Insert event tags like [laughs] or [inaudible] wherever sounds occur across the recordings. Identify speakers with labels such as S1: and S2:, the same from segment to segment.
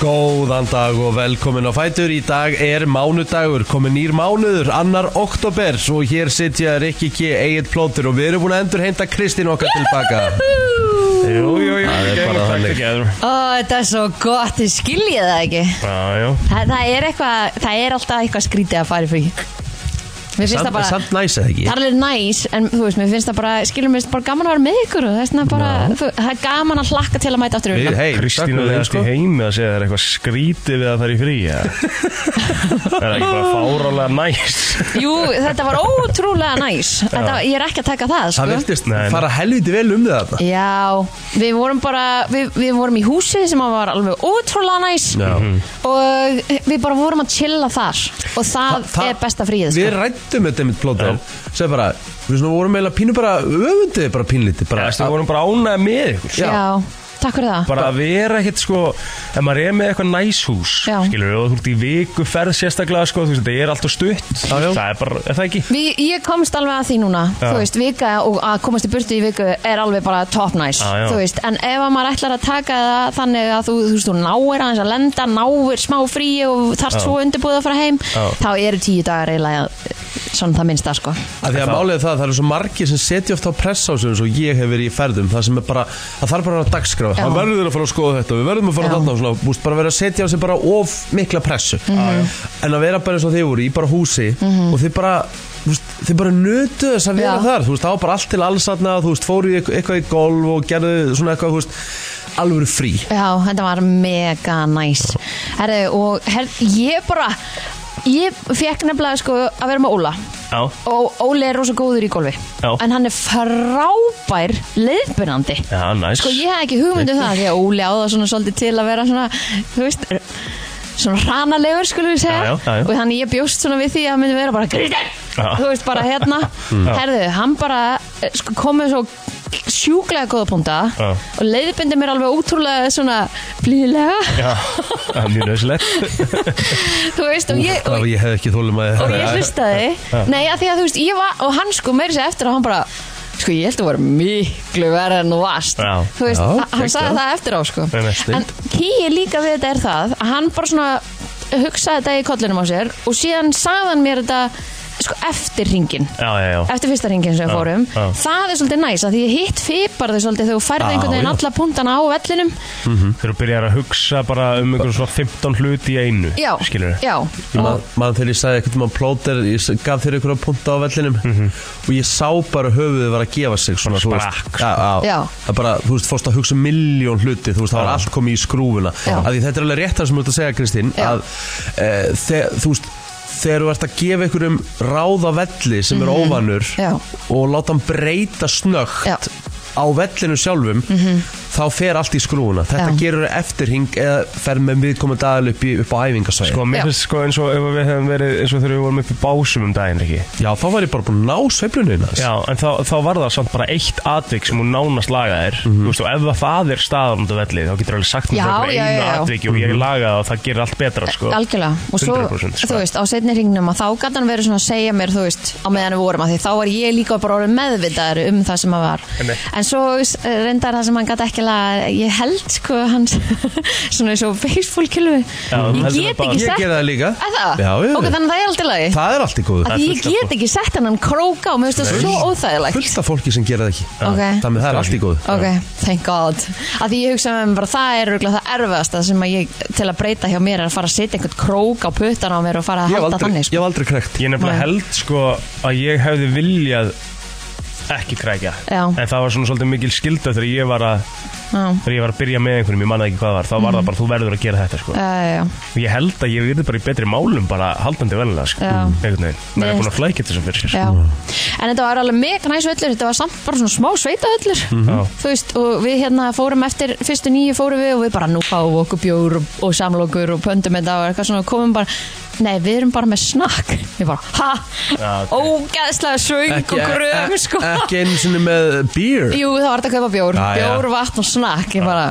S1: Góðan dag og velkomin á Fætur Í dag er mánudagur, komin nýr mánuður, annar oktober Svo hér sitja Rikki G, Egil Plóter og við erum búin að endur henda Kristín okkar tilbaka
S2: Jú, jú, jú,
S1: Það er
S2: gegn-
S1: bara
S2: back
S1: þannig.
S2: together.
S3: Ó, þetta er svo gott, þið skiljið það ekki
S2: Já, já
S3: Þa, Það er eitthvað, það er alltaf eitthvað skrítið að fara í frí Mér finnst
S1: Samt,
S3: það bara,
S1: samt næs eða ekki
S3: það er alveg næs En þú veist, mér finnst það bara, skiljum mér finnst bara gaman að vera með ykkur og Það er svona bara, þú, það er gaman að hlakka til að mæta aftur í
S1: Við-
S3: vinnuna.
S1: Hey,
S2: Kristín
S1: takk fyrir
S2: og þið
S1: það,
S2: allt í
S1: sko.
S2: heimi að segja það er eitthvað skrítið við að fara í frí ja. Það er ekki bara fárálega næs
S3: Jú, þetta var ótrúlega næs
S1: [laughs]
S3: þetta, Ég er ekki að taka það,
S1: Það
S3: sko
S1: viltist
S2: Nei, nei.
S1: fara helviti vel um það þetta
S3: Já, við vorum bara, við, við vorum í húsi sem var alveg ótrúlega næs
S1: Já.
S3: Og við bara vorum að chilla þar Og það,
S1: Þa-
S3: er besta fríið, sko
S1: Við rættum þetta mitt plóter Segð bara, við svona vorum eiginlega pínu bara öfundið bara pínlítið bara,
S2: Það vorum bara ánægð með ykkur sko.
S1: Já.
S3: Já, takk fyrir það
S2: Bara að vera ekkert sko Ef maður er með eitthvað næs hús
S3: Já.
S2: Skilur og þú ert í viku ferð sérstaklega sko Þú veist þetta er alltaf stutt
S1: Já, já.
S2: Það er bara, er það ekki?
S3: Vi, Ég komst alveg að því núna Þú veist, vika og að komast í burtu í viku er alveg bara top nice
S2: Já, já.
S3: Þú veist, en ef að maður ætlar að taka það þannig að þú, þú, veist, þú náir aðeins að lenda náir smá frí og þarft svo undirbúið að fara heim þá eru tíu dagar eiginlega eh, svona það minnsta sko
S1: Af því að málið er það að það eru svo margir sem setja ofta á pressa á sig eins og ég hef verið í ferðum það sem er bara, það þarf bara að dagskráða
S3: Já.
S1: það verður að fara að skoða þetta, við verðum að fara
S3: Já.
S1: þarna og svona, búst bara verið að setja á sig bara of mikla pressu
S3: Mhm.
S1: en að vera bara eins og þið voru í bara húsi og þið bara Veist, þið bara nötu þess að vera
S3: Já.
S1: þar þú veist, það var bara allt til alls aðna þú veist, fóru í eitth- eitthvað í golf og gerðu svona eitthvað, þú veist, alvöru frí
S3: Já, þetta var mega næs Herri, og her, ég bara ég fekk nefnilega sko að vera með Óla
S2: Já.
S3: og Óli er rosa góður í golfi
S2: Já.
S3: en hann er frábær leiðbyrnandi
S2: Já, næs
S3: sko ég hef ekki hugmynd um það því að Óli á það svona svolítið til að vera svona þú veist svona hranalegur skulum við segja
S2: Já, já, já, já.
S3: og þannig ég bjóst svona við því að hann myndi vera bara Kristján,
S2: Já. Mm.
S3: þú veist bara
S2: [laughs]
S3: hérna herðu, hann bara eh, sko, komið svo sjúklega góða púnta
S2: Já.
S3: og leiðbindi mér alveg útrúlega svona blíðlega,
S2: Já, það er mjög nöðsilegt
S3: [laughs] þú veist og ég, og,
S1: og ég hef ekki þólum að
S3: og ég hlustaði Nei, að því að þú veist, ég var og hann sko meiri sér eftir að hann bara Sko, ég held að vera miklu verið en þú varst
S2: Já.
S3: Þú veist,
S1: Já,
S3: já, hann
S1: geggjað.
S3: sagði það eftir á sko
S2: Nei, nei, snilld.
S3: En kýi líka við þetta er það að hann bara svona hugsaði þetta í kollinum á sér og síðan sagði hann mér þetta sko eftir ringin
S2: Já, já, já
S3: eftir fyrsta ringin sem við
S2: Já,
S3: fórum
S2: já.
S3: það er svolítið næs að því hitt fipar þau svolítið þegar þú færði
S1: Já,
S3: einhvern veginn
S1: já.
S3: alla puntana á vellinum
S2: Mhm. Þegar þú byrjar að hugsa bara um einhverjum svona 15 hluti í einu
S3: já,
S2: Skilur
S3: já,
S1: Man, mann þegar ég sagði eitthvað mann plóter, ég s- gaf þér einhverja punta á vellinum
S2: Mhm.
S1: og ég sá bara höfuðið var að gefa sig svona,
S2: Svona
S1: þú veist.
S2: sprakk,
S1: Já, já.
S3: Já.
S1: Það bara, þú veist, fórst að hugsa um miljón hluti, þú veist, það var
S2: Já.
S1: allt komið í skrúfuna
S3: Já.
S1: að því þetta er alveg rétt það sem þú ert að segja Kristín
S3: Já.
S1: að e, þe, þú veist þegar þú ert að gefa einhverjum ráða velli sem er óvanur
S3: Mhm. Já.
S1: og láta hann breyta snögt
S3: Já. Mhm.
S1: á vellinu sjálfum þá fer allt í skrúfuna þetta
S3: Já.
S1: gerur eftirhing eða fer með viðkomandi aðal upp, í- upp á æfingasvæði
S2: Sko, mér
S3: Já.
S2: finnst sko eins og ef við hefum verið eins og þegar við vorum upp í básum um daginn, ekki?
S1: Já, þá var ég bara búin að ná sveiflunina
S2: Já, en þá, þá var það samt bara eitt atvik sem hún nánast lagaði þér Þú veist, og ef að það er staðan út af velli þá getur alveg sagt mér
S3: Já,
S2: frá einhverju
S3: já, já,
S2: einu
S3: já.
S2: atvik og ég laga það og það gerir allt betra, sko
S3: algjörlega og svo,
S2: 100% sko.
S3: þú veist, á setni hringnum að þá gæti hann verið svona að segja mér, þú veist á meðan við vorum að því þá var ég líka bara orðin meðvitaður um það sem að var
S2: Einmitt.
S3: en svo s- reyndar það sem hann gæti ekki laga ég held, sko, hans [laughs] svona eins og baseball kilvi
S2: Já,
S3: ég
S2: heldur
S3: get
S2: það
S3: ekki
S1: Ég
S3: sett
S1: gerði það líka
S3: að það,
S1: Já, já,
S3: ok, þannig að það er alltaf lagi
S1: Það er allt í góðu
S3: að
S2: er
S3: því ég
S2: fullt af
S3: get ekki sett hennan króka og mér finnst það svo óþægilegt
S1: Fullt af fólki sem gera það ekki
S3: Ok.
S1: Þannig að það er allt í góðu
S3: Ok, thank god Að því ég hugsa með mér bara það er örugglega það erfiðasta sem að ég til að breyta hjá mér er að fara að setja einhvern krók á puttan á mér og fara að
S1: Ég hef
S3: halda
S1: aldrei,
S3: þannig sko.
S1: ég hef aldrei krekt
S2: Ég nefnilega
S3: Nei.
S2: held, sko, að ég hefði viljað ekki krækja
S3: Já.
S2: En það var svona svolítið mikil skilda þegar ég var að
S3: Já,
S2: þegar ég var að byrja með einhverjum, ég manna ekki hvað var þá var það bara, þú verður að gera þetta, sko
S3: Mhm. já, já,
S2: og ég held að ég verði bara í betri málum bara haldandi velna, sko,
S3: Já.
S2: einhvern veginn maður
S3: Mér
S2: er búin að flækja þessum fyrir sér sko.
S3: já. En þetta var alveg mega næs völlur Þetta var samt bara svona smá sveita völlur
S1: Mhm.
S2: Já.
S3: Þú veist, og við hérna fórum eftir Fyrstu nýju fórum við og við bara nú fáum við okkur bjór og, og samlokur og pöndum þetta og eitthvað svona og komum bara Nei, við erum bara með snakk Við bara, ha,
S2: Já, ok.
S3: ógeðslega söng og gröf
S1: e-
S3: sko.
S1: ekki einu sinni með beer
S3: Jú, það var þetta að kaupa bjór,
S1: Já, já.
S3: bjór, vatn og snakk Ég bara,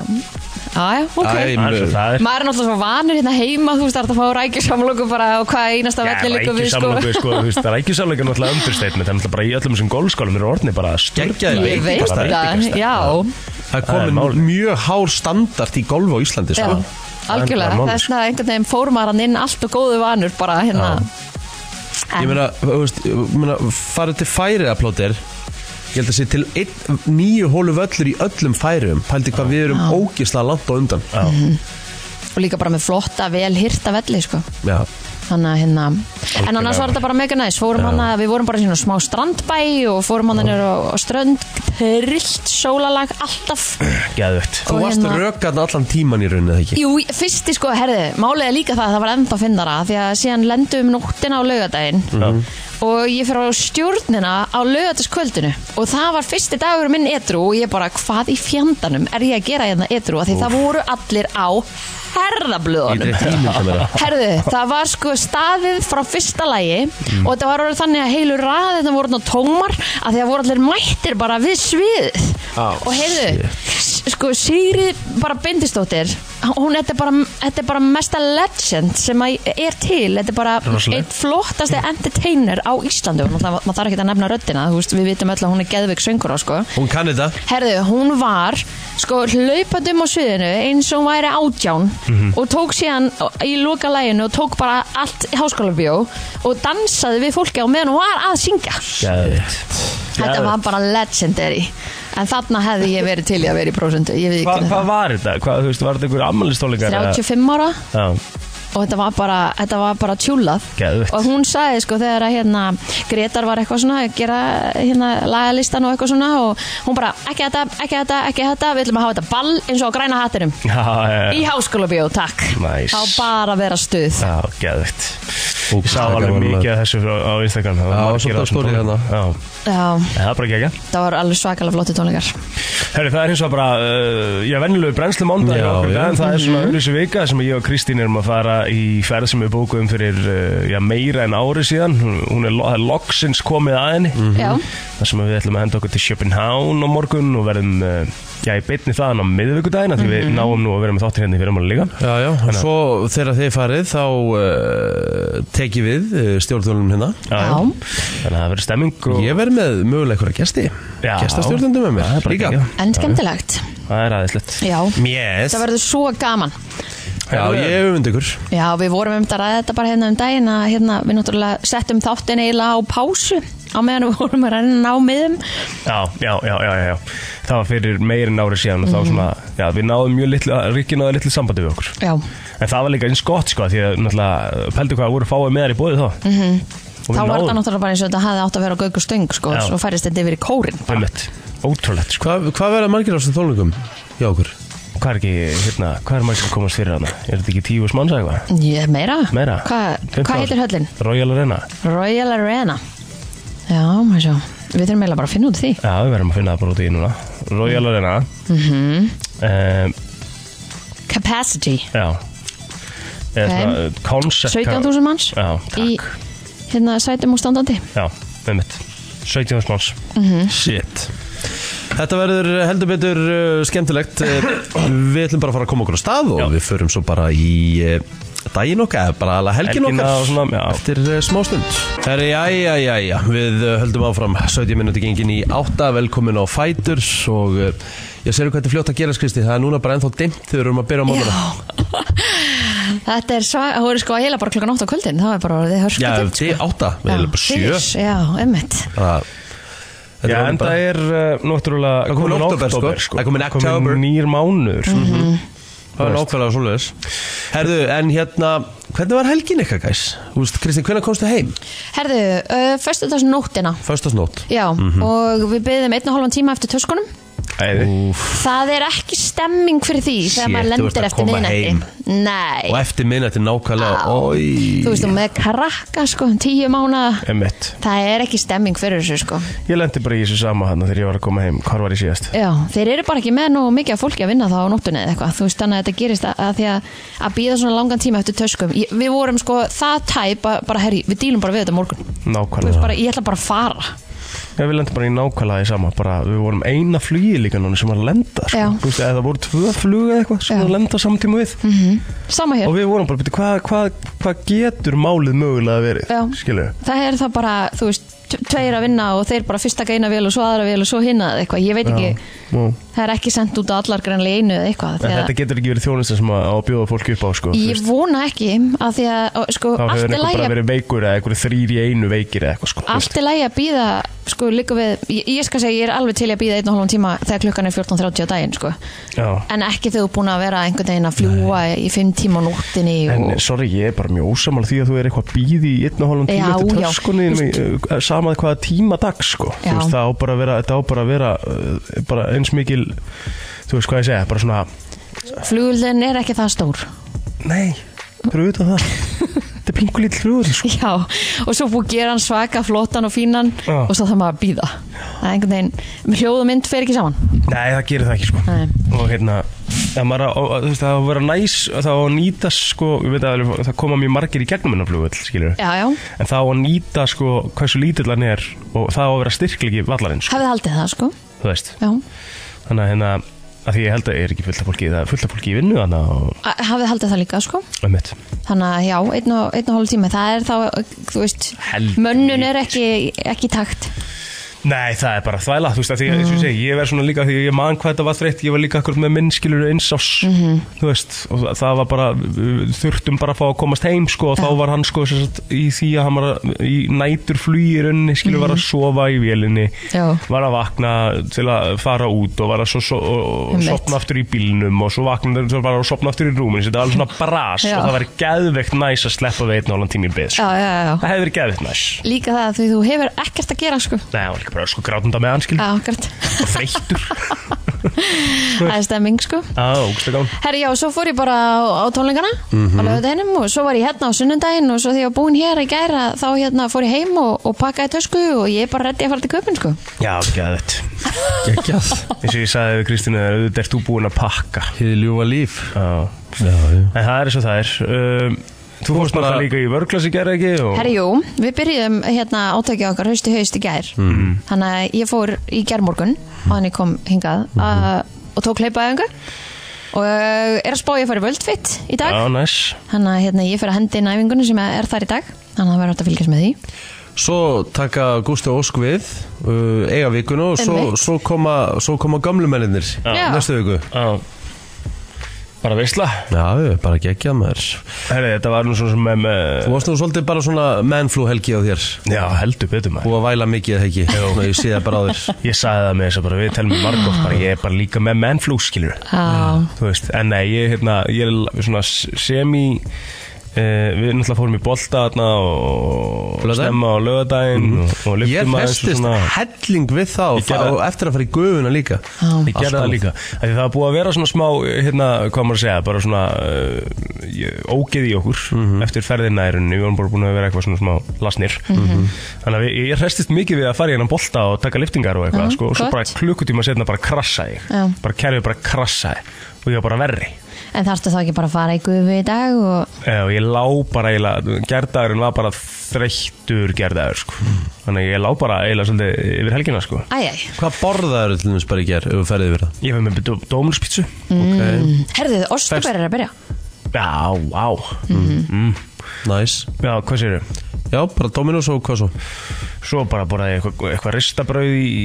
S3: aðja,
S1: Æ,
S3: ok
S2: Það er svo það er
S3: Maður er náttúrulega svo vanur hérna heima Þú veist, það er að fá rækjusamlóku bara og hvað einasta velli líka við sko
S2: rækjusamlöku, sko, þú veist, rækjusamlöku er náttúrulega understatement, það er náttúrulega bara í öllum þessum golfskólum eru orðni bara
S1: Geggjaðir
S3: Ég veit
S1: Bara
S3: það, já
S1: Það er
S2: Það er
S1: komin
S2: málið.
S1: mjög hár standart í golf á Íslandi sko.
S3: Já.
S2: Það er
S3: algjörlega
S2: bara málið,
S3: þess að einhvern veginn fór maður hann inn allt og góðu vanur bara hérna
S1: Ég
S3: en,
S1: meina, þú veist, ég meina farið til færiða plóter Ég held að sé til einn, nýju hólu völlur í öllum færiðum Pældi hvað við erum ógisla langt á undan
S3: og líka bara með flotta vel hýrta velli sko
S1: Já,
S3: þannig að hérna en annars var þetta bara mega næs fórum hann að við vorum bara í svona smá strandbæ og fórum hann að nýra á, á strönd pyrrilt sólalag alltaf
S2: Geðvögt
S1: þú
S3: Og
S1: varst
S3: hérna-
S1: rökarn allan tíman í rauninni eða ekki
S3: Jú, fyrsti sko, herði, málið er líka það að það var ennþá finnara því að síðan lendum um nóttina á laugadaginn og ég fyrir á stjórnina á laugadagskvöldinu og það var fyrsti dagur minn edru og ég bara, hvað í fjandanum er ég að gera hérna edru að því það voru allir á
S1: Ég
S3: herðablöðunum
S1: dreit ímynda mér það
S3: Herðu, það var sko staðið frá fyrsta lagi og þetta var orðið þannig að heilu raðið þetta voru ná tómar að því að voru allir mættir bara við sviðið
S1: Á,
S3: og heyrðu, s- sko Sigri bara bindistóttir hún, þetta er bara, þetta er bara mesta legend sem að er til, þetta er bara
S2: Rosaleg.
S3: eitt flottasti entertainer á Íslandu og náttúrulega- maður þarf ekki að nefna röddina þú veist, við vitum öll að hún er geðveik söngur á sko
S1: Hún kann þetta
S3: Herðu, hún var sko hlaupandum á sviðinu eins og hún væri átján
S2: Mhm.
S3: og tók síðan í loka læginu og tók bara allt háskólabjó og dansaði við fólki á meðan hún var að syngja.
S2: Geðvögt
S3: Þetta var bara legendary. En þarna hefði ég verið til í að vera í prósundu, ég við ekki
S2: Hvað hva var þetta? Hvað, þú veist, var þetta einhver ammælistólingar?
S3: 35 ára
S2: Já,
S3: og þetta var bara, þetta var bara tjúlað
S2: Geðveikt.
S3: og hún sagði sko þegar að hérna Gretar var eitthvað svona að gera hérna lagalistan og eitthvað svona og hún bara ekki þetta, ekki þetta, ekki þetta við ætlum að hafa þetta ball eins og á græna hattinum
S2: [laughs] já, já,
S3: í
S2: já.
S3: háskóla takk
S2: Nice.
S3: á bara að vera stuð
S2: Já, geðvögt
S1: Ó,
S2: Ég sá alveg
S1: gaman
S2: mikið af þessu á, á Instagram
S1: Já,
S2: margir
S1: svolítið hérna.
S2: á þessum
S1: story
S2: tónleikum.
S1: þarna.
S2: Já,
S3: já,
S2: en það er bara gegja
S3: það var alveg svakalega flotti tónleikar
S2: Herri, það er eins og bara, uh, já, vennilegu brennslu mándag
S1: Já, já. Mhm.
S2: en það er svona öðru vika sem ég og Kristín erum að fara í ferð sem við bókuðum fyrir uh, já, meira en ári síðan hún er, lo- það er loksins komið að henni
S1: Mhm.
S3: Já.
S2: þar sem við ætlum að henda okkur til Schopenhaun á morgun og verðum, uh, já, í beinni þaðan á miðvikudaginn af því
S1: Mhm.
S2: við náum nú að vera með þáttir hérna í fyrirmáli líka
S1: Já, já, og svo þegar þið farið þá uh, teki við uh, stjórnvölum hérna
S3: Já.
S2: Þannig að það verður stemming og...
S1: Ég verð með mögulega einhverja gesti
S2: Já.
S1: Gestastjórnundum með
S2: Það er
S1: mér
S2: bara
S1: Líka
S2: geggjað.
S3: en skemmtilegt
S2: Það er aðeinslegt
S3: já,
S1: Yes
S3: það verður svo gaman
S1: Já, ég öfund ykkur
S3: já, við vorum um þetta að ræða þetta bara hérna um daginn að hérna, við náttúrulega settum þáttin eiginlega á pásu á meðan við vorum að renna á miðum
S2: Já, já, já, já, já, já Það var fyrir meirin ári síðan og þá svona Já, við náðum mjög litlu, Ríkki náði litlu sambandi við okkur
S3: já,
S2: En það var líka eins gott sko Því að náttúrulega, pældu hvað voru fáið með þær í bóði þá mm -hmm.
S3: Mhm. þá var það náttúrulega bara eins og þetta hefði átt að vera á gauku stöng sko,
S2: Já.
S3: svo færist þetta yfir í kórin
S2: náttúrulega Ótrúlegt sko
S1: Hvað hva verða margir á þessum tónleikum hjá okkur?
S2: Hvað er ekki, hérna, hvað er maður sem komast fyrir hana? Er þetta ekki tíu manns eða eitthvað?
S3: ég, meira,
S2: Meira?
S3: Hva- hvað
S2: 15?
S3: heitir höllin?
S2: Royal Arena
S3: Royal Arena já, maður sjá, við þurfum eiginlega bara að finna út úr því
S2: Já, við verðum að finna það bara út í núna Royal
S3: Mhm.
S2: Arena mm
S3: capacity
S2: Já Eða
S3: Ok.
S2: svona, uh, concept
S3: 17.000 manns
S2: Já,
S3: í
S2: takk
S3: hérna sætum og standandi
S2: Já, með mitt 17 manns
S3: Mhm.
S1: Shit Þetta verður heldur betur uh, skemmtilegt Eh, Við ætlum bara að fara að koma okkur á stað og
S2: Já.
S1: við förum svo bara í uh, daginn okkar, eða bara alveg helgin
S2: Helgina
S1: okkar
S2: og svona, já.
S1: eftir uh, smástund Herri, jæja, jæja, við uh, höldum áfram 17 minúti gengin í 8, velkomin á Fætur og uh, ég sér hvað þetta er fljótt að gera skristi, það er núna bara ennþá dimmt þegar við erum að byrja á mánuna
S3: þetta er svo, það voru sko heila bara klokkan 8 á kvöldin það var bara orðið hörsku
S1: Já, þetta er 8, við erum bara 7
S3: já, emmitt
S1: Þetta er
S2: Já,
S1: orðinn
S2: en
S1: bara-
S2: það er uh, náttúrulega
S1: Það er komin október, sko. Það er komin October.
S2: nýr mánuður mm
S3: Mhm.
S1: Það er nákvæmlega svoleiðis Herðu, en hérna, hvernig var helgin eitthvað, gæs? Þú veist, Kristinn, hvernig komstu heim?
S3: herðu, uh, föstudags nóttina
S1: Föstasnót
S3: já,
S1: Mhm.
S3: og við byggðum einn og halvan tíma eftir töskunum það er ekki stemming fyrir því þegar
S1: Shit,
S3: maður
S1: þú ert
S3: lendir
S1: að
S3: eftir
S1: koma heim.
S3: miðnætti nei,
S1: Og eftir minnætti nákvæmlega,
S3: Á.
S1: oi
S3: þú veist, um- og með krakka sko, tíu mánu
S2: Emmett
S3: það er ekki stemming fyrir þessu sko
S2: Ég lendi bara í þessu sama hann þegar ég var að koma heim Hvar var ég síðast?
S3: Já, þeir eru bara ekki með nú mikið af fólki að vinna þá á nóttunni eða eitthvað, þú veist þannig að þetta gerist að, að því að, að býða svona langan tíma eftir töskum, ég, við vorum sko það tæp að bara herri, við dílum bara við þetta morgun Þú veist,
S2: Nákvæmlega
S3: bara, ég ætla bara að fara
S2: Já, við lendum bara í nákvæmlega í sama bara, Við vorum eina flugi líka núna sem var að lenda sko.
S3: Já.
S2: Þú veist, Eða það voru tvö flug eða eitthvað sem
S3: Já. Mhm.
S2: var að lenda samtíma við
S3: sama
S2: Og
S3: hér,
S2: við vorum bara, "Bíddu, hvað hva, hva getur málið mögulega verið?
S3: Já.
S2: Skilur
S3: það er það bara þú veist, t- tveir að vinna og þeir bara fyrst taka eina vel og svo aðra vel og svo hinna eða eitthvað, ég veit ekki
S2: Nú.
S3: það er ekki sendt út á allar grannlega einu eða eitthvað
S2: En
S3: því að-
S2: þetta getur ekki verið þjónusta sem að á að bjóða fólki upp á sko, þú
S3: Ég
S2: veist.
S3: vona ekki að því að og, sko,
S2: Þá hefur
S3: allt er
S2: einhver
S3: lægi
S2: bara
S3: að
S2: verið veikur eða einhver þrýr í einu veikir eða eitthvað sko, þú veist.
S3: Allt er lægi að býða sko, líka við, ég, ég skal segja, ég er alveg til í að býða einn og hálfum tíma þegar klukkan er 14.30 á daginn sko.
S2: Já.
S3: en ekki þegar þú er búin að vera einhvern veginn að fljúa í 5 tíma á nóttinni
S2: En
S3: og,
S2: sorry, ég er bara mjög ósamal því að þú er eitthvað bíð í einn og hálfum tíma
S3: Já,
S2: eftir
S3: já.
S2: töskunni þinni, uh, sama hvaða tíma dag sko. Þú
S3: Já.
S2: veist, það á bara að vera, þetta á bara að vera uh, bara eins mikil þú veist hvað ég segja, bara svona
S3: flugulden er ekki það stór [laughs]
S2: nei, fyrir utan það þetta er pingu lítið hljóður sko.
S3: Já, og svo búið að gera hann svaka, flottan og fínan
S2: Já.
S3: og svo það maður að býða Það er einhvern veginn, hljóð og mynd fer ekki saman
S2: Nei, það gerir það ekki sko.
S3: Nei.
S2: og hérna ef maður á- á- þú veist, það á að vera næs það á að nýta sko, ég veit að það koma mjög margir í gegnum hennar flugvöld, skilur
S3: Já, já,
S2: en það á að nýta sko hversu lítill hann er og það á að vera styrklegi vallarinn sko,
S3: hefði haldið það sko
S2: þú veist
S3: Já,
S2: þannig að hérna að því ég held að er ekki fullt af fólki það er fullt af fólki í vinnu þannig að
S3: A- hafið haldið það líka sko
S2: um mitt
S3: Þannig að já, einn og, einn og hálf tími, það er þá, þú veist,
S2: Helvíti.
S3: mönnun er ekki, ekki í takt.
S2: Nei, það er bara þvæla, þú veist að því mm. ég, segi, ég verð svona líka, því ég man hvað þetta var þreytt ég var líka akkur með minnskilur einsás
S3: Mhm.
S2: -hmm. þú veist, og það- það var bara við þurftum bara að fá að komast heim sko, og þá var hann sko sem sagt, í því að hann var að- í nætur flýirunni skilur var að sofa í vélinni
S3: Mhm. Já.
S2: var að vakna til að fara út og var að svo, so, og, og
S3: Einmitt.
S2: sopna aftur í bílnum og svo vakna og var að sopna aftur í rúminu, þetta var alveg
S3: [laughs]
S2: svona bras
S3: Já.
S2: og það var geðveikt næs að sleppa við einn og hálfan tími í
S3: Já,
S2: beð sko.
S3: já, já.
S2: það hefði verið geðveikt næs
S3: Líka það að því þú hefur ekkert að gera, sko.
S2: Nei, það var líka bara sko grátunda með anskil
S3: Já, ekkert.
S2: og þreyttur
S3: [laughs] Það er stemming, sko.
S2: Já, ógstlega gán
S3: Herri, já, svo fór ég bara á, á tónleikana á lögðaðinum og svo var ég hérna á sunnundaginn og svo því ég var búin hér í gæra þá hérna fór ég heim og, og pakkaði tösku og ég er bara reddi að fara til köpun, sko.
S2: Já, geðveikt Gekkjað Eins og ég sagði við Kristina, auðvitað ert þú búin að pakka
S1: Hið ljúfa líf
S2: Já
S1: Já, já
S2: En það er eins og það er um, Þú fórst
S1: bara-
S2: náttúrulega líka í vörglas í gerð ekki og...
S3: Herri, jú, við byrjuðum hérna átökja okkar haust í haust í gær þannig að ég fór í gærmorgun og hann ég kom hingað að, og tók leipaðingu og eh, er að spá ég að fara í völdfitt í dag
S2: Já, næs
S3: þannig að hérna, ég fyrir að hendi inn æfingunni sem er þar í dag þannig að það verður hægt að fylgjast með því
S1: Svo taka Gústi og Ósk við uh, eiga vikuna og svo,
S3: Einmitt.
S1: svo koma, svo koma gamlumennir
S3: Já.
S1: næstu viku
S2: Já Bara veistla
S1: Já, við erum bara geggjað maður
S2: Herri, þetta var nú svona sem með,
S1: Þú
S2: með
S1: varst nú svolítið bara svona mennflú helgi á þér
S2: Já, heldur betur maður
S1: Búið að væla mikið helgi Svona, Ég sé það bara á þér
S2: Ég sagði það með þess að bara við telum margótt bara ég er bara líka með mennflú skilur
S3: Já,
S2: þú veist, en nei, ég, hérna, ég er l- svona s- semi Uh, við náttúrulega fórum í bolta þarna og
S1: Laugardaginn? Mhm.
S2: stemma á lögadaginn og, og
S1: Ég
S2: lyftum aðeins og
S1: festist
S2: svona
S1: helling við það og,
S2: Ég gerði-
S1: það og eftir að fara í gufuna líka
S2: ég gerði það
S1: Alltaf.
S2: líka Af því það var búið að vera svona smá hérna, hvað maður að segja, bara svona uh, ég- ógeð í okkur
S1: Mhm.
S2: eftir ferðina í rauninni, við vorum bara búin að vera eitthvað svona smá lasnir,
S1: Mhm.
S2: þannig að ég, ég restist mikið við að fara í hennan bolta og taka liftingar og eitthvað,
S3: Já,
S2: sko, og svo
S3: gott.
S2: bara klukkutíma setna bara krassaði, ég.
S3: Já.
S2: bara kerfið bara krassaði og ég var bara verri
S3: en þarftu þá ekki bara að fara í gufi í dag og
S2: Já, ég lá bara eiginlega, gerðdagurinn var bara þreyttur gerðdagur, sko. Þannig að ég lá bara eiginlega svolítið yfir helgina, sko.
S3: æjæj
S1: Hvað borðaður til dæmis bara í ger ef við ferðið við það
S2: Ég fæði með dó- dómulspítsu.
S3: Mm.
S1: Ok,
S3: Herðið, Óstubær er að byrja
S2: Já, á.
S1: næs
S2: Já, hvað séru?
S1: Já, bara Dominos og hvað svo
S2: Svo bara borðaði ég eitthvað, eitthvað ristabrauð í,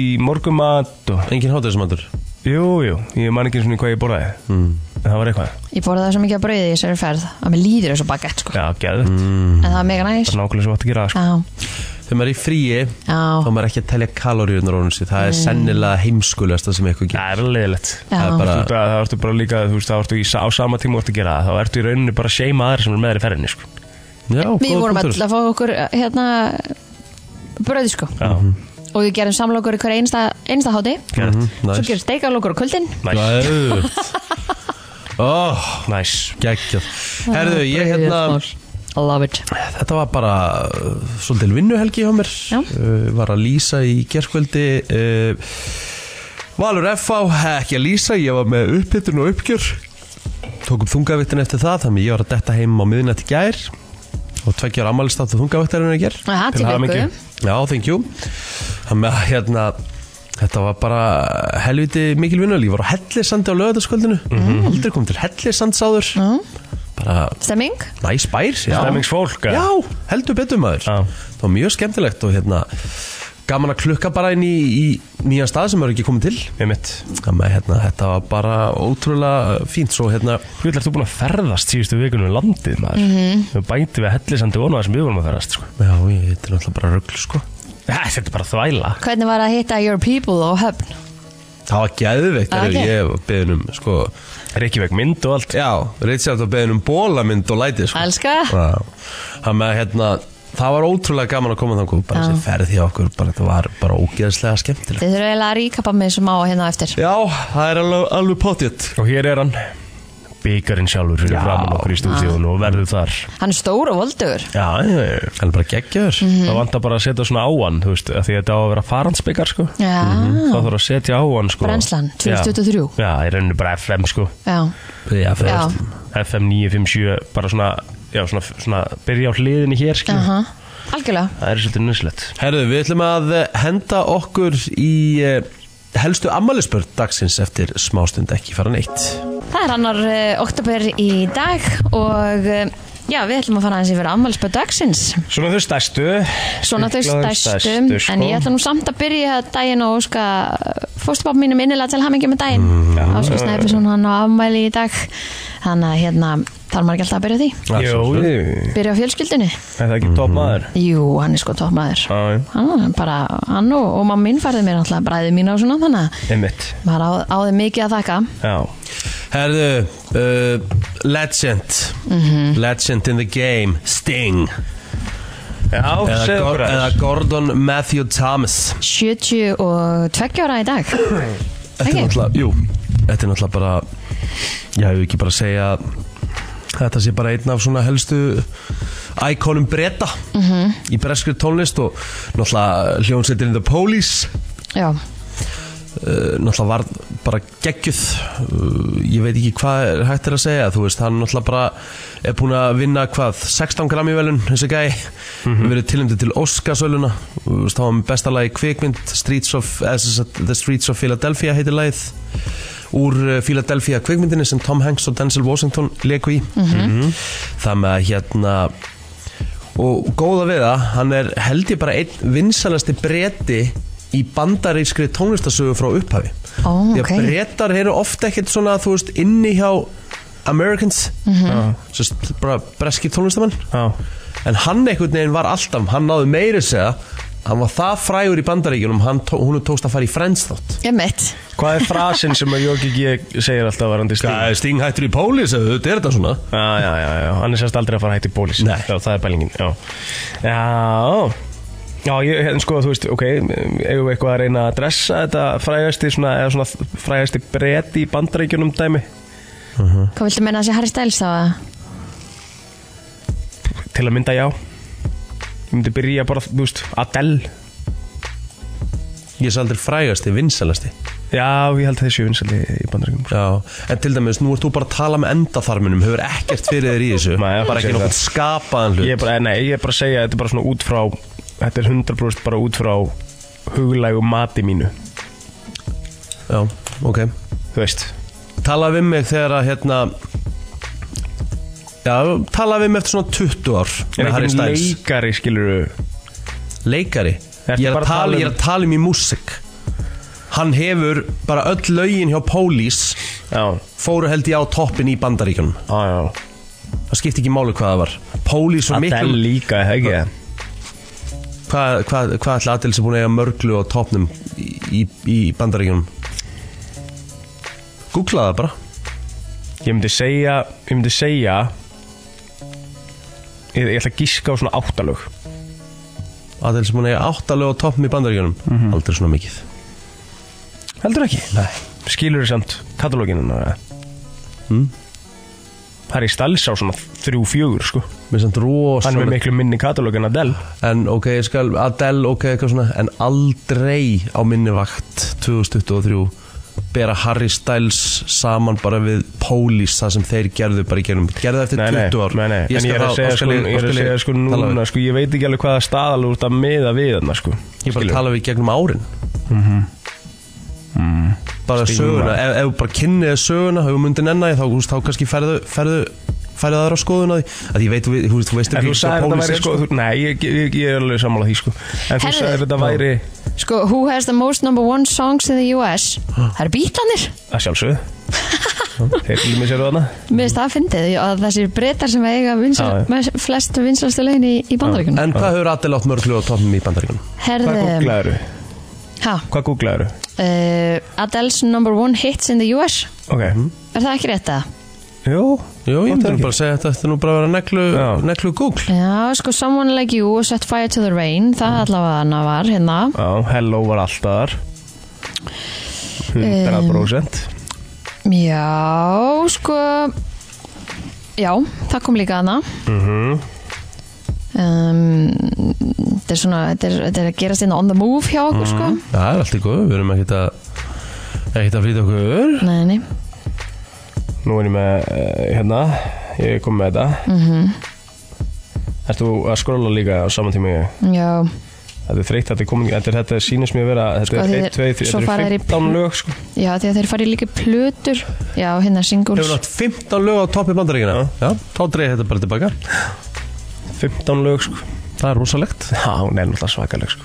S2: í morgumat og...
S1: Engin hátíðismandur
S2: Jú, jú, ég man ekki eins og hvað ég borðaði. Mm. Það var eitthvað.
S3: Ég borðaði svo mikið að brauði í þessari ferð að mér líður þessu bagett sko
S2: Já, geðvægt.
S3: en það var mega næs
S2: Það er nákvæmlega svo gott að gera, það, sko.
S3: Já,
S1: Þegar maður er í fríi
S3: Já. Mm.
S1: þá maður er ekki að telja kaloríunar honum sér Það er sennilega heimskulegasta sem eitthvað gerir
S2: Það er alveg leðilegt.
S3: Já.
S1: Það er bara
S2: Það, það ertu bara líka, þú veist, það ertu í, sa- á sama tíma og ertu að gera það, þá ertu í rauninni bara að seima aðra sem er með þér í ferðinni, sko.
S1: Já,
S3: við
S1: góður
S3: vorum
S1: punktur.
S3: alltaf að fá okkur hérna brauði sko
S2: Já,
S3: og við gerum samlokur í hverja einsta, einsta háti
S2: geðvægt.
S3: svo
S1: Næs.
S3: gerum steikalokur á kvöldin
S2: Næs,
S1: Gæðugt
S3: [laughs]
S1: Óh,
S2: næs
S1: geggjað Herðu, ég hérna
S3: I love it
S1: Þetta var bara uh, svolítil vinnuhelgi hjá mér
S3: Já.
S1: uh, Var að lýsa í gerkvöldi uh, Valur FH, ekki að lýsa Ég var með upphittun og uppgjör Tók upp þungavittin eftir það Þannig ég var að detta heim á miðinætti gær Og tveggjar ammælstáttu þungavittarinn í gær
S3: Það
S2: Til
S3: til
S2: hamingju.
S3: ykkur
S1: Já, thank you Þannig að hérna Þetta var bara helviti mikil vinnul Ég var á Hellisandi á lögataskvöldinu Aldrei kom til Hellisands áður Bara
S3: Stemming?
S1: næs bær já.
S2: Stemmingsfólk, eða?
S1: Já, heldur betur maður
S2: Já.
S1: Það var mjög skemmtilegt og hérna gaman að klukka bara inn í, í nýjan stað sem eru ekki komið til
S2: einmitt
S1: Þannig að hérna, þetta var bara ótrúlega fínt Svo hérna,
S2: Þú ætlar þú búin að ferðast síðustu vikunum um landið maður mm
S3: Mhm.
S2: -hmm. Bæti við hellisandi vonu að sem við vorum að ferðast sko.
S1: já, ég- þetta er náttúrulega bara röggl sko
S2: Æ, Þetta er bara þvæla
S3: Hvernig var að hitta your people á höfn?
S1: Það var geðveikt
S3: Það var
S1: þegar
S3: ekki?
S1: ég var beðin um sko
S2: Reykjavík mynd og allt
S1: Já, Richard var beðin um bólamynd og læti sko
S3: Elska það.
S1: Já. Þannig að hérna, það var ótrúlega gaman að koma þannig Bara
S3: Já.
S1: þessi ferð hjá okkur, bara þetta var bara ógeðslega skemmtilegt
S3: Þið þurfum eiginlega að ríkapa mig sem á hérna á eftir
S1: Já, það er alveg, alveg potjett
S2: Og hér er hann Bíkarinn sjálfur fyrir
S1: Já.
S2: framann okkur í stúdíun og verður þar
S3: Hann er stór og voldugur
S2: Já, já, já
S1: Hann er bara geggjör
S3: Mhm.
S2: Það vantar bara að setja svona á hann, þú veist, af því að þetta á að vera farandsbyggar, sko.
S3: Já,
S2: Það þarf að setja á hann, sko.
S3: Ah. Brennslan,
S2: Já.
S3: 2023.
S2: Já, í rauninni bara FM, sko.
S3: já,
S1: Já, fyrir
S3: já
S1: allt.
S2: FM 957, bara svona, já, svona, svona, byrja á hliðinni hér, sko.
S3: aha. Algjörlega
S2: Það er svolítið nöðslegt.
S1: Herðu, við ætlum að eh, henda okkur í eh, helstu ammælisbörn dagsins eftir smástund ekki fara neitt
S3: Það er annar uh, oktober í dag og uh, já, við ætlum að fara aðeins yfir afmælspöð dagsins
S2: Svona þau stærstu.
S3: Svona þau
S2: Stiklaður
S3: um stærstu,
S2: sko.
S3: en ég ætla nú samt að byrja daginn og óska fóstubabn mínum innilega til hamingi með daginn mm, Áskur Snæfisson hann á afmæli í dag þannig að hérna þarf maður ekki alltaf að byrja á því
S1: Já,
S2: Jó,
S1: svo-
S2: jú,
S3: Byrja á fjölskyldinu?
S2: er það ekki top maður?
S3: Jú, hann er sko toppmaður
S2: Já, já.
S3: hann er bara, hann og, og mamma minn færði mér alltaf bræði mín á svona þannig að
S2: Einmitt.
S3: maður á, á þeim mikið að þakka
S2: Já.
S1: Herðu, uh, legend Legend in the game, Sting
S2: Já,
S1: Eða,
S2: segðu
S1: Gor
S2: okkur
S1: eða
S2: aðeins.
S1: Gordon Matthew Thomas
S3: 72 ára í dag
S2: [laughs]
S1: Þetta er
S3: Ekki?
S1: náttúrulega, jú Þetta er náttúrulega bara Já, ég vil ekki bara segja að Þetta sé bara einn af svona helstu Íkonum breyta Í breskri tónlist og Náttúrulega hljónsettin The Police
S3: Já,
S1: uh, náttúrulega var bara geggjuð uh, ég veit ekki hvað er hægt er að segja þú veist, hann náttúrulega bara er búinn að vinna hvað, 16 gram í velun þessi gæi, mm verið tilnæmdi til Óskarsöluna, þú veist, þá var hann með besta lagi kvikmynd, Streets of eða sem sagt, The Streets of Philadelphia heitir lagið úr uh, Philadelphia kvikmyndinni sem Tom Hanks og Denzel Washington leku í Mhm. það með að hérna og góða við það, hann er held ég bara einn vinsalasti breyti í bandarískri tónlistasögu frá upphafi
S3: Ó,
S1: því að
S3: ok.
S1: brettar eru ofta ekkert svona þú veist inni hjá Americans mm -hmm. bara breski tónlistamann
S2: Já.
S1: en hann einhvern veginn var alltaf hann náði meiri segja hann var það frægur í bandaríkjunum hann tó, hún tókst að fara í Friends þátt
S3: ég mitt
S2: Hvað er frasin sem að Jóki G segir alltaf varandi stíl?
S1: Sting hættur í Pólis eða þetta er þetta svona
S2: Já, já, já, já, hann er sérst aldrei að fara hægt í bólís
S1: Nei.
S2: Já, það er bælingin, já Já, já, ég, hérna sko, þú veist, ok eigum við eitthvað að reyna að dressa þetta frægasti svona, eða svona frægasti breti í bandaríkjunum dæmi
S3: Hvað viltu meina að sé Harry Styles þá að
S2: til að mynda já Ég myndi byrja bara, þú veist, Adele
S1: ég sé aldrei frægasti, vinsalasti
S2: Já, ég held að þessi vinsaldi í bandaríkjunum
S1: Já, en til dæmis, nú ert þú bara að tala með endatharminum hefur ekkert fyrir þér í þessu
S2: Nei,
S1: bara ekki
S2: ég sé
S1: nokkuð skapaðan hlut
S2: Ég er bara, eh, nei, ég er bara að segja, þetta er bara svona út frá þetta er 100% bara út frá huglægu mati mínu,
S1: Já, ok
S2: þú veist
S1: Tala við mig þegar að hérna Já, tala við mig eftir svona 20 ár
S2: Er
S1: með Harry
S2: einhvern
S1: Styles
S2: leikari, skilur
S1: Leikari
S2: Ertu
S1: ég er, að
S2: bara að tala
S1: tala, ég er
S2: um-
S1: að tala um í músik Hann hefur bara öll lögin hjá Pólís
S2: Já,
S1: fóru held ég á toppin í bandaríkjunum
S2: já, já
S1: Það skipti ekki máli hvað það var Pólís var
S2: Adele
S1: miklum
S2: líka, er það ekki það?
S1: Hvað hva, hva ætla Adele sem búin að eiga mörglu á toppnum í, í, í bandaríkjunum? Googla það bara
S2: Ég myndi segja, ég myndi segja Ég, ég ætla að gíska á svona áttalög
S1: Adele sem búin að eiga áttalög á toppnum í bandaríkjunum
S2: Mhm.
S1: Aldrei svona mikið
S2: Heldur ekki? Nei Skilur þið samt katalóginu mm.
S1: Hmm?
S2: Harry Styles á svona þrjú fjögur sko
S1: Mér samt
S2: Hann er með
S1: rosalega
S2: miklu minni katalóg en Adele
S1: En ok, ég skal, Adele, ok, eitthvað svona En aldrei á minni vakt 2023 Bera Harry Styles saman bara við Pólís Það sem þeir gerðu bara í gerum Gerðu það eftir
S2: Nei, nei,
S1: 20 ár
S2: nei, nei. En ég er að segja sko, ég er að segja sko núna sko, Ég veit ekki alveg hvaða staðal úr þetta meða við þarna sko
S1: Ég bara
S2: Skilurðu? Mhm.
S1: tala við í gegnum árin Mm. Bara
S2: Stígur
S1: söguna
S2: maður.
S1: Ef ef þú bara kynnið söguna Ef þú myndir nenni þá, þú veist, þá kannski ferðu, ferðu færið aðra skoðun á því að ég veit, þú veist, þú veist
S2: En
S1: ekki
S2: þú sagðir þetta væri sko, þú- nei, ég, ég, ég er alveg sammála því sko En þú
S3: Herðu.
S2: sagðir þetta væri,
S3: Sko, who has the most number one songs in the US? Það eru bítlanir
S2: að sjálfsögðu Þeir glými sér þarna
S3: Mér finnst það að fyndið að þessir breytar sem eiga vinsal,
S2: Já, já.
S3: með flest vinsalstu lögin í, í bandaríkunum
S1: En hvað hefur Adel átt mörglu á toppum í bandaríkunum?
S2: Hvað
S3: Herðu,
S2: googlaðiru?
S3: ha,
S2: Hvað googlaðiru?
S3: uh, Adele's number one hits in the US
S2: Ok,
S3: Er það ekki rétt að?
S2: jú
S1: Jú, ég
S2: Vantar
S1: þarf
S2: ekki.
S1: bara að segja þetta, þetta er nú bara að vera neglu,
S2: Já.
S1: neglu Google
S3: Já, sko, Someone Like You og Set Fire to the Rain Það allavega hana var hérna
S2: Já, hello var alltaf þar 100%
S3: Já, sko Já, það kom líka hana
S2: Mhm.
S3: um, Þetta er svona Þetta er, þetta er að gerast inn on the move hjá okkur sko
S1: Það er allt í góð, við erum ekkert að ekkert að flýta okkur
S3: Nei, nei
S2: Nú er ég með, eh, hérna, ég kom með þetta mm -hmm. Ertu að skrolla líka á saman tíma og ég?
S3: Já,
S2: Þetta er þreytt, þetta er komin, þetta, er- þetta sýnist mér vera, þetta
S3: Sko,
S2: er
S3: þið-
S2: 1, 2, 3,
S3: svo
S2: þetta
S3: fara þeir
S2: er
S3: í
S2: 15 lög sko
S3: já því að þeir farið líka í plötur Já, hérna singles
S1: Hefur átt 15 lög á toppi bandaríkina Já, þá dreigir þetta bara tilbaka
S2: 15 lög sko
S1: Það er rosalegt
S2: Já, hún er náttúrulega svakaleg sko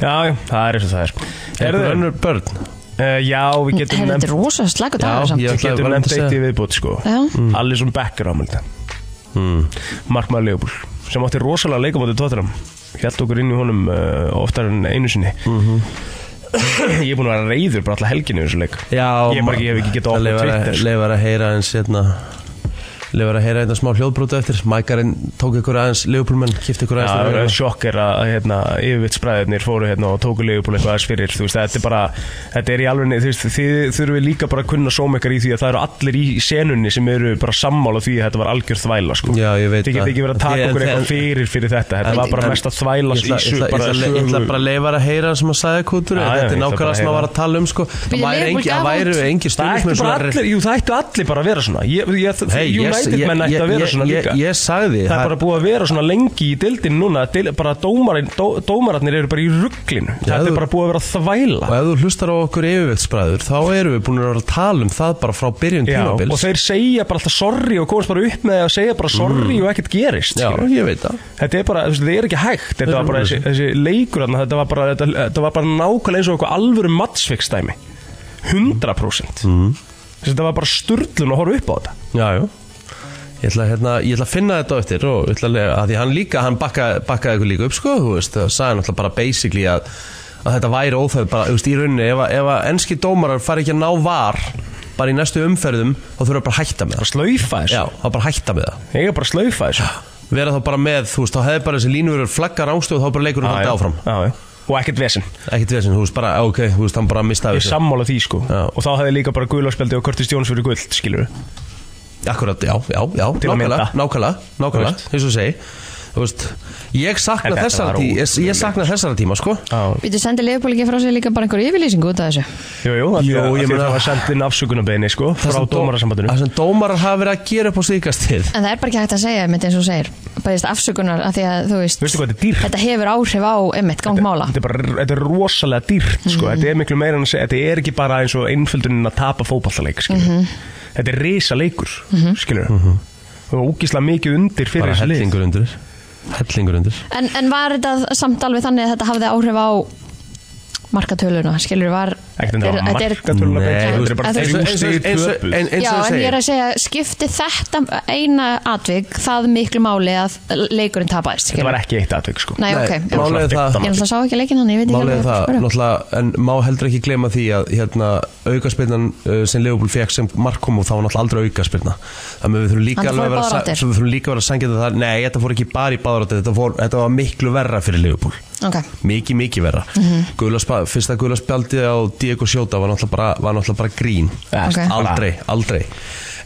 S2: Já, já, það er eins og það er sko
S1: Er
S2: Heyrðu,
S1: það önnur börn?
S2: eh, Já, við getum
S3: Hefur þetta
S2: nefnt
S3: er rosa slagur
S1: Já,
S3: dagur samt
S1: ég-
S2: Við
S1: ætlaði-
S2: getum
S1: var
S2: nefnt
S1: einmitt að Mm.
S2: eitt í
S1: segja.
S2: viðbót sko
S3: Já.
S2: Allison Becker ámælda
S1: Mm.
S2: Mark Maður Leopold sem átti rosalega leikamóti tóttunum Hjælt okkur inn í honum uh, oftar en einu sinni
S1: Mhm.
S2: Ég er búin að vera reyður bara alla helginu í þessu leik
S1: Já,
S2: Ég bara ekki- ég hef ekki getað opnað Twitter, sko.
S1: Leifar að heyra eins hérna Leifar að heyra einn smá hljóðbrúti eftir Mækarinn tók ykkur aðeins Leifbólmenn, kipti ykkur
S2: Já, það er
S1: aðeins
S2: sjokk er að hérna, yfirvitsbræðirnir fóru hérna og tóku leigubúl eitthvað aðeins fyrir þú veist, þetta er bara, þetta er í alveg þú veist, þið þurfum líka bara að kunna sóm ykkar í því að það eru allir í senunni sem eru bara sammála því að þetta var algjör þvæla sko.
S1: Já, ég veit
S2: þið
S1: það.
S2: geta ekki verið að taka
S1: Þið-
S2: okkur
S1: en-
S2: eitthvað fyrir fyrir þetta þetta
S1: en-
S2: var bara
S1: en-
S2: mesta þvæla
S1: Ég ætla,
S2: í
S1: ég,
S2: sög
S1: ætla, ég,
S2: bara
S1: ætla, ég ætla bara að leifar að heyra sem að sagði kútur
S2: Já, já,
S1: Þetta er
S2: ég ætla bara
S1: nákvæmlega
S2: að
S1: sem að
S2: heyra.
S1: var að tala um sko. Það
S3: Bíddu,
S1: væri
S3: Leifur
S1: engi-
S3: gaf
S1: það væri
S3: út-
S1: engin
S2: Það ættu
S1: stuðnismenn
S2: bara
S1: svona-
S2: allir, jú það ættu allir bara að vera svona Ég- ég-
S1: Hey, ég-
S2: United
S1: ég-
S2: menn ættu að
S1: ég-
S2: vera
S1: ég-
S2: svona
S1: ég-
S2: líka
S1: ég sagði,
S2: Það
S1: það-
S2: er bara búið að vera svona lengi í dildin núna dil, bara dómarin, dó, dómararnir eru bara í rugglinu
S1: Já,
S2: Þetta
S1: þú-
S2: er bara búið að vera þvæla
S1: Og ef þú hlustar á okkur yfirvektsbræður þá erum við búin að vera að tala um það bara frá byrjun
S2: Já, og
S1: tímabils
S2: þeir segja bara alltaf sorry og komast bara upp með það og segja bara sorry og ekkert gerist
S1: Mm. Já,
S2: skilur.
S1: ég veit það
S2: Þetta er bara, þú veist, þetta er ekki hægt Þetta
S1: Þetta
S2: var bara
S1: er
S2: þessi, þessi leikur þarna, þetta, var bara, þetta, þetta var bara nákvæmlega eins og eitthvað alvöru matsfixdæmi 100%
S1: Mm.
S2: Þessi, Þetta var bara sturlun að horfa upp á þetta
S1: Já, já Ég ætla, að, hérna, ég ætla að finna þetta á eftir og ég ætla að, lega- að því hann líka, hann bakka, bakkaði ykkur líka upp sko, þú veist, það sagði náttúrulega bara basically að, að þetta væri óþæð bara, þú veist, í rauninni, ef, að- ef að enski dómarar fari ekki að ná var bara í næstu umferðum, þá þurfa bara að hætta með það
S2: Bara slaufa þessu
S1: Já, þá bara að hætta með það
S2: Ég er bara að slaufa þessu
S1: vera þá bara með, þú veist, þá hefði bara þessi línurur flaggar ángstöð og þá bara leikur hann
S2: Já, já.
S1: haldið áfram
S2: Já, já. Og ekkert vesen
S1: ekkert veginn, þú veist, bara, ok, þú veist, hann bara mistaði
S2: Ég
S1: þessu
S2: sammála því sko
S1: Já.
S2: Og þá hefði líka bara guðlarspjaldi og Curtis Jones fyrir guld Skilur við
S1: Akkurat, já, já, já,
S2: Til að
S1: nákvæmlega,
S2: mynda.
S1: nákvæmlega, nákvæmlega,
S2: Þú
S1: eins og ég segi Þú veist, ég sakna
S2: En þetta
S1: þessara
S2: var
S1: tíma, ég, ég
S2: ótrúlegt.
S1: sakna þessara tíma, sko
S3: Við þú sendið Leopold ekki frá sér líka bara einhverju yfirlýsingu út af þessu
S2: Jú, jú, af því
S1: Jú,
S2: að- af
S1: ég
S2: því að
S1: meina-
S2: það var sendt inn afsökunarbeini sko
S1: Það
S2: Frá
S1: sem dó-
S2: dómarasambandinu
S1: Það sem dómarar hafa verið að gera upp á síðkastið
S3: En það er bara ekki hægt að segja, einmitt eins og þú segir Bæðist afsökunar af því að þú veist
S2: Veistu hvað þetta er dýrt?
S3: Þetta hefur áhrif á, einmitt, gangmála
S2: Þetta er, bara, þetta er rosalega dýrt sko. Þetta er miklu meira en að segja Þetta er ekki bara eins og einföldunin að tapa fótballaleik mm Þetta er risa leikur Skilur mm -hmm. Og úkislega mikið undir fyrir
S1: Mhm. Bara
S2: þessu lið
S1: hellingur undir, hellingur undir
S3: En, en var þetta samt alveg þannig að þetta hafði áhrif á markatöluna, skilur, var
S2: Ekkert en
S3: er-
S2: það var
S3: þetta er-
S2: markatöluna
S1: Nei,
S2: beint,
S1: þú
S2: Þetta er
S1: veist,
S2: bara
S3: en þú-
S2: þrjú stig töpuð.
S1: en, eins
S3: Já,
S1: og
S3: en ég er
S1: segir
S3: að segja, skipti þetta eina atvik það miklu máli að leikurinn tapaðist,
S2: Þetta
S3: skilur
S2: var ekki eitt atvik sko.
S3: Nei, ok,
S1: Nei,
S3: já.
S1: málið er það-
S3: ég náttúrulega sá ekki leikinn hann, ég veit ekki
S1: Málið er
S3: hvað
S1: það,
S3: spyrja.
S1: náttúrulega, en má heldur ekki gleyma því að hérna, aukaspinnan uh, sem Leopold fekk sem mark kom og þá var náttúrulega aldrei aukaspinna þannig að við þurfum líka
S3: Hann fór
S1: alveg
S3: í
S1: að vera
S3: báðar
S1: sa-
S3: áttir.
S1: við þurfum líka að vera sangið það, nei, þetta fór ekki bara í báðráttir þetta, fór- þetta var miklu verra fyrir Leopold
S3: Ok.
S1: mikið, mikið verra mm
S3: Mhm.
S1: fyrsta gula spjaldið á Diego Sjóta var náttúrulega bara, var náttúrulega bara grín
S2: Ok.
S1: aldrei, aldrei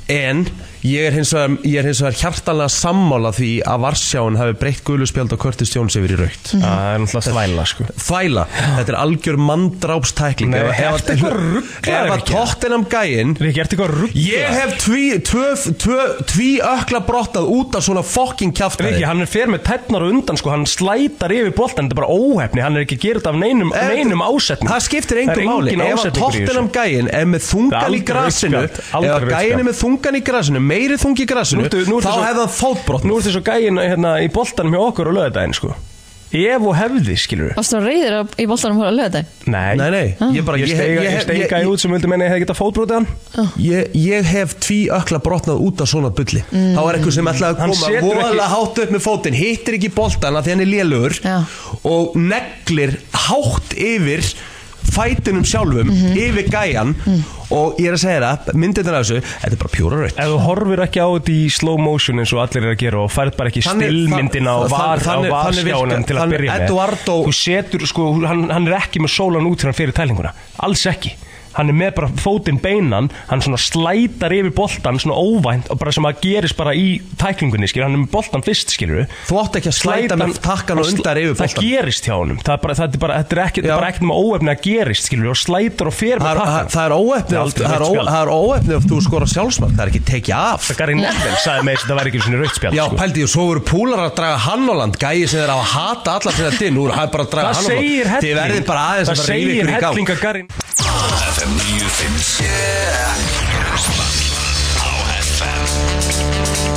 S1: en ég er hins vegar, ég er hins vegar hjartalega sammála því að Varsjáin hafi breytt gulu spjald og Curtis Jones yfir í raukt
S2: Það er náttúrulega þvæla sko.
S1: þvæla, þetta er algjör manndrápstækling
S2: Nei,
S1: Ef- ef-
S2: ertu eitthvað ruglaður,
S1: ef að
S2: Ríkki?
S1: tóttinam gæinn
S2: Rikki, ertu eitthvað rugg
S1: ég hef tví, tvö, tvö, tví ökla brottað út af svona fokking kjáftæði
S2: Rikki, hann er fer með tætnar og undan sko, hann slætar yfir boltan, þetta er bara óhefni, hann er ekki gerð af neinum, neinum ásetning
S1: Það skiptir
S2: Það
S1: engu
S2: er
S1: máli
S2: engin
S1: Ef að
S2: ásetningur í þessu.
S1: Tottenham gæin er með þungan
S2: Það
S1: í
S2: er aldrei
S1: grasinu
S2: rautt spjald, aldrei
S1: Ef að
S2: rautt
S1: gæin er
S2: spjald.
S1: með þungan þungan í grasinu, meiri þung í grasinu
S2: Nú ertu- nú ertu
S1: þá
S2: svo-
S1: hefði hann fótbrotn
S2: Nú er þessu gæin hérna, í boltanum hjá okkur á löðadaginn sko. Ef og hefði, skilur við
S3: Varstu reyðir í boltanum hóra lögðaði?
S2: Nei,
S1: Nei, nei, ég bara
S2: Ég steiga, ég steiga
S1: ég,
S2: út sem vildi menna ég hefði getað fótbrotið hann
S1: ég, ég hef tví ökla brotnað út af svona bulli þá er eitthvað sem ætlaði
S2: Hann
S1: að koma
S2: setur ekki-
S1: voðalega hátt upp með fótinn hittir ekki boltana því hann er lélugur
S3: Já.
S1: og neglir hátt yfir fætinum sjálfum yfir gæjan og ég er að segja það, myndir af þessu þetta er bara pjúra raut
S2: Ef þú horfir ekki á þetta í slow motion eins og allir er að gera og færð bara ekki
S1: Þannig-
S2: stillmyndina og
S1: þa-
S2: var á
S1: þannig- þannig virkar-
S2: varskjánum til að
S1: þannig
S2: byrja með
S1: Eduardo-
S2: Þú setur, sko, hann, hann er ekki með sólan út þegar hann fyrir tælinguna Alls ekki Hann er með bara fótinn beinan Hann svona slætar yfir boltan svona óvænt og bara sem að gerist bara í tæklingunni skilur Hann er með boltan fyrst skilur
S1: þú átt ekki að slæta með takkan og undar yfir
S2: Það
S1: boltan
S2: gerist hjá honum Það er bara, það er bara, þetta er ekki,
S1: Já.
S2: bara ekkert með óefni að gerist skilur og slætar og fer
S1: Það
S2: með
S1: er- það-
S2: takkan
S1: það er óefnið oft-
S2: aldrei
S1: það er
S2: rautt
S1: ó-
S2: spjald.
S1: það er óefnið ef þú skora sjálfsmark það er ekki tekið af
S2: Gary Neville sagði með þess að það væri ekki svona rautspjall
S1: Já,
S2: sko.
S1: pældi ég, svo voru púlar að draga hann á land Gæi sem þeir á að hata alla fyrir að dinn Úr, það er bara að draga
S2: Það
S1: hann á land
S2: segir helling
S1: Þið verðið bara aðeins
S2: Það
S1: að bara rífi
S2: segir
S1: ykkur í gang
S2: helling að Garin
S4: FM 957 Á FM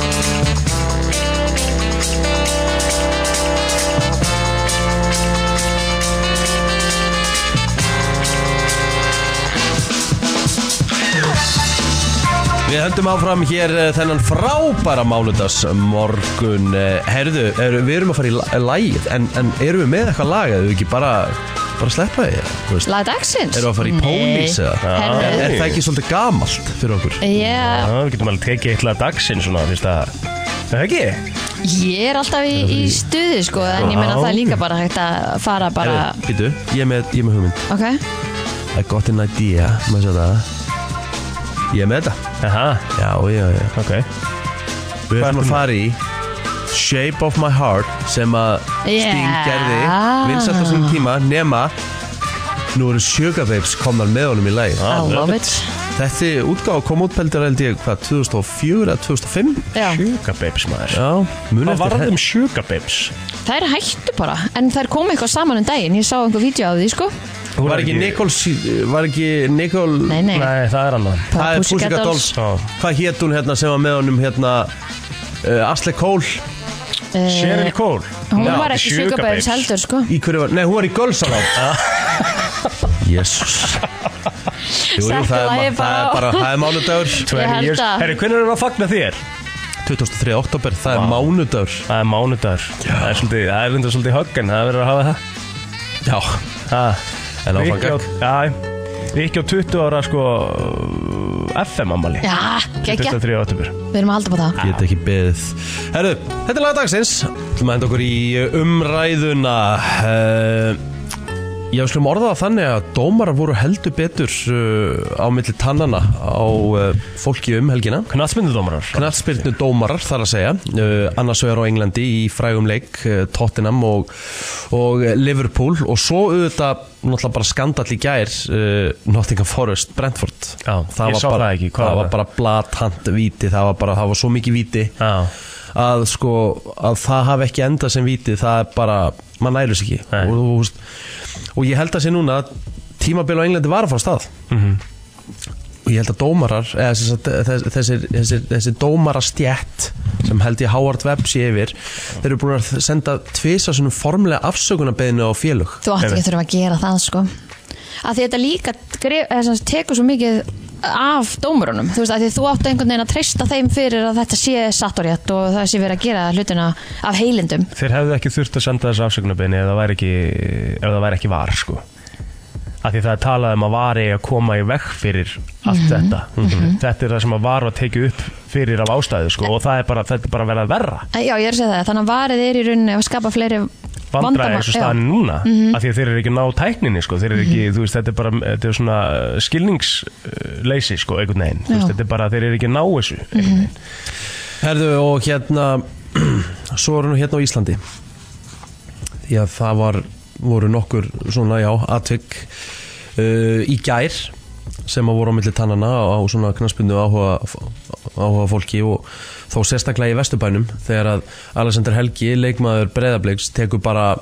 S1: Við höndum áfram hér eh, þennan frábæra mánudags morgun Herðu, er, við erum að fara í la- eh, lagið En, en erum við með eitthvað lag Eða við ekki bara, bara sleppa því þú veist?
S3: Laga dagsins?
S1: Erum við að fara í pólís eða
S3: Herðu.
S1: Er það ekki svolítið gamalt fyrir okkur?
S3: Já,
S2: Við getum alveg tekið eitthvað dagsinn svona fyrst að Er Það ekki?
S3: ég er alltaf í, í stuði sko En ég meina það er líka bara hægt að fara bara
S1: Herðu, býtu, ég er með, ég er með hugmynd
S3: Ok,
S1: I got an idea, maður sér það Ég er með þetta
S2: Aha,
S1: Já, já, já
S2: ok
S1: Við ætlum
S2: ertu
S1: að
S2: með?
S1: fara í Shape of my heart sem að
S3: Yeah.
S1: Sting gerði vinsætt á sinni tíma nema nú eru Sugar Babes komnar með honum í lagi
S3: I love it
S1: Þessi útgáð kom út peldur held ég hvað 2004 eða 2005
S3: Já,
S2: Sjúkabibs maður
S1: um? Já, muni
S2: Hvað
S1: eftir
S2: varð
S1: he-
S2: um sjúkabibs?
S3: þær hættu bara En þær komu eitthvað saman um daginn Ég sá einhver vídeo af því sko
S1: Var ekki Nicole sí- Var ekki Nicole
S3: Nei, nei,
S2: Nei, það er annað
S1: Það er Pussycat Dolls
S2: Já.
S1: Hvað hét hún hérna sem var með honum hérna uh, Asle Cole
S3: Eh,
S2: Cheryl Cole
S3: Hún
S2: Já,
S3: var ekki Sugar Babes heldur sko
S1: í hverju var Nei, hún var í Girls Aloud Jésus Jú, jú,
S3: Settu
S1: það er,
S3: lagið
S1: ma- það er
S3: bara á.
S1: bara Það er mánudagur
S3: Ég held
S2: Years-
S3: að-
S2: Herri, hvernig erum við að fagna þér?
S1: 23. oktober, það er mánudagur
S2: Það er mánudagur Það er svolítið, það er reyndar svolítið högg en það verður að hafa það
S1: Já,
S2: Ha,
S1: En áfram
S2: Rikki á-
S1: gegn.
S2: Já, Rikki á 20 ára sko FM ammali
S3: Já, geggja,
S2: 23. oktober
S3: við erum að halda på það
S1: ég get ekki beðið Herru, þetta er lagdagsins Þú maður henda okkur í eh, umræðuna uh, Já, við skulum orða það þannig að dómarar voru heldur betur uh, á milli tannana á uh, fólki um helgina
S2: Knatsmyndudómarar
S1: Knallspyrnu dómarar þar að segja uh, annars vegar á Englandi í frægum leik uh, Tottenham og, og Liverpool og svo auðvitað náttúrulega bara skandall í gær uh, Nottingham Forest, Brentford
S2: Já, ég
S1: var
S2: sá
S1: bara,
S2: það ekki, hvað
S1: það
S2: var
S1: var
S2: það?
S1: bara blatant víti, það var bara, það var svo mikið víti
S2: Já.
S1: að sko að það hafi ekki endað sem víti það er bara, maður nælus ekki
S2: Nei.
S1: og, þú veist, og ég held að sé núna að tímabil á Englandi var að fara af stað og ég held að dómarar eða sem sagt, þess- þessir, þessir, þessir dómarastjætt sem held ég Howard Webb sé yfir þeir eru búin að senda tvisa svona formlega afsökunarbeðinu á félög
S3: Þú átt ekki að þurfa að gera það sko að því þetta líka gref, eða sem sagt tekur svo mikið af dómurunum þú veist að því þú átt einhvern veginn að treysta þeim fyrir að þetta sé satt og rétt og það sé verið að gera hlutina af heilindum
S2: Þeir hefðu ekki þurft að senda þessu afsökunarbeinni ef það væri ekki, ef það væri ekki var sko. af því það er talað um að var eigi að koma í veg fyrir allt
S3: Mhm.
S2: þetta þetta er það sem að var að tekið upp fyrir af ástæðu sko, og það er bara, þetta er bara að vera verra
S3: Æ, Eh, Já, ég er að segja það, þannig að varið er í rauninni að skapa fleiri
S2: vandræði
S3: vandamál-
S2: eins og
S3: Já. Mhm.
S2: staðan er núna af því að þeir eru ekki að ná tækninni sko. þeir eru ekki, þú veist, þetta er bara þetta er svona uh, skilningsleysi sko, einhvern veginn, Þú veist,
S3: Já. Mhm.
S2: þetta er bara, þeir eru ekki að ná þessu einhvern veginn.
S1: Herðu og hérna [clears throat] svo eru nú hérna á Íslandi því að það var voru nokkur svona já atvik uh, í gær sem að voru á milli tannana á, á svona knaspindu áhuga, áhuga fólki og þó sérstaklega í vesturbænum þegar að Alexander Helgi leikmaður breyðabliks tekur bara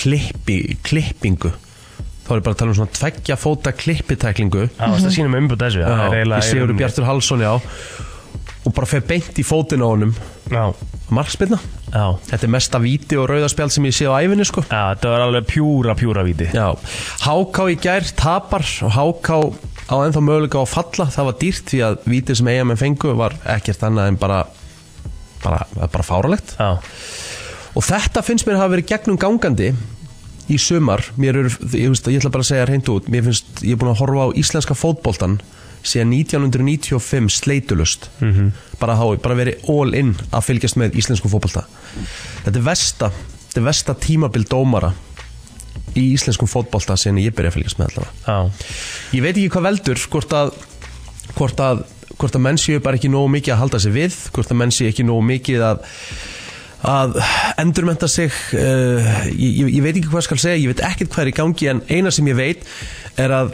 S1: klippi, klippingu þú þá er ég bara að tala um svona tveggja fóta klippitæklingu
S2: Já, það sýnum við umbútt þessu það er eiginlega-
S1: í Sigurður Bjartur Hallsson já og bara fer beint í fótinn á honum
S2: Já,
S1: markspilna
S2: já
S1: þetta er mesta víti og rauðaspjald sem ég sé á æfinni sko
S2: Já, þetta var alveg pjúra, pjúra víti
S1: Já, Háká í gær tapar og Háká á ennþá möguleika á að falla það var dýrt því að vítið sem eigamenn fengu var ekkert annað en bara bara, bara fáralegt
S2: Já,
S1: og þetta finnst mér hafa verið gegnum gangandi í sumar mér er, ég, veist, ég ætla bara að segja reynd út mér finnst, ég er búin að horfa á íslenska fótboltan síðan 1995 sleitulust -hmm. bara, há, bara verið all in að fylgjast með íslensku fótbolta þetta er versta þetta er versta tímabil dómara í íslenskum fótbolta síðan ég byrja að fylgjast með allavega
S2: já,
S1: ég veit ekki hvað veldur hvort að hvort að, hvort að menn séu bara ekki nógu mikið að halda sig við hvort að menn séu ekki nógu mikið að að endurmenta sig uh, ég, ég- ég veit ekki hvað skal segja ég veit ekkert hvað er í gangi en eina sem ég veit er að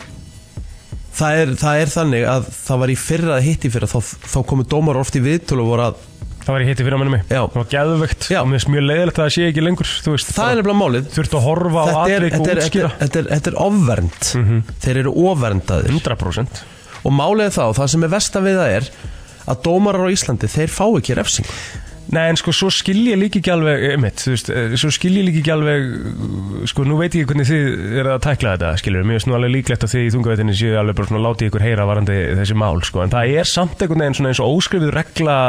S1: það er, það er þannig að það var í fyrra að hitti fyrra þá, þá komu dómar oft í viðtölu og voru að
S2: það var í hitti fyrir mannum mig
S1: Já.
S2: Það var geðvögt
S1: Já.
S2: og mér finnst mjög leiðilegt að það sé ekki lengur Þú veist,
S1: það er nefnilega málið
S2: þurft að horfa á
S1: þetta er,
S2: atvik og
S1: þetta er, þetta
S2: útskýra Mhm.
S1: er, þetta er, þetta er ofvernd þeir eru ofverndaðir
S2: 100%
S1: og málið er þá, það sem er versta við það er að dómarar á Íslandi, þeir fá ekki refsing
S2: Nei, en sko, svo skil ég líka ekki alveg, einmitt, þú veist, eh, svo skil ég líka ekki alveg, uh, sko, nú veit ég ekki hvernig þið eru að tækla þetta, skilur, mér finnst nú alveg líklegt að þið í þungaveitinni séu alveg bara svona látið ykkur heyra varandi þessi mál, sko, en það er samt einhvern veginn svona eins og óskrifið regla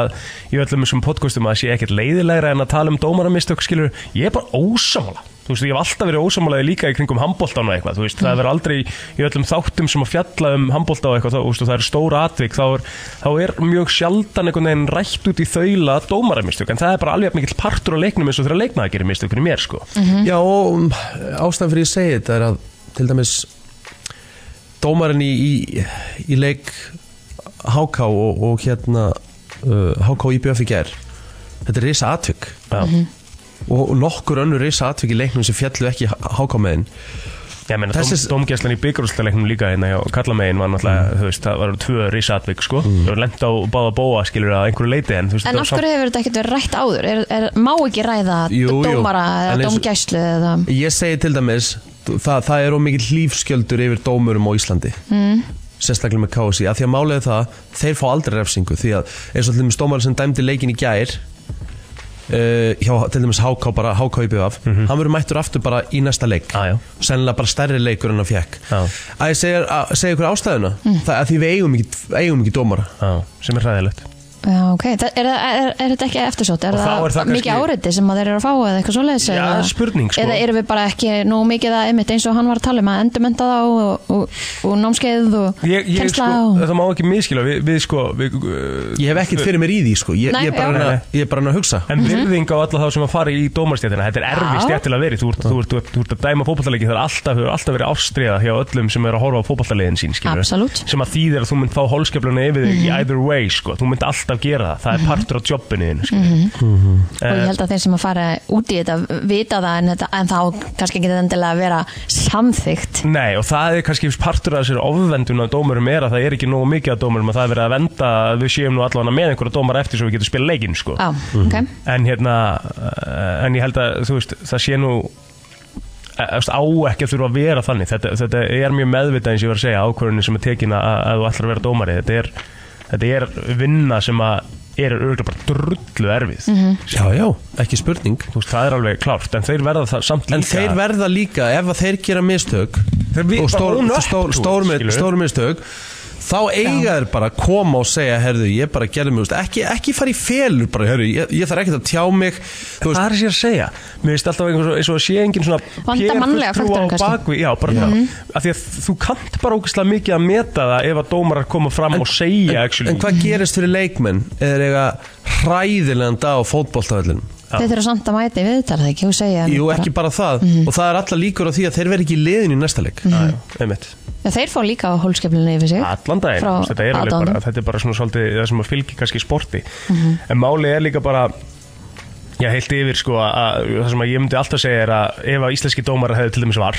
S2: í öllum þessum podcastum að það sé ekkert leiðilegra en að tala um dómaramistök, skilur, ég er bara ósamála. Þú veist, ég hef alltaf verið ósamálaði líka í kringum handbóltan og eitthvað, þú veist, það verður aldrei í öllum þáttum sem að fjalla um handbólta og eitthvað, þá, þú veist, og það er stóra atvik, þá er, þá er mjög sjaldan einhvern veginn rætt út í þaula dómaramistök, en það er bara alveg jafn mikill partur á leiknum eins og þegar leikmaði gerir mistök fyrir mér, sko.
S1: Já, og um, ástæðan fyrir ég segi þetta er að til dæmis dómarinn í, í, í leik HK og, og hérna uh, HK IBF í gær þetta er risa atvik
S2: Já.
S1: og nokkur önnur risa atvik í leiknum sem fjallu ekki HK meðin
S2: Ég meina, dóm,
S1: Þessi-
S2: dómgæslan í byggarústaleiknum líka hérna hjá Kallamegin var náttúrulega, þú veist, það var tvö risatvik, sko, mm. það var lent á báða bóa, skilur, að einhverju leiti, en þú veist,
S3: En
S2: það var
S3: af hverju hefur þetta ekkert verið rætt áður? Er, er, má ekki ræða
S1: Jú, jú.
S3: dómara
S1: En
S3: eða
S1: eins og-
S3: dómgæslu eða...
S1: Ég segi til dæmis það, það er ómikið lífskjöldur yfir dómurum á Íslandi mm. sérstaklega með KSI, af því að málega það þeir fá aldrei refsingu, því að eins og til dæmis dómar sem dæmdi leikin í gær uh, hjá til dæmis HK bara HK í BF, hann verður mættur aftur bara í næsta leik,
S2: Mhm. Ah, Já, já.
S1: sennilega bara stærri leikur en hann fekk
S2: Já.
S1: að ég segja, að, segja ykkur ástæðuna
S3: Mm.
S1: það er að því við eigum ekki, eigum ekki dómara
S2: Já, sem er hræðilegt.
S3: Já, ok. Það, er, það- er, er þetta ekki eftirsótt? Er
S2: Og þá
S3: það,
S2: er það
S3: mikið
S2: kannski-
S3: áreiti sem að þeir eru að fá eða eitthvað svoleiðis?
S2: Já,
S3: eða-
S2: spurning, sko.
S3: Eða erum við bara ekki nóg mikið að einmitt eins og hann var að tala um að endurmenta þá og, og, og námskeið og
S2: Ég, ég, sko,
S3: kennsla og...
S2: það má ekki miskila, við, við sko, við, uh,
S1: ég hef ekkert fyrir mér í því sko, ég,
S3: Nei,
S1: ég, er bara
S3: já.
S1: að reyna- ég er bara að reyna að hugsa
S2: En virðing á alla þá sem að fara í dómarstjættina Þetta er erfið
S3: Mhm. Já.
S2: stjættil að veri Þú ert, þú ert, þú ert, þú ert að dæma fótballaleiki Það er alltaf, hefur alltaf verið ástriða hjá öllum sem eru að horfa á fótballaliðin sín skilur.
S3: Absolutt. Mhm.
S2: Sem að þýðir að þú mynd fá holskefluna yfir þig í either way sko. Þú mynd alltaf gera það, það er partur á jobbinu þinn mm -hmm.
S3: Mhm. Og ég held að þeir sem að fara út í þetta vita það en, þetta, en þá kannski ekki endilega að vera samþygt.
S2: Nei og það er kannski partur af þessir ofvendun að dómurum er að það er ekki nógu mikið að dómurum að það er verið að venda að við séum nú allavega með einhverja dómar eftir svo við getum spila leikinn sko.
S3: Já, ok.
S2: en hérna eh, en ég held að þú veist það sé nú eh, þú veist, á ekki að þurfa að vera þannig þetta, þetta er mjög meðvitað eins og ég var að segja ákvörðinu sem er tekin að, að þú ætlar að vera dómari þetta er, þetta er vinna sem að er örgulega bara drullu erfið
S1: já, já, ekki spurning
S2: þú veist það er alveg klárt en þeir verða það samt líka
S1: En þeir verða líka, ef að þeir gera mistök
S2: Þeir vi-
S1: og stór,
S2: bara own up
S1: stór,
S2: to it,
S1: stór,
S2: skilur.
S1: stór, stór mistök þá eiga þeir bara að koma og segja herðu, ég bara gerði mig, þú veist, ekki, ekki fara í felur bara, herðu, ég, ég þarf ekkert að tjá mig þú veist,
S2: það er sér að segja mér finnst alltaf eins og- eins og að sé engin svona
S3: Vanda
S2: peer
S3: mannlega
S2: fulltrúa
S3: faktorinn
S2: á
S3: kannski.
S2: bakvið, já, bara það
S1: Mhm.
S2: af því að þú kannt bara ógeðslega mikið að meta það ef að dómarar koma fram og segja actually,
S1: en hvað gerist fyrir leikmenn eða eiga hræðilegan dag á fótboltavællinum
S3: Þeir þurfa samt að mæta í viðtal það ekki og segja...
S1: Jú,
S3: bara- Mhm.
S1: ekki bara það, og það er alla líkur á því að þeir verði ekki í liðinu í næsta leik
S2: Mm. einmitt
S3: Já, þeir fá líka á hólskeflinu yfir sig
S2: allan daginn,
S3: Frá
S2: þú veist, þetta er, alveg
S3: aðdáendum.
S2: bara, þetta er bara svona svolítið það sem að fylgir kannski sporti
S1: Mhm.
S2: en máli er líka bara já, heilt yfir sko að, að það sem að ég myndi alltaf segja er að ef að íslenski dómar hefði til dæmis var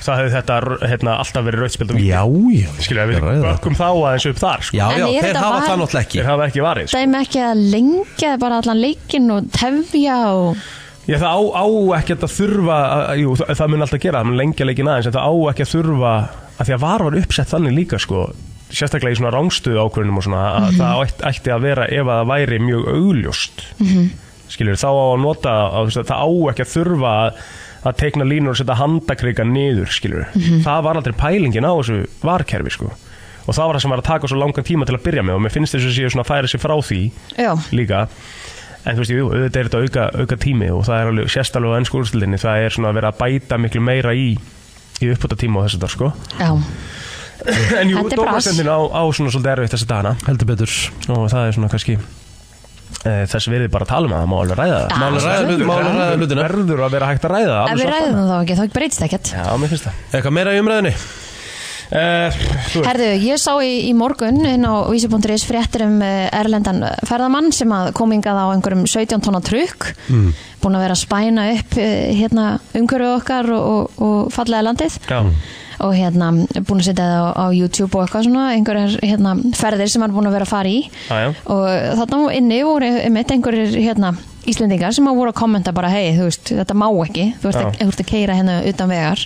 S2: það hefði þetta hérna, alltaf verið rauðspild og víti.
S1: Já, já,
S2: skilja,
S1: ég
S2: við
S1: ræði það.
S2: bökkum þá aðeins upp þar sko.
S1: já,
S3: En
S1: já,
S3: er
S1: þeir
S3: þetta
S1: hafa
S3: var-
S1: það náttúrulega ekki
S2: þeir hafa ekki varið sko.
S3: dæmi ekki að lengja bara allan leikinn og tefja og
S2: Já, það á, á ekki að þurfa, að- jú, það, það mun alltaf gera, það mun lengja leikin aðeins, en það á ekki að þurfa, að því að var var uppsett þannig líka, sko, sérstaklega í svona rángstuð ákvörunum og svona, að það ætti, ætti að vera ef að það væri mjög augljóst, mm þá á að nota, að, þú veist, það á ekki að þurfa að, að teikna línur og setja handakrika niður, skilur, það var aldrei pælingin á þessu varkerfi, sko, og það var það sem var að taka svo langan tíma til að byrja með og mér finnst þess að séu svona að færa sig frá því
S3: Já,
S2: líka en þú veist, jú, auðvitað er þetta auka, auka tími og það er alveg sérstalveg á ennsku úrstildinni það er svona að vera að bæta miklu meira í í uppbúta tíma og þess að það sko
S3: já,
S2: [laughs] en jú,
S3: Þetta er brass.
S2: dómasendin á, á svona svolítið erfitt þess að dana
S1: heldur betur
S2: og það er svona kannski e, þess verði bara að tala með það, má alveg ræða
S3: Já,
S2: það
S1: Má alveg ræða
S2: Verður-
S1: hlutina, má alveg ræða hlutina.
S2: verður að vera hægt að ræða það,
S3: ef við
S2: alveg svart
S3: ræðum það þá ekki, þá breytist ekkert
S2: bara. já, mér finnst það
S1: Eitthvað meira í umræðinni?
S2: e, þú veist,
S3: Herðu, ég sá í, í morgun inn á vísi.is fréttir um eh, erlendan ferðamann sem að kom hingað á einhverjum 17 tonna trukk mm. búin að vera að spæna upp eh, hérna umhverfið okkar og, og, og fallega landið
S2: já,
S3: og hérna búin að setja það á, á YouTube og eitthvað svona, einhverjar hérna, ferðir sem hann er búin að vera að fara í
S2: Já, já.
S3: og þarna inni voru einmitt einhverjir hérna Íslendingar sem að voru að kommenta bara hei, þú veist, þetta má ekki þú ert
S2: Já.
S3: að, þú ert að keira hérna utan vegar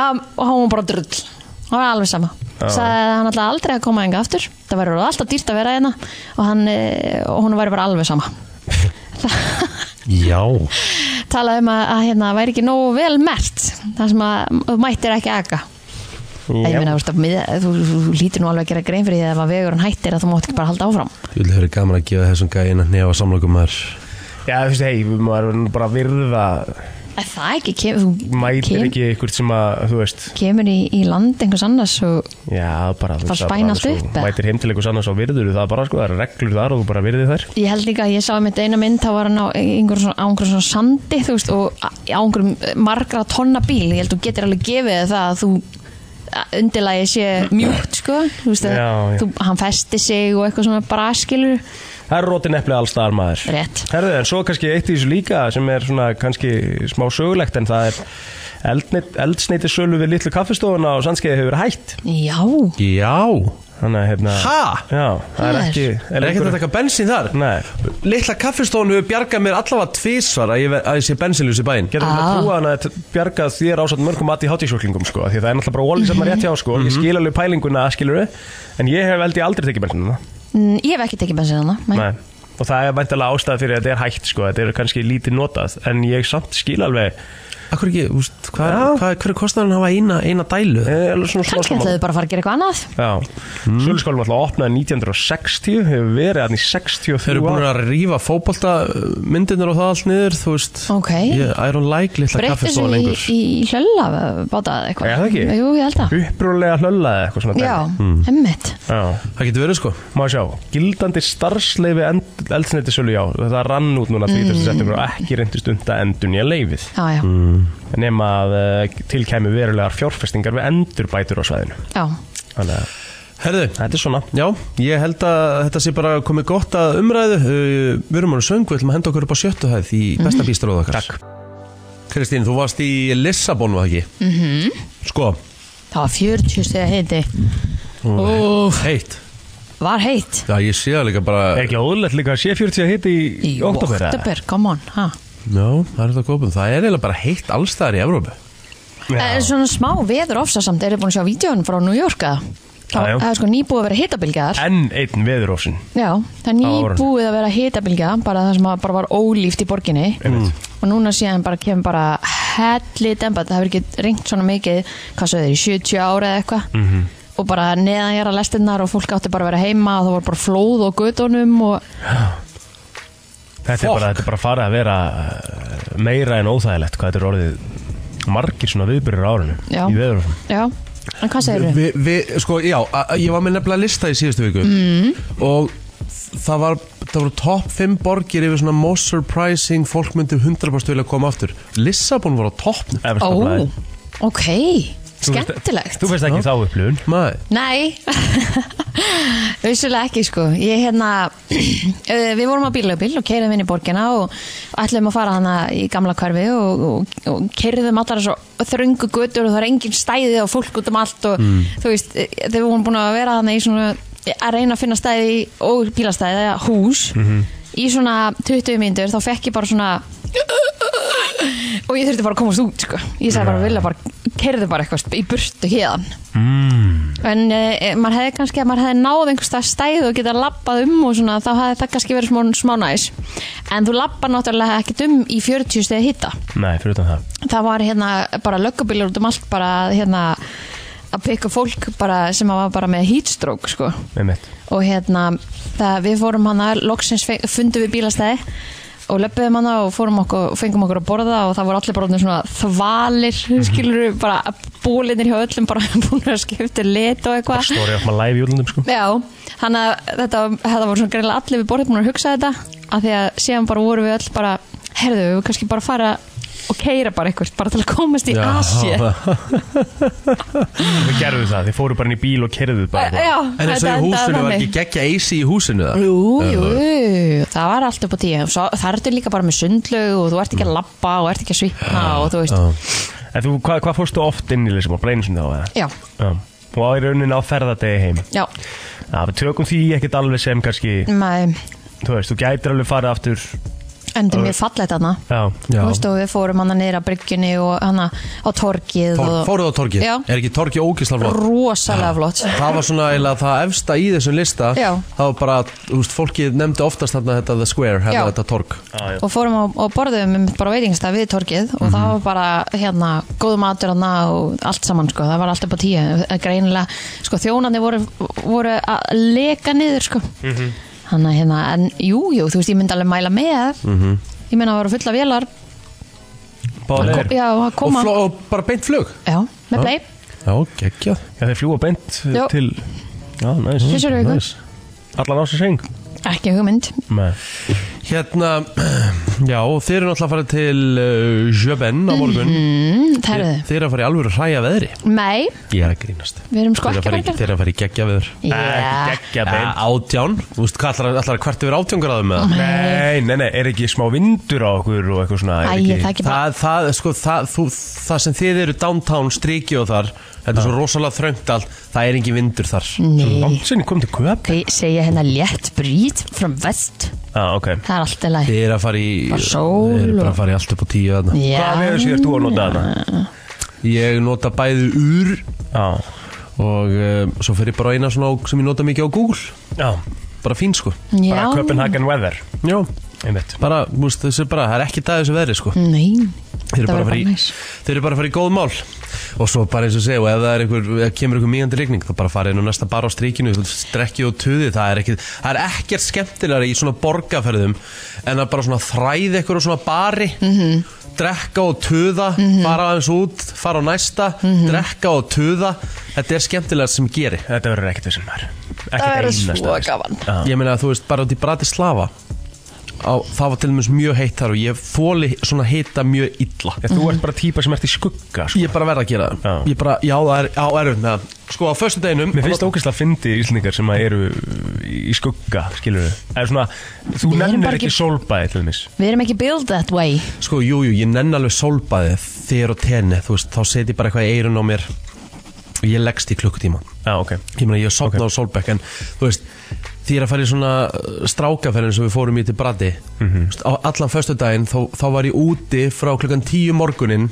S3: um, og hann var bara drull það var alveg sama sagði að hann alltaf aldrei að koma enga aftur það verður alltaf dýrt að vera hérna og, hann, eh, og hún væri bara alveg sama
S1: Já
S3: talaði um að, að hérna væri ekki nógu vel mert þar sem að þú mættir ekki aka Eða, Ég meina, þú, veist, að miða- þú, þú, þú lítur nú alveg að gera grein fyrir því að ef að vegurinn hættir að þú mátt ekki bara halda áfram
S1: Þú vil höfðu gaman að gefa þessum gæin að nefa samlokum maður
S2: já, þú veist, hei, maður verður nú bara að virða
S3: Er það ekki, kem, þú
S2: mætir ekki ykkur sem að, þú veist
S3: kemur í, í land einhvers annars og
S2: Já, bara
S3: Bara
S2: þú veist, það
S3: spæna
S2: bara
S3: allt
S2: svo-
S3: upp, eða?
S2: Mætir heim til einhvers annars og virður það bara sko, það eru reglur þar og þú bara virðir þær
S3: ég held líka að ég sá einmitt eina mynd þá var hann á einhverjum svona, á einhverjum svona sandi þú veist, og á einhverjum margra tonna bíl ég held þú getur alveg gefið þér það að þú undirlægi sé mjúkt sko, þú veist að
S2: Já, já.
S3: Þú, hann festi sig og eitthvað svona braskilur
S2: Það eru rótin eplið alls staðar maður
S3: Rétt.
S2: Herðu, en svo kannski eitt í þessu líka sem er svona kannski smá sögulegt en það er eldneitt, eldsneiti sölu við litlu kaffestofuna og sannskeiði hefur verið hætt
S3: já,
S1: Já
S2: Þannig að hérna
S1: Ha?
S2: Já, það er
S3: Það er-
S2: ekki
S1: Er ekkert að taka bensin þar?
S2: Nei,
S1: Litla kaffistofun hefur bjargað mér allavega tvísvar að ég, ver- að ég sé bensinljus í bæinn
S2: getur við
S3: Ah.
S2: að trúa hann að þetta bjargað þér ásamt mörgum aðt í hátísjúklingum sko, því að það er náttúrulega bara ólýsat maður rétt hjá sko,
S3: Mhm.
S2: ég skil alveg pælinguna skilur en ég hef held ég aldrei tekið bensinuna
S3: Mm, ég hef ekki tekið bensin hana nei.
S2: Nei. Og það er væntalega ástæða fyrir að þetta er hægt sko, þetta er kannski lítið notað, en ég samt skil alveg
S1: Akkur ekki, úst, hvað,
S2: Já.
S1: hvað, hverju kostar hann að hafa eina, eina dælu?
S2: eh, alveg svona smá
S3: kannski
S2: saman.
S3: ætlaðu bara að fara að gera eitthvað annað
S2: Já, mm. Söluskólum alltaf opnaði 1960, hefur verið hann í
S1: Þeir
S2: 63
S1: eru búin að rífa fótbolta uh, myndirnar og það allt niður, þú veist
S3: Ok.
S1: ég, I don't like litla
S3: breyttu þessu
S1: kaffistofun
S3: í,
S1: lengur
S3: í hlölla eh, báta eða eitthvað
S2: Er það ekki? Hmm.
S3: Jú, ég held að
S2: Upprólega hlöllaði eitthvað svona
S3: Já,
S2: dæmi.
S3: emmitt
S2: Já,
S1: Það getur verið sko
S2: má sjá, gildandi starfsleifi eldsneitisölu já, það rann út núna 30. Mm. september og ekki reyndist undan endun í að leifið
S3: Já, já,
S2: Hmm. nema að uh, tilkæmi verulegar fjárfestingar við endurbætur á svæðinu
S3: já,
S2: Þannig að
S1: Herðu,
S2: þetta er svona
S1: já, ég held að þetta sé bara komið gott að umræðu Uh, Við erum alveg söngu, við ætlum að henda okkur upp á sjöttu hæð í besta bístaróð okkar
S2: Mhm. Takk.
S1: Kristín, þú varst í Lissabon, var það ekki? Mm
S2: Mhm.
S1: -hmm. Sko,
S3: það var 40 steg heiti Úf,
S1: heitt
S3: var heitt
S1: Já, ég sé það líka bara
S2: Er ekki óðurlegt líka að sé 40 að hitti í, í oktober? eða?
S3: oktober, come on ha.
S1: Já, það er þetta góðbun Það er eiginlega bara heitt allstæðar í Evrópu
S3: En Eh, svona smá veður ofsa samt Eru búin að sjá vídjóin frá New York eða?
S2: Já, já.
S3: Það er sko nýbúið að vera hitabilgjaðar
S2: Enn einn veðurófsin
S3: Já, það er
S2: árinu.
S3: nýbúið að vera hitabilgja Bara það sem að bara var ólíft í borginni Og núna síðan bara kemur bara Helli dembat, það hefur ekki ringt svona mikið Hvað sögðu, í 70 ára eða eitthvað
S2: Mhm.
S3: -hmm. Og bara neðan gera lestinnar Og fólk átti bara að vera heima Og það var bara flóð og gutunum og...
S2: þetta er,
S1: Fokk.
S2: bara, þetta er bara farið að vera uh, meira en óþægilegt hvað þetta er orðið margir svona viðbyrjur á árinu
S3: Já.
S2: í veðurófsin
S3: Já, en hvað segirðu?
S1: Við, við, sko, já, a- ég var með nefnilega lista í síðustu viku
S2: Mhm.
S1: mm. og það var, það voru topp 5 borgir yfir svona most surprising fólk myndi 100% vilja koma aftur Lissabon var á toppnum
S3: Ó, ok, skemmtilegt
S2: Þú veist ekki þá upplifun
S1: Maður,
S3: Nei, [laughs] vissulega ekki sko Ég hérna, [clears throat] eh, við vorum á bílaubíl og keirðum inn í borgina og ætlum að fara hana í gamla hverfi og, og, og keirðum allar svo þröngu götur og það er engin stæði og fólk út um allt og þú veist, eh, þegar við vorum búin að vera hana í svona að reyna að finna stæði í- og bílastæði, eða hús í svona 20 myndur, þá fekk ég bara svona [laughs] og ég þurfti bara að komast út sko. ég sagði bara, vilja bara, kerðu bara eitthvað í burtu hérðan mm. en e, maður hefði kannski að maður hefði náð einhvers það stæð og geta labbað um og svona, þá hefði það kannski verið smá, smá næs en þú labbar náttúrulega ekkert um í 40 stegi hitta
S2: Nei, fyrir utan það
S3: það var hérna bara löggubílar út um allt bara hérna að pikka fólk bara, sem var bara með heatstroke sko
S2: Með mitt
S3: og hérna það, við fórum hana, loksins fe- fundum við bílastæði og löpum hana og fórum okkur, fengum okkur að borða og það voru allir bara orðnir svona þvalir skilur bara búlinir hjá öllum bara [laughs] búin að skipta um lit og eitthvað
S2: Story of my life í
S3: [laughs]
S2: útlundum sko
S3: Já, þannig að þetta, þetta voru svona greiðlega allir við borðið búin að hugsa þetta af því að síðan bara voru við öll bara herðu, við vorum kannski bara að fara og keira bara eitthvað, bara til að komast í
S1: [laughs]
S3: Asi Já,
S2: Þið gerðu það, þið fóru bara inn í bíl og kerðu bara
S1: En þess að í
S3: þetta endaði
S1: húsinu var
S3: þannig.
S1: ekki geggja eisi í húsinu það
S3: Jú, jú, það var allt upp á tíu Svo, Það ertu líka bara með sundlaug og þú
S1: Mm.
S3: ert ekki að labba og ert ekki að svitna og þú veist
S2: En þú, hvað hva fórstu oft inn í Lisabon? Bara einu sinni þá eða?
S3: Já,
S2: Já Og á í rauninni á ferðardegi heim
S3: já,
S2: Já, við tökum því ekkert alveg sem kannski
S3: maður
S2: Þú veist, þú gætir alveg farið aftur
S3: endur mjög fallegt hana
S2: Já,
S1: Já.
S3: Þú veist og við fórum hana niður að bryggjunni og hana á torgið
S1: Fór,
S3: og
S1: Fóruð á torgið,
S3: Já.
S1: er ekki torgið ógislega flott
S3: rosalega flott
S1: Það var svona eiginlega það efsta í þessum lista
S3: Já.
S1: Það var bara, þú veist, fólkið nefndi oftast þarna þetta The Square,
S3: Já.
S1: hefði þetta torg
S2: já, já.
S3: og fórum á, og borðum einmitt bara veitingstað við torgið og það var bara hérna góð matur hana og allt saman sko, það var allt upp á tíu Eh, greinilega, sko þjónarnir voru, voru að leka niður sko þannig að hérna, en jú, jú þú veist, ég myndi alveg mæla með ég meina að voru fulla vélar
S2: Báðar leiðir.
S3: já, að
S1: og,
S3: koma,
S1: fló, og bara beint flug
S3: já, með play
S1: Já, geggja
S2: Já, þeir fljúa beint
S3: Já.
S2: til Já, næs
S3: Þessar viku.
S2: næs. Allan ásins heng
S3: ekki hugmynd,
S2: Nei
S1: Hérna, [clears throat] já, og þeir eru náttúrulega að fara til uh, Jöben á morgun
S3: mm, það eru
S1: þeir,
S3: þið
S1: þeir eru að fara í alvöru hræja veðri
S3: mei,
S1: Ég er að grínast
S3: við erum sko
S1: Þeir eru að
S3: ekki
S1: fara
S3: bara
S1: í- þeir eru að fara í geggja veður
S3: já,
S2: Gekkja
S1: Já,
S2: beint
S1: átján, þú veist, hvað ætlar, ætlar að hvert yfir átján gráðum með það?
S2: Nei, nei, nei, er ekki smá vindur á okkur og eitthvað svona er
S3: æ,
S2: ekki...
S3: það er ekki bara
S1: Það, það, sko, það, þú, það sem þið eru downtown striki og þar Þetta er svo rosalega þröngt allt Það er engin vindur þar
S3: Mm. nei,
S2: Langt sinni kom til köp
S3: Þau segja hérna létt brýt frá vest,
S2: Já, ah, ok
S3: það er alltaf læg
S1: Þið eru að fara í
S3: Bara sól
S1: Þið eru bara
S3: og-
S1: að fara í allt upp á tíu þarna
S3: Já,
S2: Hvað veður sér þú að nota þarna?
S1: Ég nota bæði úr
S2: Já,
S1: Og um, svo fer ég bara á eina svona á- sem ég nota mikið á Google
S2: já
S1: Bara fín sko
S2: Bara
S3: já,
S2: Copenhagen weather
S1: Já
S2: Einmitt
S1: Bara, þú veist, þessi er bara, það er ekki dag þessu veðri sko
S3: nei
S1: Þeir eru bara,
S3: Það verður
S1: bara,
S3: bara
S1: í,
S3: næs.
S1: þeir eru bara að fara í góð mál og svo bara eins og segja og ef það er einhver, ef kemur einhver mýjandi rigning þá bara farið nú næsta bar á strikinu strekkið og tuði, það er, ekki, það er ekkert skemmtilegar í svona borgarferðum en að bara svona þræði einhver og svona bari
S3: Mhm.
S1: drekka og tuða fara aðeins út, fara á næsta
S3: Mhm.
S1: drekka og tuða, þetta er skemmtilegar sem gerir
S2: Þetta verður ekkert þessum þar Ekkert
S3: Það verður
S2: einasta
S3: svo
S2: vesen.
S3: gaman
S1: ég meina að þú veist, bara út í Bratislava á, það var til dæmis mjög heitt þar og ég þóli svona heita mjög illa
S2: Já, Þú ert bara típa sem ert í skugga sko.
S1: Ég er bara verð að gera
S2: Já.
S1: það Ég bara, já það er, já erum það Sko á föstu deginum
S2: Mér finnst ógæslega að fyndi íslendingar sem að eru í skugga, skilur við Eða svona,
S3: Við
S2: þú
S3: erum
S2: nefnir
S3: bara
S2: ekki
S3: ekki-
S2: sólbæði til þeimis
S3: Við erum ekki built that way
S1: Sko jú, jú, ég nenn alveg sólbaði Þér og tenni, þú veist, þá set ég bara eitthvað í eirun á mér Og ég leggst í klukkutíma
S2: Já, Ah, ok
S1: Ég meina, ég sopna á sólbekk En, þú veist, því er að fara í svona uh, Strákaferðin sem við fórum í til Brati mm veist, Á allan föstu daginn þá, þá var ég úti frá klukkan tíu morgunin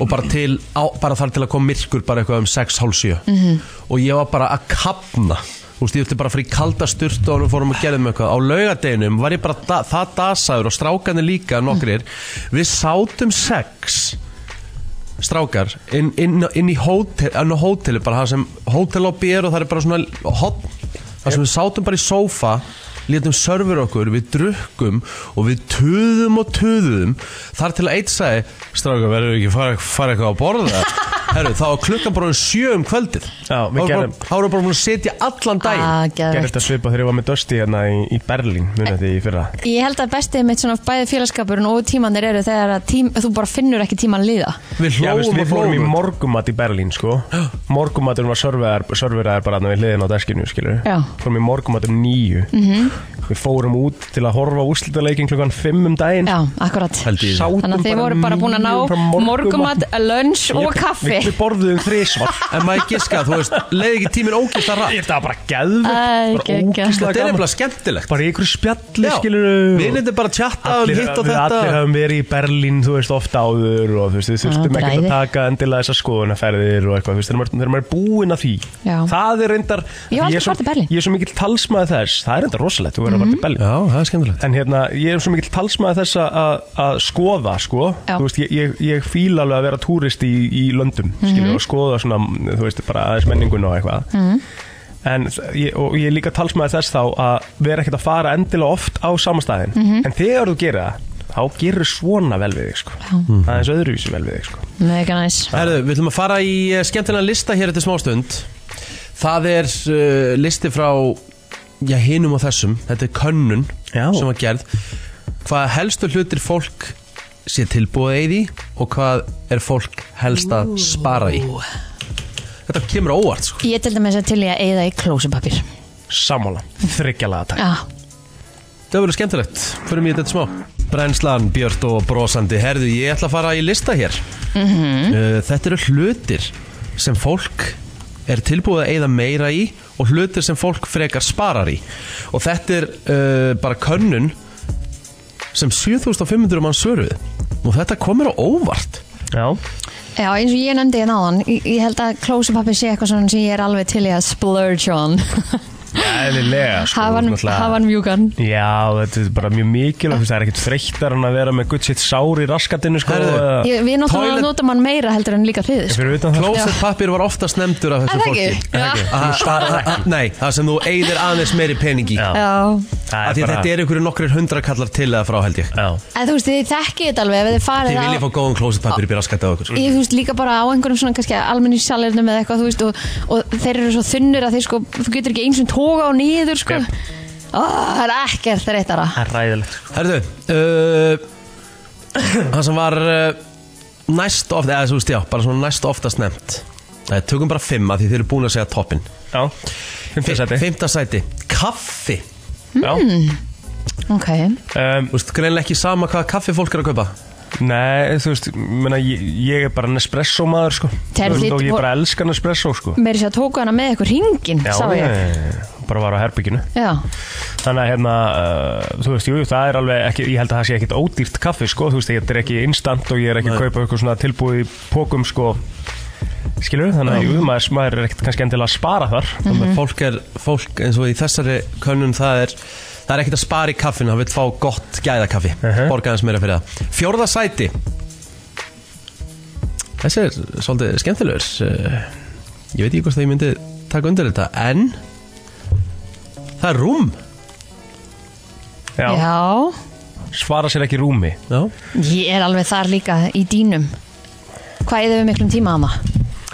S1: Og bara til, á, bara þar til að koma myrkur Bara eitthvað um 6.30 mm -hmm. Og ég var bara að kapna Þú veist, ég ætti bara að fara í kalda sturt og við fórum að gera um eitthvað. Á laugardeginum var ég bara da, það dasaður og strákanir líka nokkrir. Við sátum sex strákar inn, inn, inn í hótel, inn á hóteli bara það sem hótellobby er og það er bara svona hotn, það sem við sátum bara í sófa létum server okkur, við drukkum og við töðum og töðum þar til að eitt sagði strákar verður við ekki að fara, fara eitthvað að borða [laughs] Herru, þá var klukkan bara orðin sjö um kvöldið
S2: Já, við
S1: Þá var bara-
S2: gerðum-
S1: þá voru bara búin að setja allan dag
S3: Ah,
S2: Gerði
S3: geðveikt.
S2: þetta svipa þegar ég var með Dusty hérna í, í Berlín Munið því í fyrra
S3: Ég held að bestið mitt svona bæði félagskapurinn og tímanir eru þegar að tím, þú bara finnur ekki tíman líða
S1: við
S2: Já, veist,
S1: hlóum
S2: við
S1: og
S2: fórum í
S1: hlóum
S2: morgumat í Berlín
S3: [gasps]
S2: sko. Morgumaturinn var serveraður serveraður bara þarna við hliðin á deskinu skilur.
S3: Já. Mhm.
S2: Fórum í morgumat um nýju Við fórum út til að horfa úslitaleikin klukkan fimm um daginn
S3: Já, akkurat
S1: Held ég.
S2: Sátum
S3: Þannig að þið voru bara búin að
S2: níu frá
S3: ná morgumat, lunch og
S2: Ég-
S3: kaffi
S2: Við við borðuðum
S3: [laughs]
S2: þrísvar
S1: En maður giska, þú veist, leiði ekki tíminn ógist að rætt
S2: Þetta var bara
S3: Æ,
S2: geðvegt Bara
S3: geggjað.
S2: ógeðslega
S1: Þetta er
S2: gaman
S1: nefnilega skemmtilegt
S2: Bara í ykkur spjalli skilur
S1: Við nefndum bara að chatta um
S2: Allir,
S1: hitt og
S2: við allir
S1: þetta
S2: höfum verið í Berlín, þú veist, ofta áður og þú veist, við þurftum
S3: Já,
S2: ekkert að
S3: bræði.
S2: taka endilega þessar skoðunaferðir og eitthvað, þú veist, þegar maður- þegar maður er búinn að því
S3: Já.
S2: það er reyndar
S3: Ég hef aldrei
S2: er svo-
S3: farið til Berlín. Mhm.
S2: Ég er svo mikill talsmaði þess, það er reyndar rosalegt, þú verður að fara til Berlín
S1: Já, það er skemmtilegt
S2: En hérna, ég er svo mikill talsmaði þess að- að að skoða, sko
S3: Já.
S2: Þú veist, ég, ég, ég fíla alveg að vera túrist í, í löndum, skilur, og skoða svona, þú veist, bara aðeins menninguna og eitthvað En, þ- ég, og ég er líka talsmaði þess þá að vera ekkert að fara endilega oft á samastæðin En þegar þú gerir það, þá gerir svona vel við þig, sko Það er eins öðruvísi vel við þig, sko
S3: Mega næs
S1: Herðu, við ætlum að fara í eh, skemmtilegan lista hér eftir smástund Það er uh, listi frá já, hinum og þessum Þetta er könnun
S2: Já.
S1: sem var gerð Hvað helstu hlutir fólk sé tilbúið eða í og hvað er fólk helst að spara í Þetta kemur á óvart sko.
S3: Ég til dæmis að til ég að eyða í klósupapir
S2: Sammála, þryggjalaða takk
S3: Já,
S1: Það verður skemmtilegt, fyrir mig þetta smá Brænslan, Björt og brosandi Herðu, ég ætla að fara í lista hér
S3: Mhm.
S1: uh, Þetta eru hlutir sem fólk er tilbúið að eyða meira í og hlutir sem fólk frekar sparar í og þetta er uh, bara könnun sem 7500 mann svöruð og þetta komur á óvart
S2: Já,
S3: Já, eins og ég nefndi ég náðan Ég ég held að klósupapir sé eitthvað svona sem ég er alveg til ég að splurge on
S2: eðlilega, sko þú
S3: Hafan
S2: ert náttúrulega-
S3: hafan mjúkan
S2: Já, þetta er bara mjög mikilvægt, þú veist, það er ekkert þreyttar en að vera með gutt sitt sár í raskatinu, sko
S1: Herðu,
S2: eða-
S3: Ég- Við náttúrulega
S1: Toilet-
S3: notum hann meira heldur en líka þið sko.
S2: Fyrir utan það
S1: Klósetpappir var oftast nefndur af þessu
S3: Er það
S1: fólki
S3: ekki? Já.
S1: Að- að- að- Nei, það sem þú eyðir aðeins meiri peningi
S2: Já.
S3: Já,
S2: Það
S1: af því þetta er einhverju nokkrir hundrakallar til eða frá held ég
S2: Já,
S3: en þú veist, þið þekkið þetta alveg ef þið farið
S1: Þið
S3: á-
S1: viljið fá góðan klósetpapir upp í raskatið á ykkur
S3: ég þú veist líka bara á einhverjum svona kannski almenni salernum eða eitthvað þú veist og, og þeir eru svo þunnur að þeir sko þú getur ekki eins og tóka á niður sko
S2: Jep.
S3: Ó, það er ekkert þreytara
S2: það er ræðilegt
S1: Herðu uh, Það sem var uh, næst oft, eða þú veist já, bara svona næst oftast nefnt Nei, tökum bara fimm að því þið eru búin að segja toppin
S2: Já, fimmta sæti
S1: Fymta sæti, kaffi
S2: Já,
S3: ok,
S2: um,
S1: Þú veist, greinlega ekki sama hvað kaffi fólk er að kaupa
S2: nei, þú veist, menna, ég, ég er bara Nespresso maður, sko
S3: Þeir
S2: Þú veist,
S3: þitt
S2: Og ég
S3: vor-
S2: bara elska Nespresso, sko
S3: meiri sér að tóka hana með eitthvað ringin
S2: Já,
S3: sá ég
S2: ég bara var á herbygginu
S3: já,
S2: Þannig að hérna, uh, þú veist, jú, jú, það er alveg ekki, ég held að það sé ekkit ódýrt kaffi, sko, þú veist, ég er ekki instant og ég er ekki að kaupa eitthvað svona tilbúið í pókum, sko, skilur þannig að, jú, maður, maður er ekkit kannski endilega að spara þar,
S1: mm. Fólk er, fólk eins og í þessari könnun það er Það er ekkert að spara í kaffinu, það vil fá gott gæðakaffi uh
S2: Mhm.
S1: Borga hans meira fyrir það Fjórða sæti Þessi er svolítið skemmtilegur Eh, Ég veit ekki hvort að ég myndi taka undir þetta En Það er rúm
S2: já,
S3: já,
S2: svara sér ekki í rúmi,
S1: Já,
S3: ég er alveg þar líka í dínum hvað eða við miklum tíma hana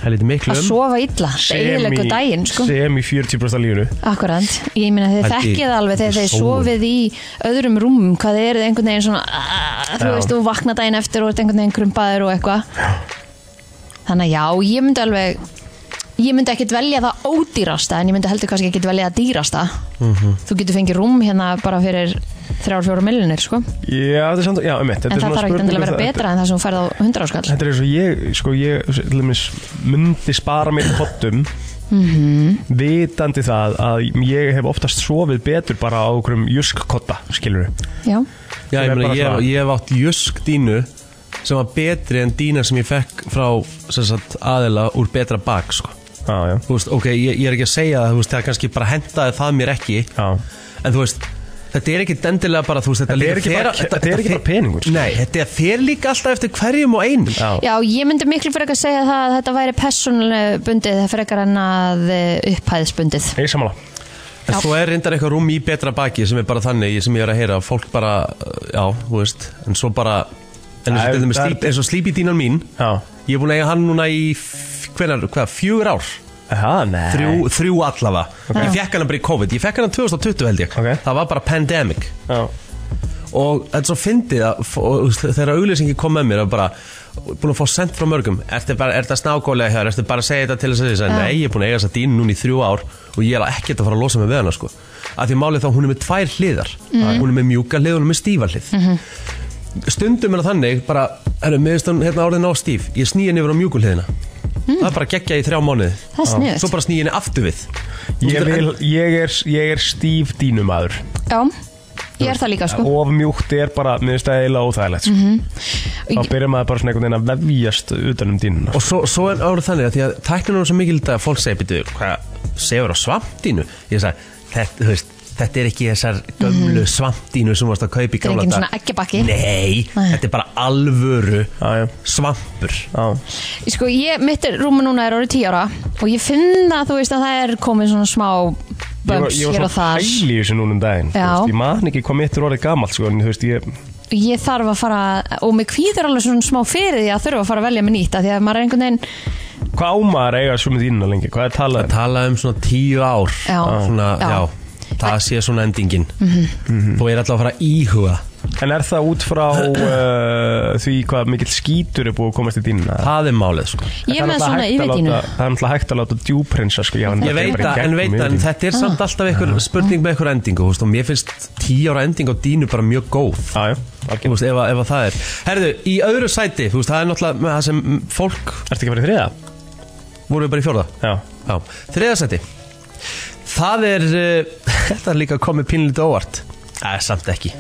S1: það er lítið miklu
S3: að
S1: um
S3: sofa illa, það
S2: Sem
S3: eðilegu
S2: í-
S3: daginn sko.
S2: sem í 40% af lífinu
S3: Akkurát, ég meina þið
S1: Held ég-
S3: þekkið það alveg þegar þið
S1: sóu.
S3: sofið í öðrum rúmum hvað þið eruð einhvern veginn svona "Ah", þú
S2: Já.
S3: veist, þú vakna daginn eftir og ert einhvern veginn krumpaður og eitthvað Þannig að já, ég myndi alveg ég myndi ekkit velja það ódýrasta en ég myndi heldur kannski ekkit velja það dýrasta
S2: Mhm.
S3: Þú getur fengið rúm hérna bara fyrir þrjár, fjóru millinir, sko en
S2: Já, þetta er samt, já, um
S3: það þarf ekki endilega að vera betra en það sem þú færð á hundra áskall
S2: Þetta er eins og ég, sko, ég til dæmis, myndi spara mér pottum
S3: Mhm.
S2: vitandi það að ég hef oftast sofið betur bara á okkurum juskkotta, skilur
S3: Já,
S1: Já,
S2: Sem
S1: ég,
S2: er
S1: meni,
S2: bara
S1: ég,
S2: svona-
S1: ég hef átt jösk dínu Sem var betri en dína sem ég fekk frá sem sagt, aðila úr betra bak sko.
S2: Já, já,
S1: Þú veist, ok, ég, ég er ekki að segja það, þú veist, það kannski bara hendaði það mér ekki
S2: já
S1: En þú veist, þetta er ekki dendilega bara, þú veist, þetta
S2: Þetta er
S1: líka
S2: ekki bara- þetta er ekki bara peningur. sko.
S1: Nei, þetta er þér líka alltaf eftir hverjum og einum
S2: Já,
S3: já ég myndi miklu fyrir að segja það að þetta væri persónuleg bundið frekar en að eh, upphæðisbundið
S2: ég er sammála
S1: En svo er reyndar eitthvað rúm í betra baki sem er bara þannig sem ég er að heyra að fólk bara, já, þú veist, en svo bara, en eins og
S2: Æ,
S1: þetta með
S2: það er-
S1: slíp, eins og slíp í dínan mín,
S2: Já,
S1: ég er búin að eiga hann núna í, hvernar, hvað, fjögur ár?
S2: Aha, nei
S1: Þrjú, þrjú allavega Ég fekk hann bara í COVID, ég fekk hann 2020 held ég
S2: Ok.
S1: Það var bara pandemic
S2: Já,
S1: og þetta er svo fyndið að f- og, þú veist, þegar auglýsingi kom með mér að bara búin að fá sendt frá mörgum ertu bara, er þetta snákólega hér, ertu bara að segja þetta til þess að segja, nei, ég er búin að eiga þess að dínu núna í þrjú ár og ég er ekkert að fara að losa mig við hana sko. að því málið þá hún er með tvær hliðar
S3: Mhm.
S1: hún er með mjúka hlið, hún er með stífa hlið stundum er það þannig bara, herru, meðist hún hérna orðin á stíf ég snýja henni yfir á mjúku hliðina Það er bara að gegja í þrjá mánuði
S3: Mhm. Það er sniðugt.
S1: Svo bara snýja henni aftur við
S2: Ég, vil, ég, er, ég er stíf dýnumadur
S3: Já, ég er það líka sko Mhm.
S2: Of mjúkt er bara, mér finnst það eiginlega óþægilegt sko. Þá byrjar maður bara svona einhvern veginn að vefjast utan um dýnuna
S1: Og svo, svo er árið þannig að því að tæknir eru svo mikil í dag að fólk segir, býtu, hvað segur á svampdínu? Ég sagði, þetta, þú veist, þetta er ekki þessar gömlu svampdínu sem varst að kaupa í
S3: Mm. er
S1: gamla
S3: engin svona eggjabakki.
S1: Nei,
S3: Nei.
S1: þetta er bara alvöru
S2: Já, já.
S1: svampur
S2: Já.
S3: Sko, ég, mitt er, rúma núna er orðið 10 ára og ég finn að þú veist að það er komið svona smá
S2: Ég var,
S3: bums
S2: ég
S3: hér
S2: var
S3: og
S2: svona
S3: þar
S2: hæli í þessu núna um daginn þú
S3: Já.
S2: veist, Ég maður ekki hvað mitt er orðið gamalt sko, En þú veist, ég
S3: Ég þarf að fara, og mig kvíður alveg svona smá fyrir því að þurfa að fara að velja mig nýtt af því að maður er einhvern veginn,
S2: Hvað ámaður eiga svo með dýnuna lengi? Hvað er talað? um?
S1: Tala um svona tíu ár
S3: Já.
S1: svona,
S3: Já. Mhm.
S1: já. það sé svona endingin Mhm. Þú er alltaf að fara að íhuga
S2: En er það út frá
S3: [clears throat]
S2: uh, því hvað mikill skítur er búið að komast í dýnuna?
S1: Það er málið sko
S3: ég er með svona yfirdínu
S2: Það er náttúrulega hægt að láta djúprensa sko, já, en
S1: Ég
S2: það
S1: veit
S2: kemur
S1: að,
S2: í
S1: en
S2: gegnum Ah.
S1: veit að, en
S2: yfirdýnu.
S1: þetta er
S3: Ah.
S1: samt alltaf einhver spurning með einhver endingu, þú veist, og mér finnst tíu ára ending á dínu bara mjög góð
S2: Já, já,
S1: Þú
S2: algjörn
S1: veist, ef, að- ef að það er Herðu, í öðru sæti, þú veist, það er náttúrulega með það sem mm, fólk
S2: Ertu ekki að fara í þriða?
S1: voru við bara í fjórða
S2: Já
S1: Já, þriða sæti Það er, uh, [laughs] þetta er líka komið pínlítið óvart Það er samt ekki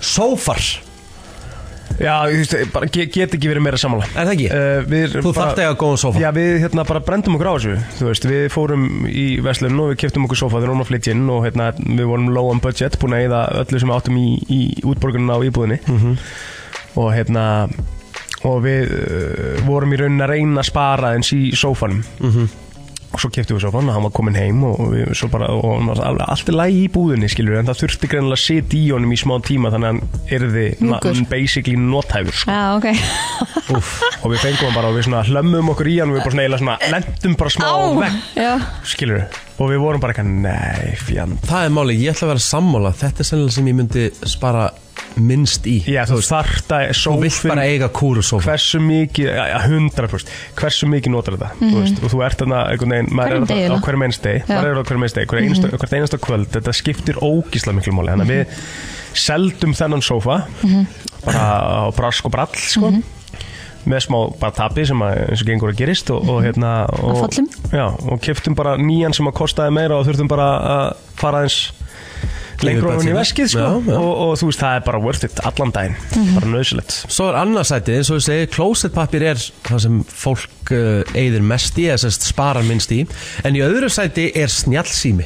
S1: Sófar,
S2: Já, þú veist, bara ge- get ekki verið meira sammála
S1: er það ekki?
S2: uh,
S1: Þú þarft eiga góðan sófa
S2: Já, við hérna bara brendum okkur á þessu Þú veist, við fórum í Veslun og við keftum okkur sofa þegar hún var flytt inn og hérna, við vorum low on budget búin að eyða öllu sem við áttum í, í útborgununa á íbúðinni
S1: Mhm.
S2: og hérna og við uh, vorum í raunin að reyna að spara eins í sófanum
S1: Mhm.
S2: og svo keftum við sófan og hann var komin heim og, við, svo bara, og hann var alveg allt í lagi í búðinni skilur en það þurfti greinlega að setja í honum í smá tíma þannig að hann erði na-
S3: Mjúkur.
S2: basically nothæfur
S3: [laughs]
S2: sko.
S3: Já, ok
S2: Úff, og við fengum hann bara og við svona hlömmum okkur í hann og við bara svona, eiginlega svona lendum bara smá
S3: Á,
S2: vekk,
S3: já,
S2: skilur og við vorum bara eitthvað, nei, fjand
S1: Það er máli, ég ætla að vera sammála Þetta er sennilega sem ég myndi spara minnst í
S2: já, þú þarta
S1: Þú vilt
S2: sófin
S1: bara eiga kúru sófa
S2: hversu mikið, já, já, 100% hversu mikið notar þetta, þú veist og þú ert þarna einhvern veginn, maður
S3: Hverjum
S2: er
S3: degi,
S2: þarna á
S3: já.
S2: hverjum einstegi maður er þarna á hverjum einstegi, hverjum einasta, hvert einasta kvöld þetta skiptir ógísla miklu máli þannig að við seldum þennan sófa bara á brask og brall sko með smá bara tapi sem að, eins og gengur að gerist og, og hérna og,
S3: fallum.
S2: já, og keftum bara nýjan sem að kostaði meira og þurftum bara að fara eins
S1: Yfir
S2: lengur ofan í
S1: budgetið.
S2: veskið sko.
S1: Já, já.
S2: Og, og þú veist það er bara worth it allan daginn, bara nöðsilegt
S1: Svo er annarsætið, eins og ég segi, klósettpapir er það sem fólk uh, eigður mest í, eða sérst sparar minnst í En í öðru sæti er snjallsými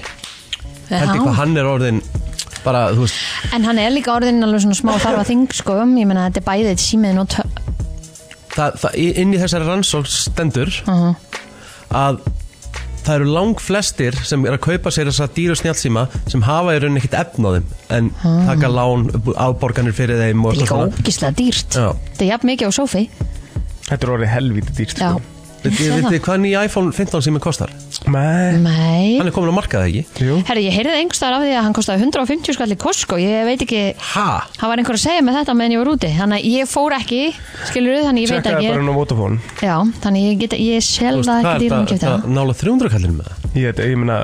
S1: Heldur hvað
S3: já.
S1: hann er orðin bara, þú veist,
S3: En hann er líka orðin alveg svona smá þarfa þing sko, ég meina þetta er bæðið símiðin og tö-
S1: það, það, í- inn í þessari rannsók stendur
S3: Uh-huh.
S1: að það eru lang flestir sem er að kaupa sér þessa dýru snjálfsíma sem hafa í rauninni ekkit efn á þeim en taka lán, áborganir fyrir þeim og
S3: Þetta er Uh-huh. líka
S1: eitthvað svona.
S3: ógislega dýrt
S1: Já.
S3: Þetta er jafn mikið á sófi
S2: Þetta er orðið helvítið dýrt
S3: Já,
S2: sko.
S1: Vitið
S3: Ég sé
S1: vitið hvað nýja iPhone 15 sími kostar?
S2: Nei,
S3: Nei
S1: Hann er komin á markaði ekki?
S2: jú
S3: Herri, Mm. ég heyrði einhverstaðar af því að hann kostaði 150 skall í Costco Ég veit ekki,
S1: Ha?
S3: hann var einhver að segja með þetta meðan ég var úti Þannig að ég fór ekki, skilur þannig ég veit
S2: Tjekkaði
S3: ekki
S2: bara hann á Vodafone
S3: Já, þannig ég, get, ég
S1: Þú
S3: sel
S1: veist,
S3: það
S1: hvað er
S3: ekki dýrum
S1: það-
S3: kjöfti
S1: það Nála 300 kallir með það
S2: Ég, veit- ég meina,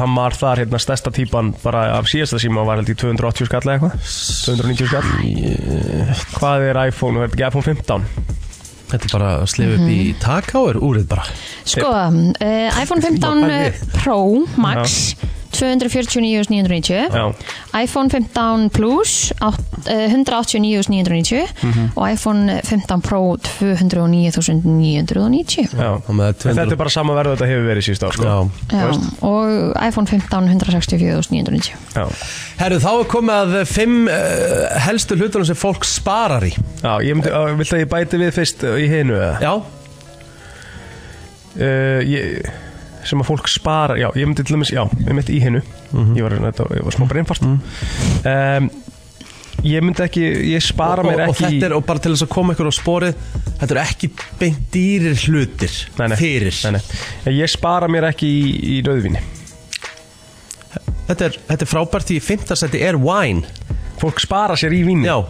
S2: hann var þar hérna stærsta típan bara af síðasta síma var held í 280 skall eða eitthvað 290 skall Hvað er iPhone, er þetta ekki iPhone 15?
S1: Þetta er bara að slefa
S3: Mhm.
S1: upp í taká er úrið bara
S3: Sko, uh, iPhone 15 Pro Max 249.990
S2: Já.
S3: iPhone 15 Plus átt- eh, 189.990
S1: Mhm.
S3: og iPhone 15 Pro 209.990
S2: Já,
S1: Og með 200
S2: þetta er bara sama verð og þetta hefur verið síðust á sko.
S1: Já.
S3: Já, og iPhone 15 164.990
S2: Já.
S1: Herru, þá er komið að fimm uh, helstu hlutunum sem fólk sparar í
S2: Já, ég myndi, uh, vilt að ég bæti við fyrst uh, í hinu eða?
S1: Já,
S2: Uh, ég, sem að fólk sparar, já, ég myndi til dæmis, já, ég myndi í hinu
S1: Mhm.
S2: ég, var, þetta, ég var smá breynfast um, Ég myndi ekki, ég spara
S1: og,
S2: mér
S1: og, og
S2: ekki
S1: þetta er, og bara til þess að koma ykkur á sporið þetta eru ekki beint dýrir hlutir
S2: Nei, nei.
S1: fyrir
S2: nei, nei. Ég spara mér ekki í, í rauðvinni
S1: Þetta, er, þetta er frábært í fimmtarsæti er wine
S2: Fólk spara sér í vinni
S1: já,
S2: Mm.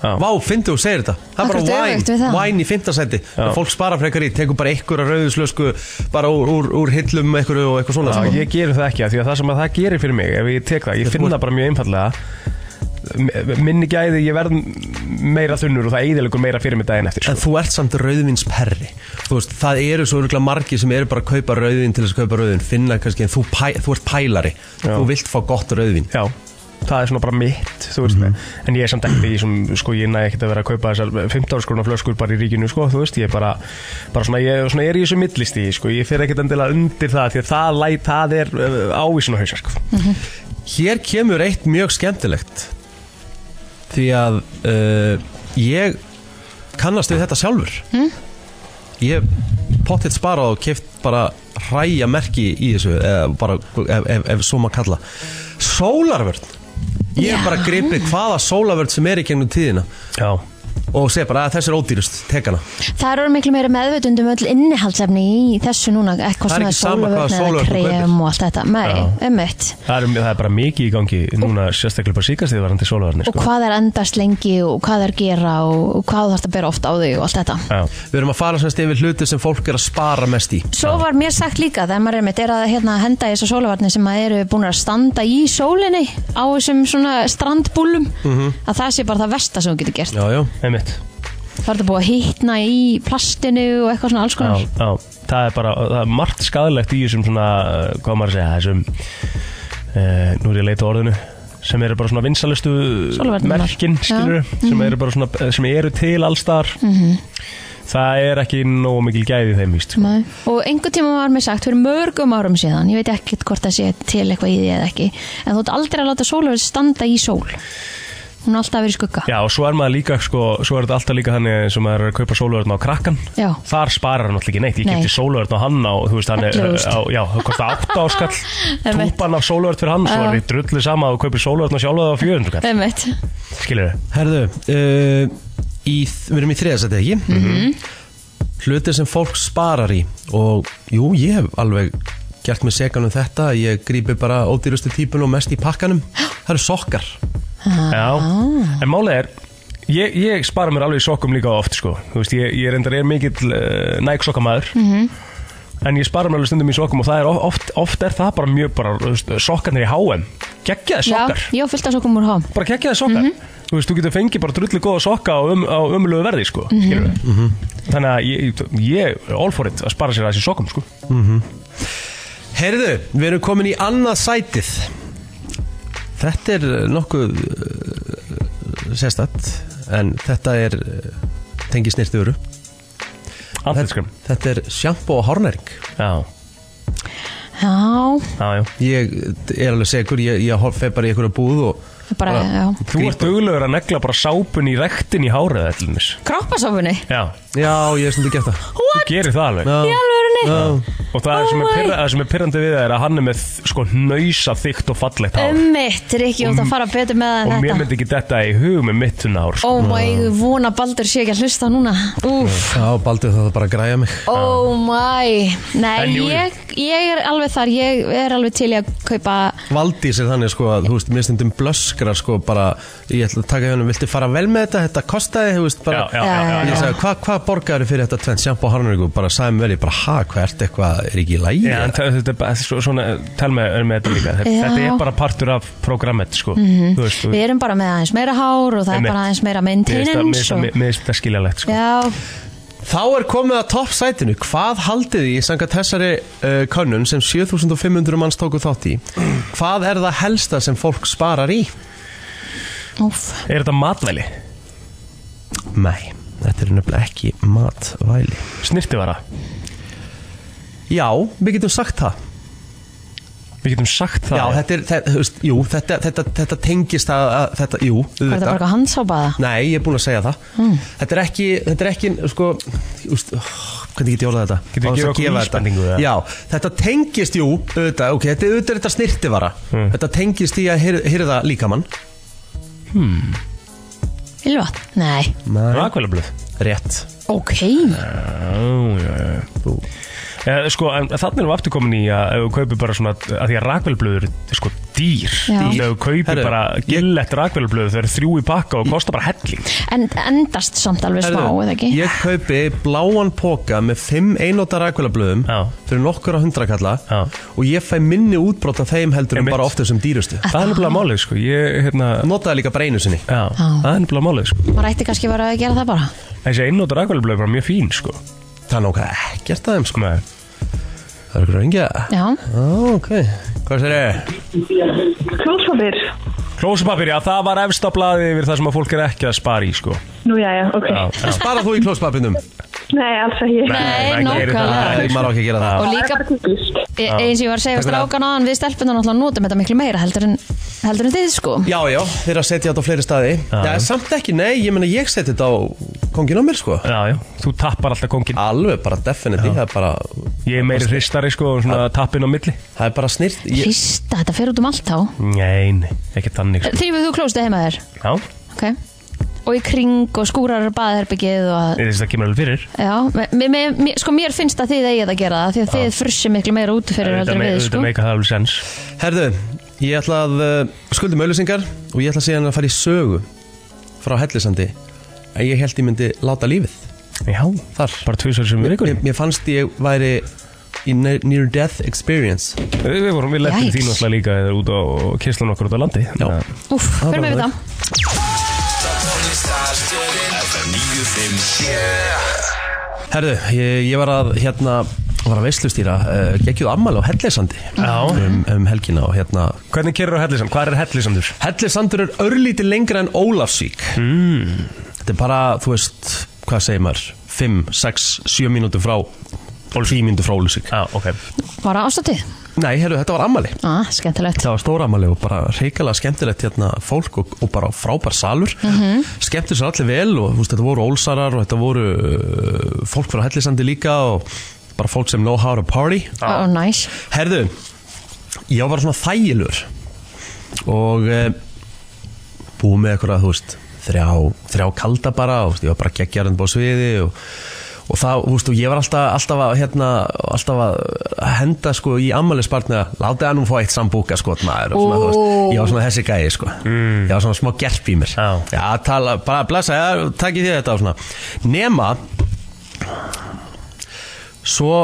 S2: Já.
S1: vá, fyndi og segir þetta það er bara
S3: Akkurat öfugt við
S1: wine,
S3: það.
S1: wine í fimmtarsæti fólk spara frekar í, tekur bara ykkur að rauðuslösku bara úr, úr, úr hillum ykkur og eitthvað svona
S2: Já,
S1: sko.
S2: ég gerir það ekki af því að það sem að það gerir fyrir mig ef ég tek það, ég
S1: Þú
S2: finn
S1: ert-
S2: það bara mjög einfallega m- minni gæði, ég verð meira þunnur og það eiðilegur meira fyrir mig daginn eftir
S1: En
S2: sko.
S1: þú ert samt rauðvinsperri Þú veist, það eru svo örgulega margir sem eru bara að kaupa rauðvin til þess að kaupa rauðvin Finna kannski, en þú, pæ, þú ert pælari
S2: Já.
S1: Þú vilt fá gott rauðvin
S2: Já, það er svona bara mitt, þú veist
S1: Mhm.
S2: En ég er samt ekki, sem, sko, ég næ ekkert að vera að kaupa þessar 15 skrona flöskur bara í ríkinu, sko, þú veist Ég er bara, bara svona, ég, svona er í þessu millistí, sko, ég fer ekkert endilega undir það Því að það, læt, það er ávísun á hausa, sko
S1: Hér kemur eitt mjög skemmtilegt Því að uh, ég kannast við þetta sjálfur mm? Ég pottitt sparað og keft bara hræja merki í þessu eða bara, ef, ef, ef svo maður kalla Sólarvörn Ég hef
S3: Já.
S1: bara gripið hvaða sólarvörn sem er í gegnum tíðina
S2: Já,
S1: og segja bara að þessi er ódýrust, tek hana
S3: Það eru miklu meira meðvitundum öll innihaldsefni í þessu núna, eitthvað
S1: Það er
S3: svona
S1: ekki sama hvaða
S3: eða
S1: sólarvörn þú
S3: krem og allt þetta. Nei,
S2: Já.
S3: ummitt.
S2: það er, það er bara mikið í gangi núna, sérstaklega bara síkast því varandi sólavarni,
S3: Og
S2: sko
S3: hvað er endast lengi og hvað er gera og, og hvað þarf að bera oft á þau og allt þetta.
S2: Já,
S1: Við erum að fara semst yfir hluti sem fólk er að spara mest í
S3: Svo var mér sagt líka þegar maður er mitt er að hérna, henda í þessu sólavarni sem að eru búin að standa í sólinni á þessum svona strandbúlum
S1: Mhm.
S3: að það sé bara það versta sem þú getur gert.
S1: Já, já
S2: einmitt
S3: Það er þetta búið að hittna í plastinu og eitthvað svona alls
S2: já,
S3: konar.
S2: já, það er bara það er margt skadalegt í þessum svona uh, hvað á maður að segja, þessum uh, nú er ég að leita að orðinu sem eru bara svona vinsalustu
S3: Sólarvarnirnar. Mhm.
S2: merkin skilur, sem eru bara svona eh, sem eru til allstar það er ekki nógu mikil gæði í þeim víst, sko.
S3: Nei. Og einhvern tíma var mér sagt fyrir mörgum árum síðan, ég veit ekkert hvort það sé til eitthvað í því eða ekki, en þú ert aldrei að láta sólaverð standa í sól. Hún er alltaf að vera í skugga.
S2: já og svo er maður líka sko, svo er þetta alltaf líka þannig eins og maður er að kaupa sóluverðna á krakkan
S3: Já.
S2: þar sparar hann alltaf ekki neitt, ég
S3: Nei.
S2: kefti sóluverðna á hann á, þú veist, hann er,
S3: 11.000.
S2: á, já, það kostar 8 áskall
S3: [laughs] Einmitt.
S2: túpan af sóluverð fyrir hann, svo
S3: Já.
S2: er þið drullu sama og kaupir sóluverðna sjálfa á 400 kall,
S3: Einmitt.
S2: skilur
S1: Herðu, uh, í, við erum í þriðasæti ekki Mhm. Hluti sem fólk sparar í Og jú, ég hef alveg gert mig segan um þetta Ég grípi bara ódýrustu típun og mest í pakkanum Það eru sokkar
S2: Já, en málið er Ég, ég spara mér alveg í sokkum líka oft sko. Þú veist, ég, ég reyndar er mikill uh, Nike sokkamæður
S3: Mhm.
S2: En ég spara mér alveg stundum í sokkum Og það er of- oft, oft er það bara mjög bara, þú veist, Sokkarnir í HM, geggjaði sokkar
S3: Já, já, fyllt að sokkum úr hám.
S2: Bara geggjaði sokkar Þú veist, þú getur fengið bara drullu góða sokka Á, um, á umlögu verði sko, mm Þannig að ég, ég er all for it Að spara sér að þessi sokkum sko.
S1: Herðu, við erum komin í annað sætið Þetta er nokkuð uh, sérstætt En þetta er uh, tengið snirti öru
S2: Andlitskrem.
S1: Þetta er sjampo og hárnæring
S2: Já,
S3: Já,
S2: já, já
S1: Ég er alveg segur, ég, ég hor- fer bara í einhverja búð og
S3: bara, já.
S2: Þú ert duglegur að negla bara sápun í rektin í hárið til dæmis.
S3: Kroppasofunni.
S2: Já,
S1: Já, ég hef stundið gert það
S2: þú gerir það alveg
S1: Já,
S3: Í alvörunni.
S1: já.
S2: Og
S3: Oh
S2: það er sem er,
S3: my.
S2: pyrra, það sem er pyrrandi við það er að hann er með sko nöysa þygt og fallegt hár
S3: Ummitt, Rikki, þú ert að fara betur með það
S2: Og
S3: en
S2: mér
S3: Um þetta.
S2: myndi ekki þetta í hug með mitt hún hár sko.
S3: Ó mæg, vona Baldur sé ekki að hlusta núna. Úf.
S1: Já, Baldur það bara að græja mig
S3: Oh my
S2: En
S3: Nei,
S2: jú, jú.
S3: ég, ég er alveg þar Ég er alveg til í að kaupa
S1: Valdís er þannig sko að, þú veist, mér stundum blöskra sko bara Ég ætla að taka hjá henni, viltu fara vel með þetta, þetta kostaði, þú veist bara
S2: já, já, já, já,
S1: Ég
S2: já.
S1: sagði, hvað hva borgaður fyrir þetta tvenn sjampo og harnaringu Bara sagði mér vel, ég bara, ha, hvað ert eitthvað, er ekki í lægi
S2: Já, en það- þetta er bara- svo- svona, tel með, er með þetta líka Þetta,
S3: Já. Mhm.
S2: þetta er bara partur af programmet sko. mm -hmm.
S3: Við erum bara með aðeins meira hár og það er
S2: Einmitt.
S3: bara aðeins meira maintenance og...
S2: Mér finnst þetta skiljalegt sko.
S3: Já,
S1: Þá er komið að toppsætinu Hvað haldið þið, sangat þessari uh, könnun sem 7500 manns tóku þátt í Hvað er það helsta sem fólk sparar í?
S3: úf
S2: Er þetta matvæli?
S1: Nei, þetta er nefnilega ekki matvæli
S2: Snirtivara?
S1: Já, við getum sagt það
S2: Við getum sagt það
S1: Já, þetta er, þetta, þú veist, jú, þetta, þetta, þetta tengist að, að þetta, jú,
S3: Var þetta bara eitthvað handsápaða?
S1: Nei, ég er búin að segja það
S3: Hmm.
S1: Þetta er ekki, þetta er ekki, sko, úst, oh, hvernig get ég orðað þetta?
S2: Getur
S1: Án
S2: þú
S1: þess
S2: gefið okkur
S1: gefa þetta?
S2: vísbendingu, eða?
S1: Já, þetta tengist, jú, auðvitað, ok, þetta, auðvitað er þetta snirtivara
S2: Hmm.
S1: Þetta tengist í að hir- hirða líkamann
S3: Ylva? Nei,
S2: Rakvælablöð
S1: Rétt
S3: ok
S1: Þú,
S2: Eh, sko, en þannig erum við aftur komin í að ef við kaupum bara svona að því að rakvelblöður er sko dýr
S3: Já.
S2: Þegar þú kaupir
S1: Herru,
S2: bara gillett rakvélablöð þau eru þrjú í pakka og kosta bara helling
S3: En endast samt alveg smá,
S1: Herðu,
S3: eða ekki?
S1: Ég kaupi bláan póka með 5 einóta rækvelablöðum
S2: Já.
S1: fyrir nokkura hundrakalla
S2: Já.
S1: og ég fæ minni útbrot af þeim heldur en
S2: Einmitt.
S1: bara ofta sem dýrustu
S2: Það er nefnilega málið sko Ég, hérna,
S1: Notaði líka bara einu sinni
S2: já, það er nefnilega málið sko
S3: Maður ætti kannski bara að gera það bara
S2: Þessi einnóta rakvélablöð er bara mjög fín sko
S1: Það er nokkað ekkert aðeins sko
S2: Nei.
S1: Það er ykkur röngja
S3: Já,
S1: Ó, ok Hvað sér ég?
S5: Klósfabir?
S2: Klósapapir, já það var efsta blaði yfir það sem að fólk er ekki að spara í sko
S5: Nú jæja, ok.
S2: Já, já.
S1: Spara þú í klóspapinum?
S5: Nei, alls ekki.
S3: Nei,
S2: það gerir
S3: nákvæmlega.
S2: það.
S1: Nei, maður á ekki að gera það
S3: og
S5: Það er
S3: líka
S5: bara típist.
S3: e- eins og ég var að segja við strákan aðan við stelpunar náttúrulega notum þetta miklu meira heldur en, heldur en þið sko
S1: Já, já, þeir að setja þetta á fleiri staði Já, samt ekki, nei, ég meina ég seti þetta á kongin á mér sko
S2: Já, já, þú tappar alltaf kongin
S1: Alveg bara definitely, það er bara
S2: Ég er meiri hristari sko, og svona tappin á milli
S1: Það er bara snirt ég,
S3: Hrista, þetta fer út um allt þá
S2: Nei, nei, ekki þannig sko.
S3: Þrýfið þú klóstið heima þér
S2: Já,
S3: okay. og í kring og skúrar baðherbyggið og að
S2: ég veist það kemur alveg fyrir
S3: Já, me, me, me, sko mér finnst að þið eigið að gera það því að þið frussi miklu meira út fyrir
S2: Þetta
S3: heldur en
S2: me-
S3: við
S2: þetta
S3: sko
S2: meika það alveg sens
S1: Herðu, ég ætla að uh, skuldum auðlýsingar og ég ætla síðan að fara í sögu frá Hellisandi en ég held ég myndi láta lífið
S2: Já,
S1: þar
S2: bara tvisar sem við
S1: Mér, mér fannst ég væri í ne- near death experience
S2: Við við vorum við lettum
S3: Yikes.
S2: þín alltaf líka eða út á kynslan okkur út á landi
S1: Já.
S3: Úf, fyrir mig við það
S4: FM 957
S1: Herðu, ég, ég var að hérna var að veislustýra, uh, gekkjuð ammali á Hellisandi
S2: Já.
S1: um, um helgina og hérna
S2: Hvernig kerur á Hellisand? Hvað er Hellisandur?
S1: Hellisandur er örlítið lengra en Ólafsvík Þetta er bara, þú veist, hvað segir maður 5, 6, 7 mínútur frá 10 mínútur frá Ólafsvík
S2: Já, ok
S3: Bara ástáttið,
S1: Nei, herru, þetta var ammali
S3: ah, skemmtilegt
S1: Þetta var stóramæli og bara reikala skemmtilegt hérna fólk og, og bara frábær salur mm -hmm. skemmtir sér allir vel og þú veist, þetta voru ólsarar og þetta voru uh, fólk frá Hellisandi líka og bara fólk sem know how to party
S3: og næs
S1: Herðu, ég var bara svona þægilur og e, búið með eitthvað, þú veist þrjá, þrjá kalda bara og þú veist, ég var bara geggjarinn búið sviði og og það, þú veist, og ég var alltaf, alltaf að hérna, alltaf að henda sko í ammælisbarnið að láta hann nú fá eitt sambúka sko, maður, og svona, þú veist, ég var svona þessi gæði sko, ég var svona smá gerp í mér
S2: Já.
S1: já, tala, bara blessa, já, takk í því þetta og svona, nema svo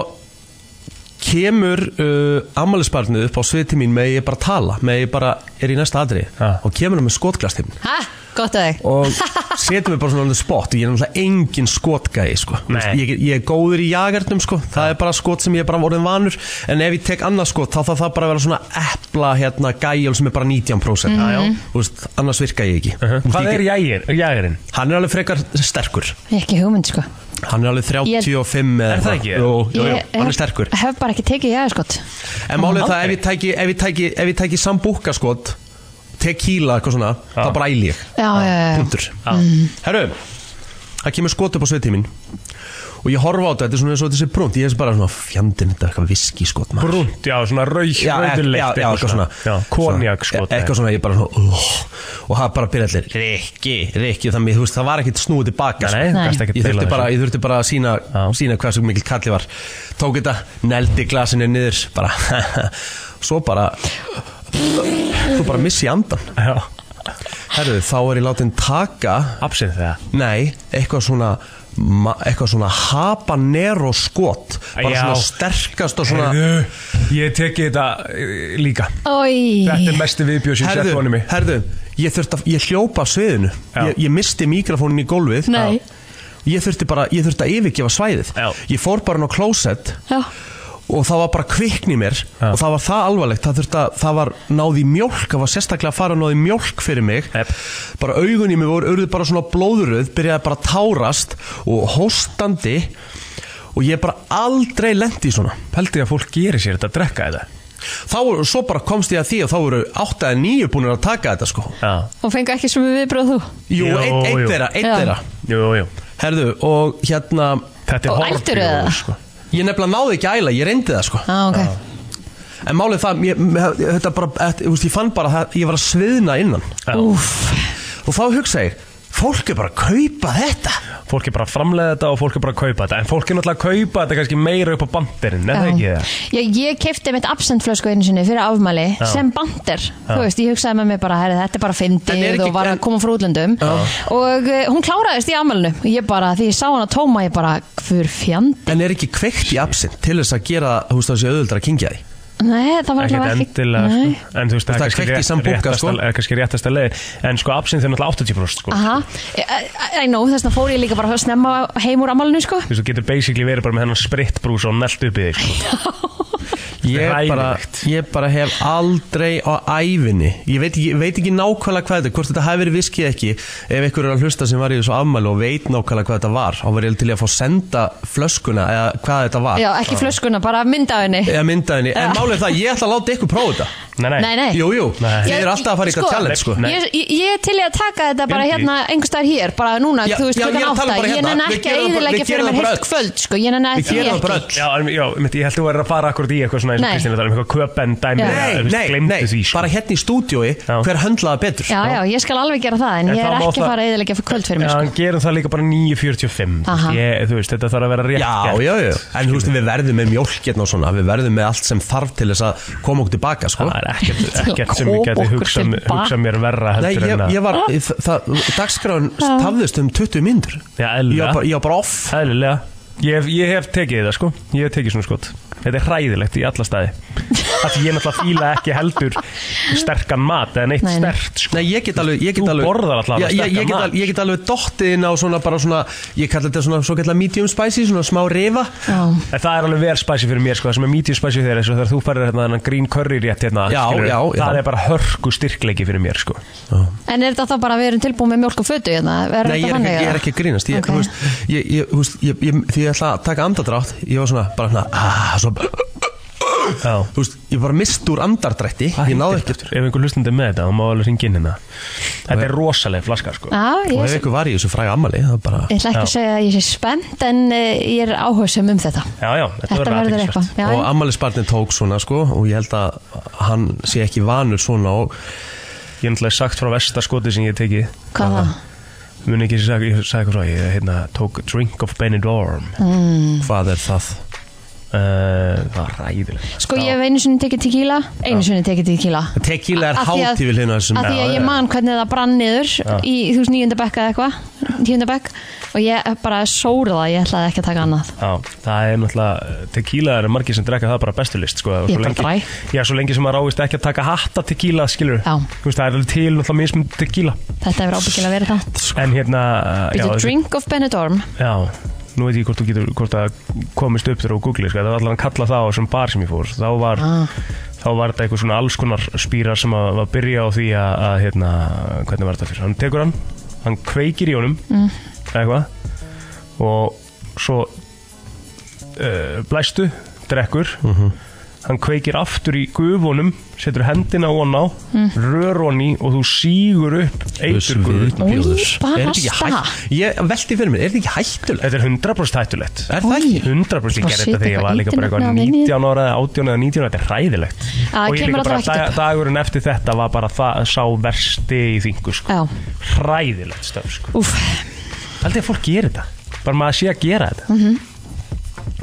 S1: kemur uh, ammælisbarnið upp á svið til mín með ég bara tala, með ég bara er í næsta aðri
S2: Ha.
S1: og kemur hann með skotglast til mín
S3: Ha, gott að þig
S2: [laughs]
S1: og setur mig bara svona on the spot og ég er náttúrulega engin skotgæði sko. Þú veist,
S2: Nei.
S1: ég, er- ég er góður í jagarnum sko. það er bara skot sem ég er bara orðin vanur en ef ég tek annað skot þá þarf það bara að vera svona epla hérna, gæjál sem er bara 19% mm -hmm. veist, annars virka ég ekki uh
S2: Mhm. Uh-huh. Hvað er jægir? Jægirinn?
S1: hann er alveg frekar sterkur
S3: Ég hef ekki hugmynd sko
S1: hann er alveg 35 eða
S2: Er það
S1: eitthvað.
S2: ekki?
S1: Jú, jú, jú,
S3: Ég
S1: hann er
S3: hef-
S1: sterkur
S3: Hef bara ekki tekið ég skott
S1: En málið er það ef ég tæki, ef ég tæki, ef ég tæki sambúka skot tequila eitthvað svona þá bara æli ég
S3: Já, já, já, já.
S1: punktur Herru, það kemur skot upp á sveitímin og ég horfa á þetta, þetta er svona eins og þetta sé brunt ég er bara svona fjandinn, þetta er eitthvað viski skot
S2: Brunt, já, svona rauð,
S1: Já, ek-
S2: rauðurleikt
S1: já, já, eitthvað svona
S2: já, Konjak
S1: svona,
S2: sko
S1: e- Eitthvað svona, ég bara svona oh, Og það bara byrja allir, Rikki, Rikki Þannig, þú veist, það var ekkit snúið sko. tilbaka
S2: Nei,
S3: Nei.
S2: gasta ekki
S1: Ég þurfti bara,
S2: þessu
S1: ég þurfti bara að sína,
S2: Já.
S1: sína hvað svo mikil kalli var Tók þetta, neldi glasinu niður bara, [laughs] Svo bara Svo bara missi ég andan
S2: Já,
S1: Herðu, þá er ég látin taka
S2: absinn þegar
S1: Nei, eitthvað svona ma- eitthvað svona habanero skot bara
S2: Já.
S1: svona sterkast og svona
S2: Ég teki þetta eh, líka Þetta
S3: Oj,
S2: er mestu viðbjóð sem sett honum
S1: herðu, herðu,
S2: í
S1: ég þurfti að, ég hljópa af sviðinu
S2: Já.
S1: ég, ég misti mikrofónin í gólfið
S3: Nei.
S1: ég þurfti bara, ég þurfti að yfirgefa svæðið
S2: Já.
S1: ég fór bara inn á klósett
S3: já
S1: og það var bara kvikn í mér og það var það alvarlegt, það þurfti að það var náði í mjólk, það var sérstaklega að fara og náði í mjólk fyrir mig,
S2: Jep.
S1: bara augun í mig voru urðu bara svona blóðuröð, byrjaði bara að tárast og hóstandi og ég bara aldrei lendi í svona
S2: Pældi að fólk gerir sér þetta að drekka þetta
S1: þá voru, svo bara komst ég að því og þá voru 8 eða 9 búin að taka þetta sko
S2: Já,
S3: Og fengu ekki sem við bróð þú
S1: Jú,
S2: Jú,
S1: einn ein
S2: jú.
S1: þeirra, einn
S3: Já.
S1: þeirra
S2: jú, jú
S1: Herðu, og hérna
S2: Þetta
S3: Og
S2: er
S3: ældur eða?
S2: horfbjóð sko.
S1: Ég nefnilega náði ekki að æla, ég reyndi það sko
S3: Já, Ah, ok
S1: En málið það, ég, ég- þetta bara, þetta, þú veist, ég fann bara að ég var að sviðna innan
S2: Já.
S3: Úf,
S1: Og þá hugsa ég, fólk er bara að kaupa þetta
S2: fólk er bara að framlega þetta og fólk er bara að kaupa þetta en fólk er náttúrulega að kaupa þetta kannski meira upp á bandirinn er það ekki það?
S3: Já, ég kefti mitt absentflösku einu sinni fyrir afmæli sem bandir, þú veist, ég hugsaði með mér bara herri, þetta er
S1: En
S3: bara
S1: er
S3: fyndið
S1: ekki-
S3: og var
S1: en-
S3: að koma frá útlöndum og uh, hún kláraðist í afmælinu og ég bara, því ég sá hana tóma, ég bara hver fjand,
S1: En er ekki kveikt í absint til þess að gera þú veist það sé auðvöldra að kingja því
S3: nei, það var
S2: ekkert
S3: allavega ekki
S2: endilega sko.
S3: Nei.
S2: en þú veist
S1: Það
S2: það er
S1: er
S2: kannski
S1: kveikt í
S2: rétt-
S1: samt bunka,
S2: réttasta-
S1: sko.
S2: er kannski réttasta leið en sko absint er náttúrulega 80% sko.
S3: Aha, Eh, I know, þess vegna fór ég líka bara að snemma heim úr afmælinu, sko
S2: þú veist þú getur basically verið bara með hennar sprittbrús og nelt upp í þig sko.
S1: Ég bara,
S2: Hræðilegt.
S1: ég bara hef aldrei á ævinni Ég veit, ekki- ég veit ekki nákvæmlega hvað þetta Hvort þetta hafi verið viskið ekki Ef ykkur er að hlusta sem var í þessu afmæli og veit nákvæmlega hvað þetta var Þá var ég til í að fá senda flöskuna Eða hvað þetta var
S3: Já, ekki flöskuna, bara mynda af henni
S1: Eða myndaðinni En málið er það, ég ætla að láta ykkur prófa þetta
S2: nei, nei.
S3: Nei, nei.
S1: Jú, jú,
S2: Nei.
S1: þið er alltaf að fara í eitthvað
S3: Sko,
S1: challenge sko
S2: Nei.
S3: Ég, ég, ég er til í að taka þetta bara
S2: Bindi.
S3: hérna einhvers staðar hér, bara núna,
S1: Já,
S3: þú veist,
S1: já, ég er
S3: klukkan
S1: að tala
S3: átta
S1: bara
S3: ég
S1: hérna.
S3: nenni
S1: Við
S3: ekki
S1: gerum það bara- við
S3: að eyðilegja fyrir
S1: gerum
S3: mér
S1: það bara
S3: heilt
S1: öll.
S3: kvöld, sko, ég nenni
S1: Við
S3: því
S1: gerum það bara
S3: ekki
S1: öll.
S2: Já, en- já, mitt, ég held þú verður að fara akkurat í eitthvað svona eins og
S3: Nei.
S2: Kristín er að tala um eitthvað köpen dæmi
S1: Nei, nei, nei,
S2: nei, því, sko.
S1: bara hérna í stúdiói
S2: Já.
S1: Hver höndlaði betur
S2: sko.
S3: Já, já, ég skal alveg gera það, en
S2: En
S3: ég
S2: það
S3: er
S2: má
S3: ekki að
S2: það-
S3: fara að eyðilegja fyrir kvöld fyrir
S2: Já,
S3: mér,
S2: hann
S3: sko.
S2: gerum það líka bara 9.45 Þú
S3: Aha.
S2: veist, ég- Þú veist, þetta þarf að vera rétt
S1: Já,
S2: gert.
S1: já, já, en þú veist við verðum með mjólk hérna og svona, við verðum með allt sem þarf til þess að koma okkur tilbaka sko.
S2: Það er ekkert,
S3: að
S2: ekkert sem ég
S3: koma
S2: geti
S3: okkur
S2: hugsað
S3: tilbaka.
S2: hugsa mér verra
S1: Nei,
S2: heldur
S1: ég,
S2: en að
S1: ég
S3: Ah.
S1: var, það, það, dagskráin tafðist um 20 myndur Ég
S2: Já,
S1: var
S2: eðlilega,
S1: bara, ég var bara off
S2: eðlilega. Ég, hef, ég hef tekið þetta sko Ég hef tekið svona skot Þetta er hræðilegt í alla staði Það því ég náttúrulega fíla ekki heldur sterkan mat eða neitt
S3: Nei, nei.
S2: stert sko.
S1: Nei, ég get alveg ég get
S2: Þú
S1: alveg,
S2: borðar alltaf
S1: Já, ég,
S2: sterkan
S1: ég, get
S2: mat.
S1: alveg, ég get alveg dottið inn á svona bara svona Ég kalla þetta svona svo kallar medium spicy, svona smá rifa
S3: Já,
S2: En það er alveg vel spæsi fyrir mér sko Það sem er medium spæsi fyrir þér eins og þegar þú farir hérna þennan green curry rétt hérna
S1: Já,
S2: skilurðu,
S1: já, já.
S2: Það er bara hörku styrkleiki fyrir mér sko
S3: en er þetta þá bara að við erum tilbúin með mjölk og fötu hérna? Er
S1: Nei, ég er, ekki,
S3: þetta þannig,
S1: ég er
S3: eða?
S1: ekki að grínast ég,
S3: Ok.
S1: okay. veist, ég, ég, þú veist, ég, ég, Því ég ætla að taka andardrátt Ég var svona, bara svona, ah, svona
S2: Já
S1: Þú veist, ég bara mist úr andardrætti Ég náði ekki
S2: Ef einhver hlustandi er með þetta, þá má alveg ringa inn hérna Þetta er rosalega flaska sko
S3: Já,
S1: Og
S3: ég
S1: ef ykkur var í þessu fræga ammali Það er bara
S3: ég ætla ekki að
S2: Já.
S3: segja að ég sé spennt, en eh, ég er áhersum um þetta.
S2: Já, já, þetta,
S3: Þetta verður
S2: athyglisvert.
S3: eitthvað. Já,
S1: og
S3: já.
S1: ammælisbarnin tók svona sko og ég held að hann sé ekki vanur svona og
S2: Ég er náttúrulega sagt frá vestaskoti sem ég hef tekið
S3: Hvað það?
S2: Muni ekki sem ég sagði eitthvað frá Ég hérna, tók drink of Benidorm mm.
S1: hvað er það?
S2: Eh, Það var ræðilegt
S3: Sko, ég hef einu sinni tekið tequila, einu sinni tekið tequila.
S1: Tequila er hérna
S3: Af því að-
S1: hátíð við hljóna þessum
S3: Af því að ég man hvernig það brann niður í þú veist nýjunda bekk eða eitthvað, tíunda bekk og ég bara sóra það, ég ætlaði ekki að taka annað.
S2: Já, það er náttúrulega tequila er margir sem drekka það bara bestu list sko,
S3: Ég
S2: svo
S3: bara dræ.
S2: lengi, Já, svo lengi sem maður ávist ekki að taka hatta tequila skilur
S3: Já.
S2: Þú veist, það er alveg til náttúrulega mismund tequila
S3: Þetta hefur ábyggilega verið það.
S2: En hérna já,
S3: Býtu
S2: þetta-
S3: drink of Benidorm.
S2: Já, nú veit ég hvort þú getur hvort það komist upp þegar þú googlir sko. það var allan að kalla það á þessum bar sem ég fór þá var, þá var þetta eitthvað svona alls konar spýrar sem að, að byrja á því að, að hérna, hvernig var þetta fyrir hann tekur hann, hann kveikir í honum mm. eitthvað og svo uh, blæstu, drekkur hann kveikir aftur í gufunum setur hendina von á mm. rör hon í og þú sígur upp eitur gufunum
S1: um
S3: Új, bara basta.
S1: Ég velti fyrir mér, er þetta ekki hættulegt?
S2: Þetta er 100% hættulegt
S1: Er það
S3: Új.
S1: ekki?
S2: 100% ég
S3: Bara
S2: gerði
S3: setja
S2: þetta þegar ég var
S3: Sko, eitthvað
S2: líka bara eitthvað
S3: internetnafn inn í.
S2: 19 ára, eða 18 eða 19 ára, þetta er hræðilegt
S3: það
S2: og ég
S3: kemur
S2: líka bara
S3: alltaf ekkert
S2: dag,
S3: upp.
S2: dagurinn eftir þetta var bara það sá versti í þingu sko.
S3: Já,
S2: hræðilegt stöf sko.
S3: úf,
S2: aldrei að fólk gerir þetta, bara maður sé að gera þetta
S3: Mhm.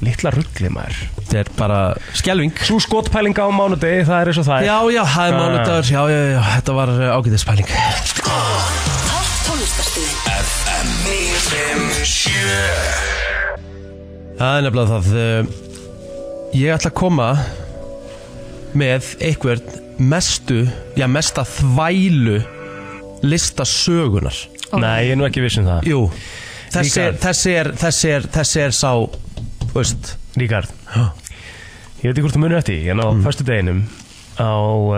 S2: litla ruggli maður
S1: Þetta er bara skelving
S2: svo skotpælinga á mánudegi, það er eins og það er
S1: Já, já, það er
S2: Já, já.
S1: mánudagur, já, já, já, þetta var eh, ágætiðspæling
S6: Topp tónlistarstöðin
S4: FM 957
S1: Það er nefnilega það eh, Ég ætla að koma með einhvern mestu, já, mesta þvælu listasögunar
S2: nei, ég er nú ekki viss um það
S1: Jú, þessi er,
S2: Ríkharð.
S1: þessi er, þessi er, þessi er sá, þú veist
S2: Ríkard ég veit ekki hvort þú munir eftir, ég ná
S1: Mm.
S2: á fyrstu deginum á, uh,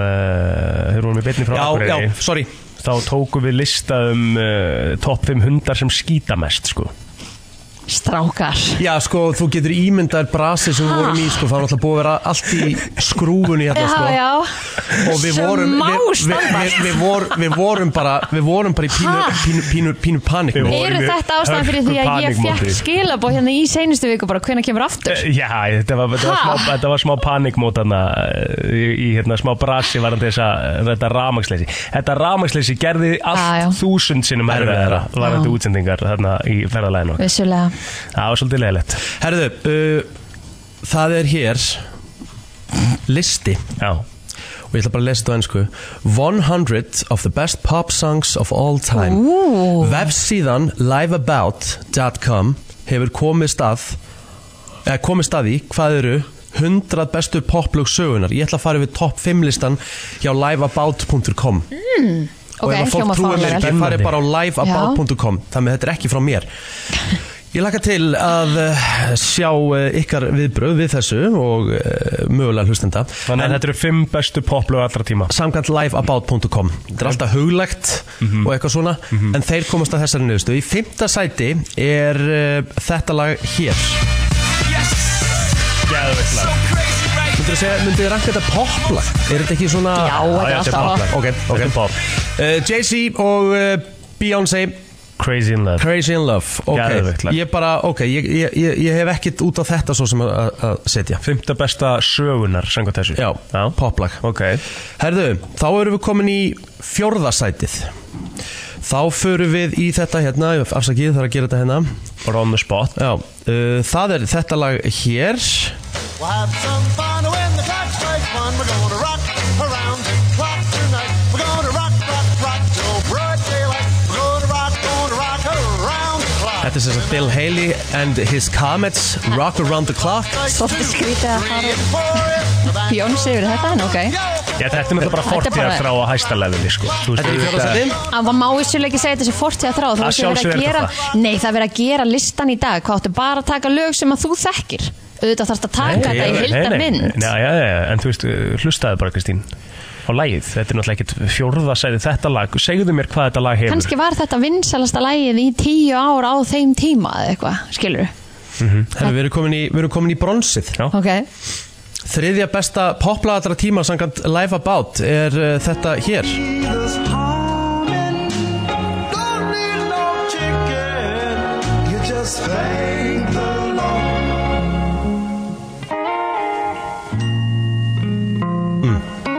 S2: þeir vorum við beinni frá
S1: Já, já,
S2: Akureyri.
S1: sorry
S2: eh, þá tókum við lista um uh, topp 5 hundar sem skýta mest sko.
S3: Strákar
S1: Já, sko, þú getur ímyndar brasið sem við
S3: Ha?
S1: vorum í, sko, það var alltaf búið að vera allt í skrúfunni hérna, sko
S3: Já, já
S1: og við vorum
S3: Smá
S1: við, við,
S3: standart.
S1: við, við, vor, við vorum bara við vorum bara í pínu,
S3: Ha?
S1: pínu, pínu, pínu panik
S2: Við vorum-
S3: Eru
S2: í
S3: þetta ástæðan fyrir því að ég
S2: hörku
S3: fekk
S2: panikmóti.
S3: skilabóð hérna í seinustu viku bara hvenær kemur aftur?
S1: Eh,
S2: Já, þetta var, þetta var,
S3: Ha?
S2: smá, þetta var smá panikmót hana, í, í hérna, smá brasi varandi þessa, þetta rámagsleysi Þetta rámagsleysi gerði
S3: Já, já.
S2: allt þúsund sinnum erfiðara varandi útsendingar þarna í ferðalæginu
S3: Vissulega
S2: Það var svolítið leiðilegt
S1: Herðu, uh, það er hér listi
S2: Já,
S1: og ég ætla bara að lesa þetta á ennsku 100 of the best pop songs of all time Vefsíðan liveabout.com hefur komið stað eða komið stað í hvað eru 100 bestu poplög sögunar ég ætla að fara yfir topp 5 listan hjá liveabout.com
S3: Ok,
S1: og ef að fólk
S3: hljómar
S1: trúir mér
S3: fáránlega
S1: ekki,
S2: vel.
S1: farið bara á liveabout.com þannig að þetta er ekki frá
S2: [laughs]
S1: mér Ég laka til að eh, sjá eh, ykkar viðbröð við þessu og eh, mögulega hlustenda
S2: þannig að þetta eru fimm bestu poplög allra tíma
S1: samkvæmt liveabout.com þetta er alltaf huglegt
S2: Mhm.
S1: og eitthvað svona en þeir komast að þessari nöðustu í fymta sæti er uh, þetta lag hér
S2: Geðveikt lag.
S1: myndir þið segja, myndir þið ranka þetta poplag er þetta ekki svona
S3: Já, þetta er
S2: já, þetta er
S3: alltaf
S2: poplag.
S1: ok, ok
S2: Þetta er pop.
S1: uh, Jay-Z og uh, Beyoncé
S2: Crazy in love
S1: Crazy in Love ok,
S2: Geðveikt lag.
S1: ég bara, ok ég, ég, ég, ég hef ekkit út á þetta svo sem að- að að setja
S2: Fymta besta sögunar, sengu þessu
S1: já,
S2: já.
S1: poplag
S2: Ok,
S1: Herðu, þá erum við komin í fjórðasætið Þá förum við í þetta hérna Afsakið, það er að gera þetta hérna
S2: bara on the spot
S1: Já, uh, það er þetta lag hér
S7: We'll have some fun when the clock strikes one. We're gonna rock around the clock tonight. We're gonna rock, rock, rock till broad daylight. We're gonna rock, gonna rock around the clock.
S1: Þetta er sem sagt Bill Haley and his Comets Rock Around the Clock
S3: Svolítið skrítið að fara
S7: fara
S3: Bjóns yfir þetta en ok
S2: Já, þetta er með bara
S3: Þetta er
S2: fortíðar
S3: bara-
S2: frá að hæsta leðinni sko. Þú veist,
S1: Þetta er í fjórðasætið
S3: að það má vissulega ekki segja þessi fortíða þrá það
S2: Að
S3: er verið að
S2: sjálfsögðu er
S3: gera,
S2: þetta
S3: nei það er verið að gera listan í dag hvað áttu bara að taka lög sem að þú þekkir auðvitað þarfst að taka þetta í
S2: Nei,
S3: hildar
S2: eh, nei, nei.
S3: mynd
S2: Nei, já, já, já, en þú veist, uh, hlustaðu bara Kristín á lagið, þetta er náttúrulega ekkert fjórðasæði þetta lag, segðu mér hvað þetta lag hefur
S3: kannski var þetta vinsalasta lægið í tíu ár á þeim tíma eða eitthvað, skilur
S1: Herðu, við erum komin í, við erum komin í bronsið
S2: Já.
S3: ok,
S1: Þriðja besta poplaðara tíma samkant Live About er uh, þetta hér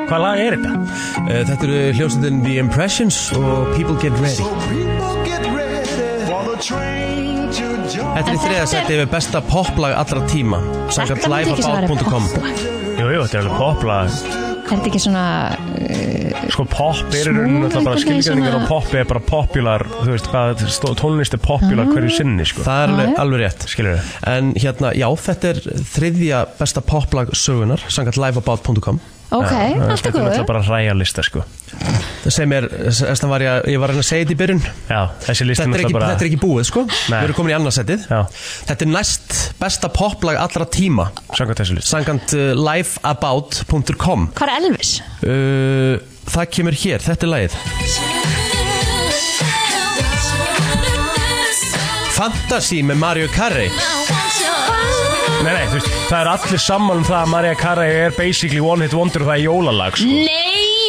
S2: Hvað lag er þetta?
S1: uh, Þetta eru hljómsveitin The Impressions og People Get Ready Þetta er
S3: En
S1: í þriðja
S3: þetta er-
S1: sæti yfir besta poplag allra tíma
S3: þetta
S1: samkvæmt
S3: myndi ekki sem væri
S1: liveabout.com
S3: popplag.
S2: Jú, jú, þetta er alveg poplag
S3: er þetta ekki svona uh,
S2: Sko pop er í
S3: Smooth
S2: rauninni alltaf bara
S3: einhvern veginn
S2: skilgjörningar
S3: svona-
S2: og pop er bara popular, þú veist, hvað, stó- tónlist er popular hverju
S3: Ah.
S2: sinni, sko
S1: Það er
S3: Já,
S1: alveg,
S3: já.
S1: alveg rétt
S2: Skilur þau?
S1: En hérna, já, þetta er þriðja besta poplag sögunar samkvæmt liveabout.com
S3: ok, allt er
S2: Þetta er
S3: góður
S2: náttúrulega bara ræja lista, sko
S1: sem er, þess að var ég, ég var að reyna að segja þetta í byrjun þetta
S2: Já, þessi lista
S1: er, ekki,
S2: náttúrulega
S1: þetta er ekki búið, sko
S2: Nei.
S1: Við erum komin í annarsettið
S2: Já.
S1: Þetta er næst besta poplag allra tíma
S2: bara Sangat þessu lista
S1: samkvæmt uh, liveabout.com
S3: hvað er Elvis?
S1: uh, Það kemur hér, þetta er lagið Fantasy með Mario Carey
S2: Nei, nei, þú veist, það eru allir saman um það að Maria Carey er basically one hit wonder og það er jólalag, sko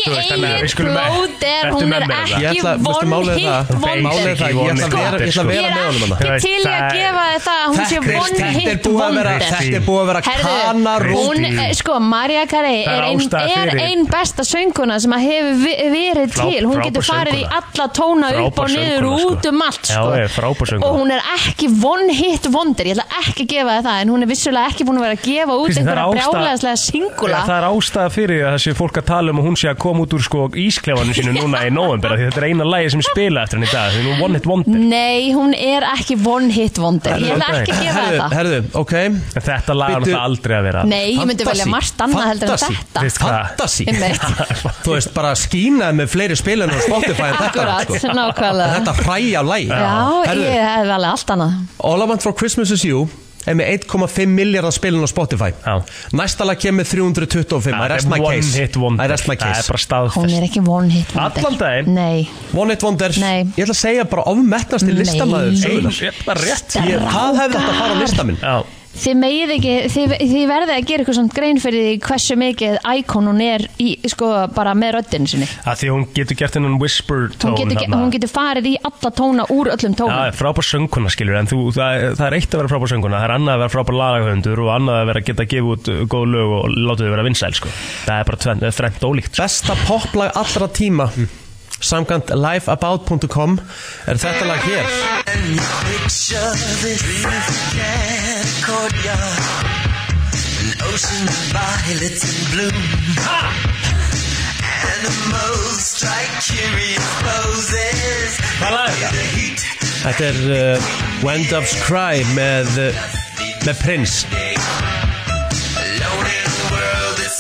S2: Þú
S3: nei,
S2: veist, þannig að við
S3: Egil
S2: skulum-
S3: Blóter
S2: Ertu
S3: hún
S2: með
S3: er
S2: mér eða?
S1: Ég
S3: ekki
S1: ætla, veistu,
S3: von
S1: málið er
S3: hit
S1: það Málið
S3: wonder
S1: er það, ég ætla að vera, ég ætla að
S3: Ég
S1: vera með honum
S3: er
S1: hana
S2: Þú
S3: ekki
S2: veist,
S3: til í að
S2: það er-
S3: gefa þér það að hún sé
S1: Kristín,
S3: von
S1: þetta er
S3: hit
S1: búið að vera,
S3: wonder
S1: þetta er búið að vera kanar
S3: Herðu, hún, eh, sko, Maria Carey
S2: Það er
S3: er ein,
S2: ástæða
S3: er
S2: fyrir.
S3: ein besta sönguna sem að hefur vi- verið
S2: Flá-
S3: til Hún
S2: frábær
S3: getur farið í
S2: söngkona.
S3: alla tóna upp
S2: Frábær
S3: og niður
S2: söngkona, sko.
S3: út um allt, sko
S2: Já, ég er frábær söngkona.
S3: Og hún er ekki von hit wonder, ég ætla ekki að gefa þér það En hún er vissulega ekki búin að vera að gefa út
S2: Kristín, það er
S3: einhverja
S2: ástæða-
S3: brjálæðislega
S2: Ja,
S3: singula
S2: það er ástæða fyrir að þessi fólk að tala um að hún sé að koma út úr sko ísklefanum sínu núna í november af því þetta er eina lægi sem spila eftir henni í dag því hún er one hit wonder
S3: Nei, hún er ekki von hit wonder Ég ætla
S2: Herðu,
S3: ekki að gefa þér
S1: Herðu,
S3: það
S1: herðu, ok
S2: en þetta lag er
S1: Bíddu.
S2: náttúrulega aldrei að vera
S3: Nei, ég myndi velja margt annað heldur en
S1: Fantasy.
S3: þetta
S2: Veist hvað?
S1: Fantasy
S3: Einmitt.
S1: [laughs] Þú veist, bara skínaði með fleiri spilinu og Spotify en þetta
S3: Akkurat,
S1: sko.
S3: [laughs] nákvæmlega.
S1: Þetta hræja læg
S3: Já,
S1: Herðu,
S3: ég hef alveg allt annað
S1: All I Want For Christmas Is You er með 1,5 miljardar spilin á Spotify
S2: Já.
S1: næsta lag kemur 325 I rest my
S2: one
S1: case
S2: hit wonder.
S1: I rest my
S2: Það er
S1: case
S2: bara staðfest
S3: Hún er ekki one hit wonder.
S2: Allan daginn?
S3: Nei
S1: One hit wonder
S3: Nei.
S1: Ég ætla að segja bara ofmettnasti
S3: Nei.
S1: listamaður
S2: Ein,
S1: sögunar.
S2: ég, bara rétt
S1: Ég- Það hefði þetta að fara á listaminn
S2: Já,
S3: Þið megið ekki, þið, þið verðið að gera eitthvað samt grein fyrir því hversu mikið íkon hún er í, sko, bara með röddinn sinni.
S2: að því að hún getur gert hennan whisper tón
S3: Hún getur, ge-
S2: þarna.
S3: hún getur farið í alla tóna úr öllum
S2: Já,
S3: tónum.
S2: frábær söngkona skilur, en þú, það, það er eitt að vera frábær söngkona, það er annað að vera frábær lagahöndur og annað að vera að geta að gefa út uh, góð lög og láta þau vera vinsæl, sko. Það er bara tvenn, þrennt ólíkt, sko.
S1: Besta poplag allra tíma Samkvæmt liveabout.com Er þetta lag hér Þetta er uh, When Doves Cry með, uh, með Prince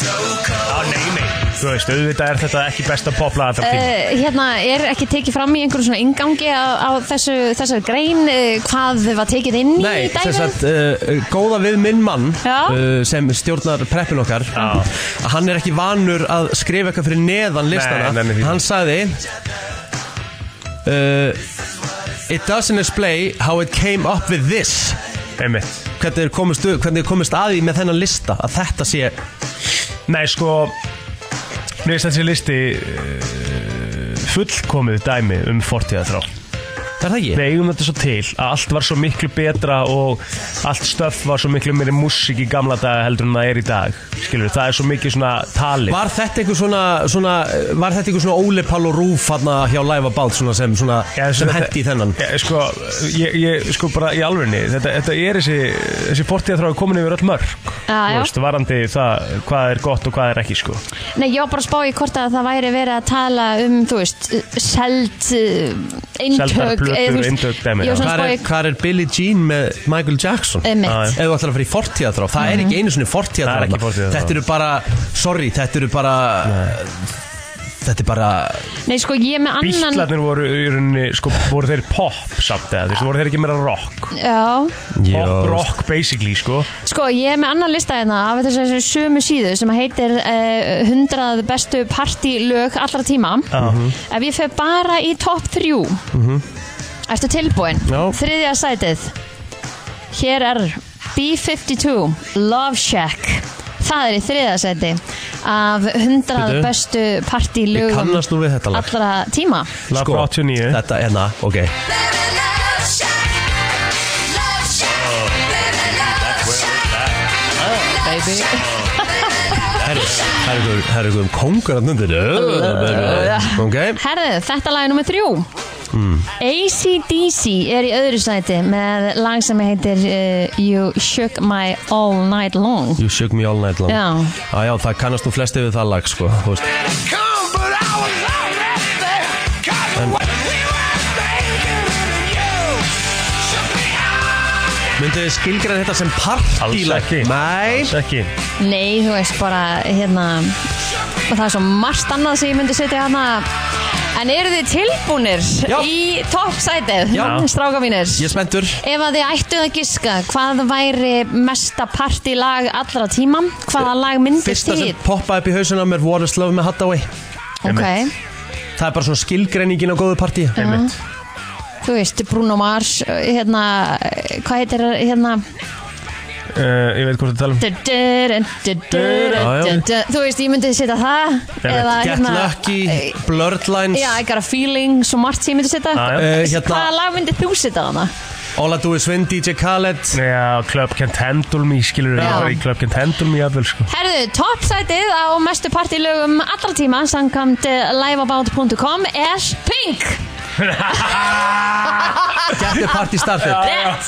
S2: Já, nei, nei. Þú veist, auðvitað er þetta ekki besta poplaga allra tíma.
S3: Uh, hérna, er ekki tekið fram í einhverjum svona ingangi á, á þessu, þessar grein uh, hvað var tekið inn
S1: Nei,
S3: í
S1: sem
S3: dæmið?
S1: sagt, uh, góða við minn mann
S3: Já.
S1: uh, sem stjórnar preppin okkar
S2: Já.
S1: að hann er ekki vanur að skrifa eitthvað fyrir neðan listana
S2: nei, nei, nei.
S1: hann sagði uh, It doesn't explain how it came up with this
S2: Einmitt.
S1: hvernig þeir komist, hvernig þeir komist að því með þennan lista að þetta sé
S2: Nei, sko, mér finnst þessi listi uh, fullkomið dæmi um fortíða þrá.
S1: Það er það ekki?
S2: Við eigum þetta svo til að allt var svo miklu betra og allt stöff var svo miklu meiri músík í gamla daga heldur en það er í dag. Skilur, það er svo mikið svona talið.
S1: Var þetta einhver svona, svona var þetta einhver svona Óli Pall og Rúf hérna hjá Live About svona sem, svona,
S2: Já,
S1: sem
S2: þetta-
S1: hendi í þennan?
S2: Já, sko, ég, ég, sko bara í alvegni þetta, þetta er þessi, þessi fortíða þrá komin yfir öll mörg
S3: Já, já.
S2: varandi það hvað er gott og hvað er ekki sko.
S3: Nei, ég var bara að spá í hvort að það væri verið að tala um, þú veist, uh, seld uh,
S2: Seldar
S3: eintök
S2: plötur,
S3: eða, þú veist,
S2: eintök, dæmi,
S3: Ég var
S2: já.
S3: svona
S1: Hvar er,
S3: að spá í
S1: hvar er Billie Jean með Michael Jackson?
S3: Einmitt.
S1: Ef þú ætlar að fara í fortíðaþrá Það er ekki einu sinni
S2: Það er
S1: fortíðaþrá
S2: ekki fortíðarþrá.
S1: Þetta eru bara, sorry, þetta eru bara Þetta er bara
S3: Nei, sko, ég er með annan
S2: Bíklarnir voru, í rauninni, sko, voru þeir pop samt eða, þú veist, voru þeir ekki meira rock
S3: Já,
S2: Pop rock basically sko.
S3: Sko, ég er með annan lista hérna af þessari sömu síðu sem heitir eh, 100 bestu partylög allra tíma.
S1: Mhm.
S3: Ef ég fer bara í topp 3, ertu tilbúin?
S1: Já.
S3: Þriðja sætið. Hér er B-52, Love Shack. Það er í þriðja sæti af 100
S1: Bíddu.
S3: bestu
S1: Ég
S3: partylögum
S1: kannast nú við þetta lag
S3: allra tíma.
S2: Lag frá 89.
S1: Þetta er það, ok
S6: Baby love shack Love shack Baby love shack
S3: Baby.
S1: Það er einhver- það er einhverjum kongur að nöndinu Ok
S3: Herðu, þetta lag er nummið þrjú ACDC er í öðru sæti með lag sem heitir uh, You Shook My All Night Long
S1: You shook me all night long Ah,
S3: Já.
S1: Já, já, það kannast nú flesti við það lag, sko þú veist. Myndu þið skilgræn þetta sem partílag?
S2: Alls ekki.
S1: Nei
S2: Alls ekki
S3: Nei, þú veist bara hérna og það er svo margt annað sem ég myndi setja hérna En eru þið tilbúnir
S1: Já.
S3: í topp sætið,
S1: Já.
S3: stráka mínir?
S1: Ég er spenntur
S3: Ef að þið ættuð að giska, hvað væri mesta partílag allra tíma? Hvaða lag myndist
S1: Fyrsta
S3: þið?
S1: sem poppaði upp í hausuna á mér What is love með Hathaway
S3: Ok,
S1: Það er bara svona skilgreiningin á góðu partí
S2: Einmitt.
S3: þú veist, Bruno Mars uh, hérna, uh, hvað heitir hérna
S2: uh, Ég veit hvort það tala um
S3: du- du- du- du-
S1: Já, já.
S3: du- du- þú veist, ég myndi setja það eða
S1: Get
S3: hérna-
S1: Lucky, Blurred Lines
S3: já, I got a feeling, svo margt sem ég myndi setja
S2: Já, já.
S1: Eh,
S3: hvaða
S1: hérna,
S3: lag myndi þú setja þarna?
S1: All I do is win, DJ Khaled
S3: [laughs]
S2: Já, Club Can't Handle Me skilur
S3: Já.
S2: við, það var í Club Can't Handle Me jafnvel, sko.
S3: Herðu, toppsætið á mestu partilögum allra tíma, samkvæmt eh, liveabout.com er Pink
S1: Get the party started
S3: Rétt.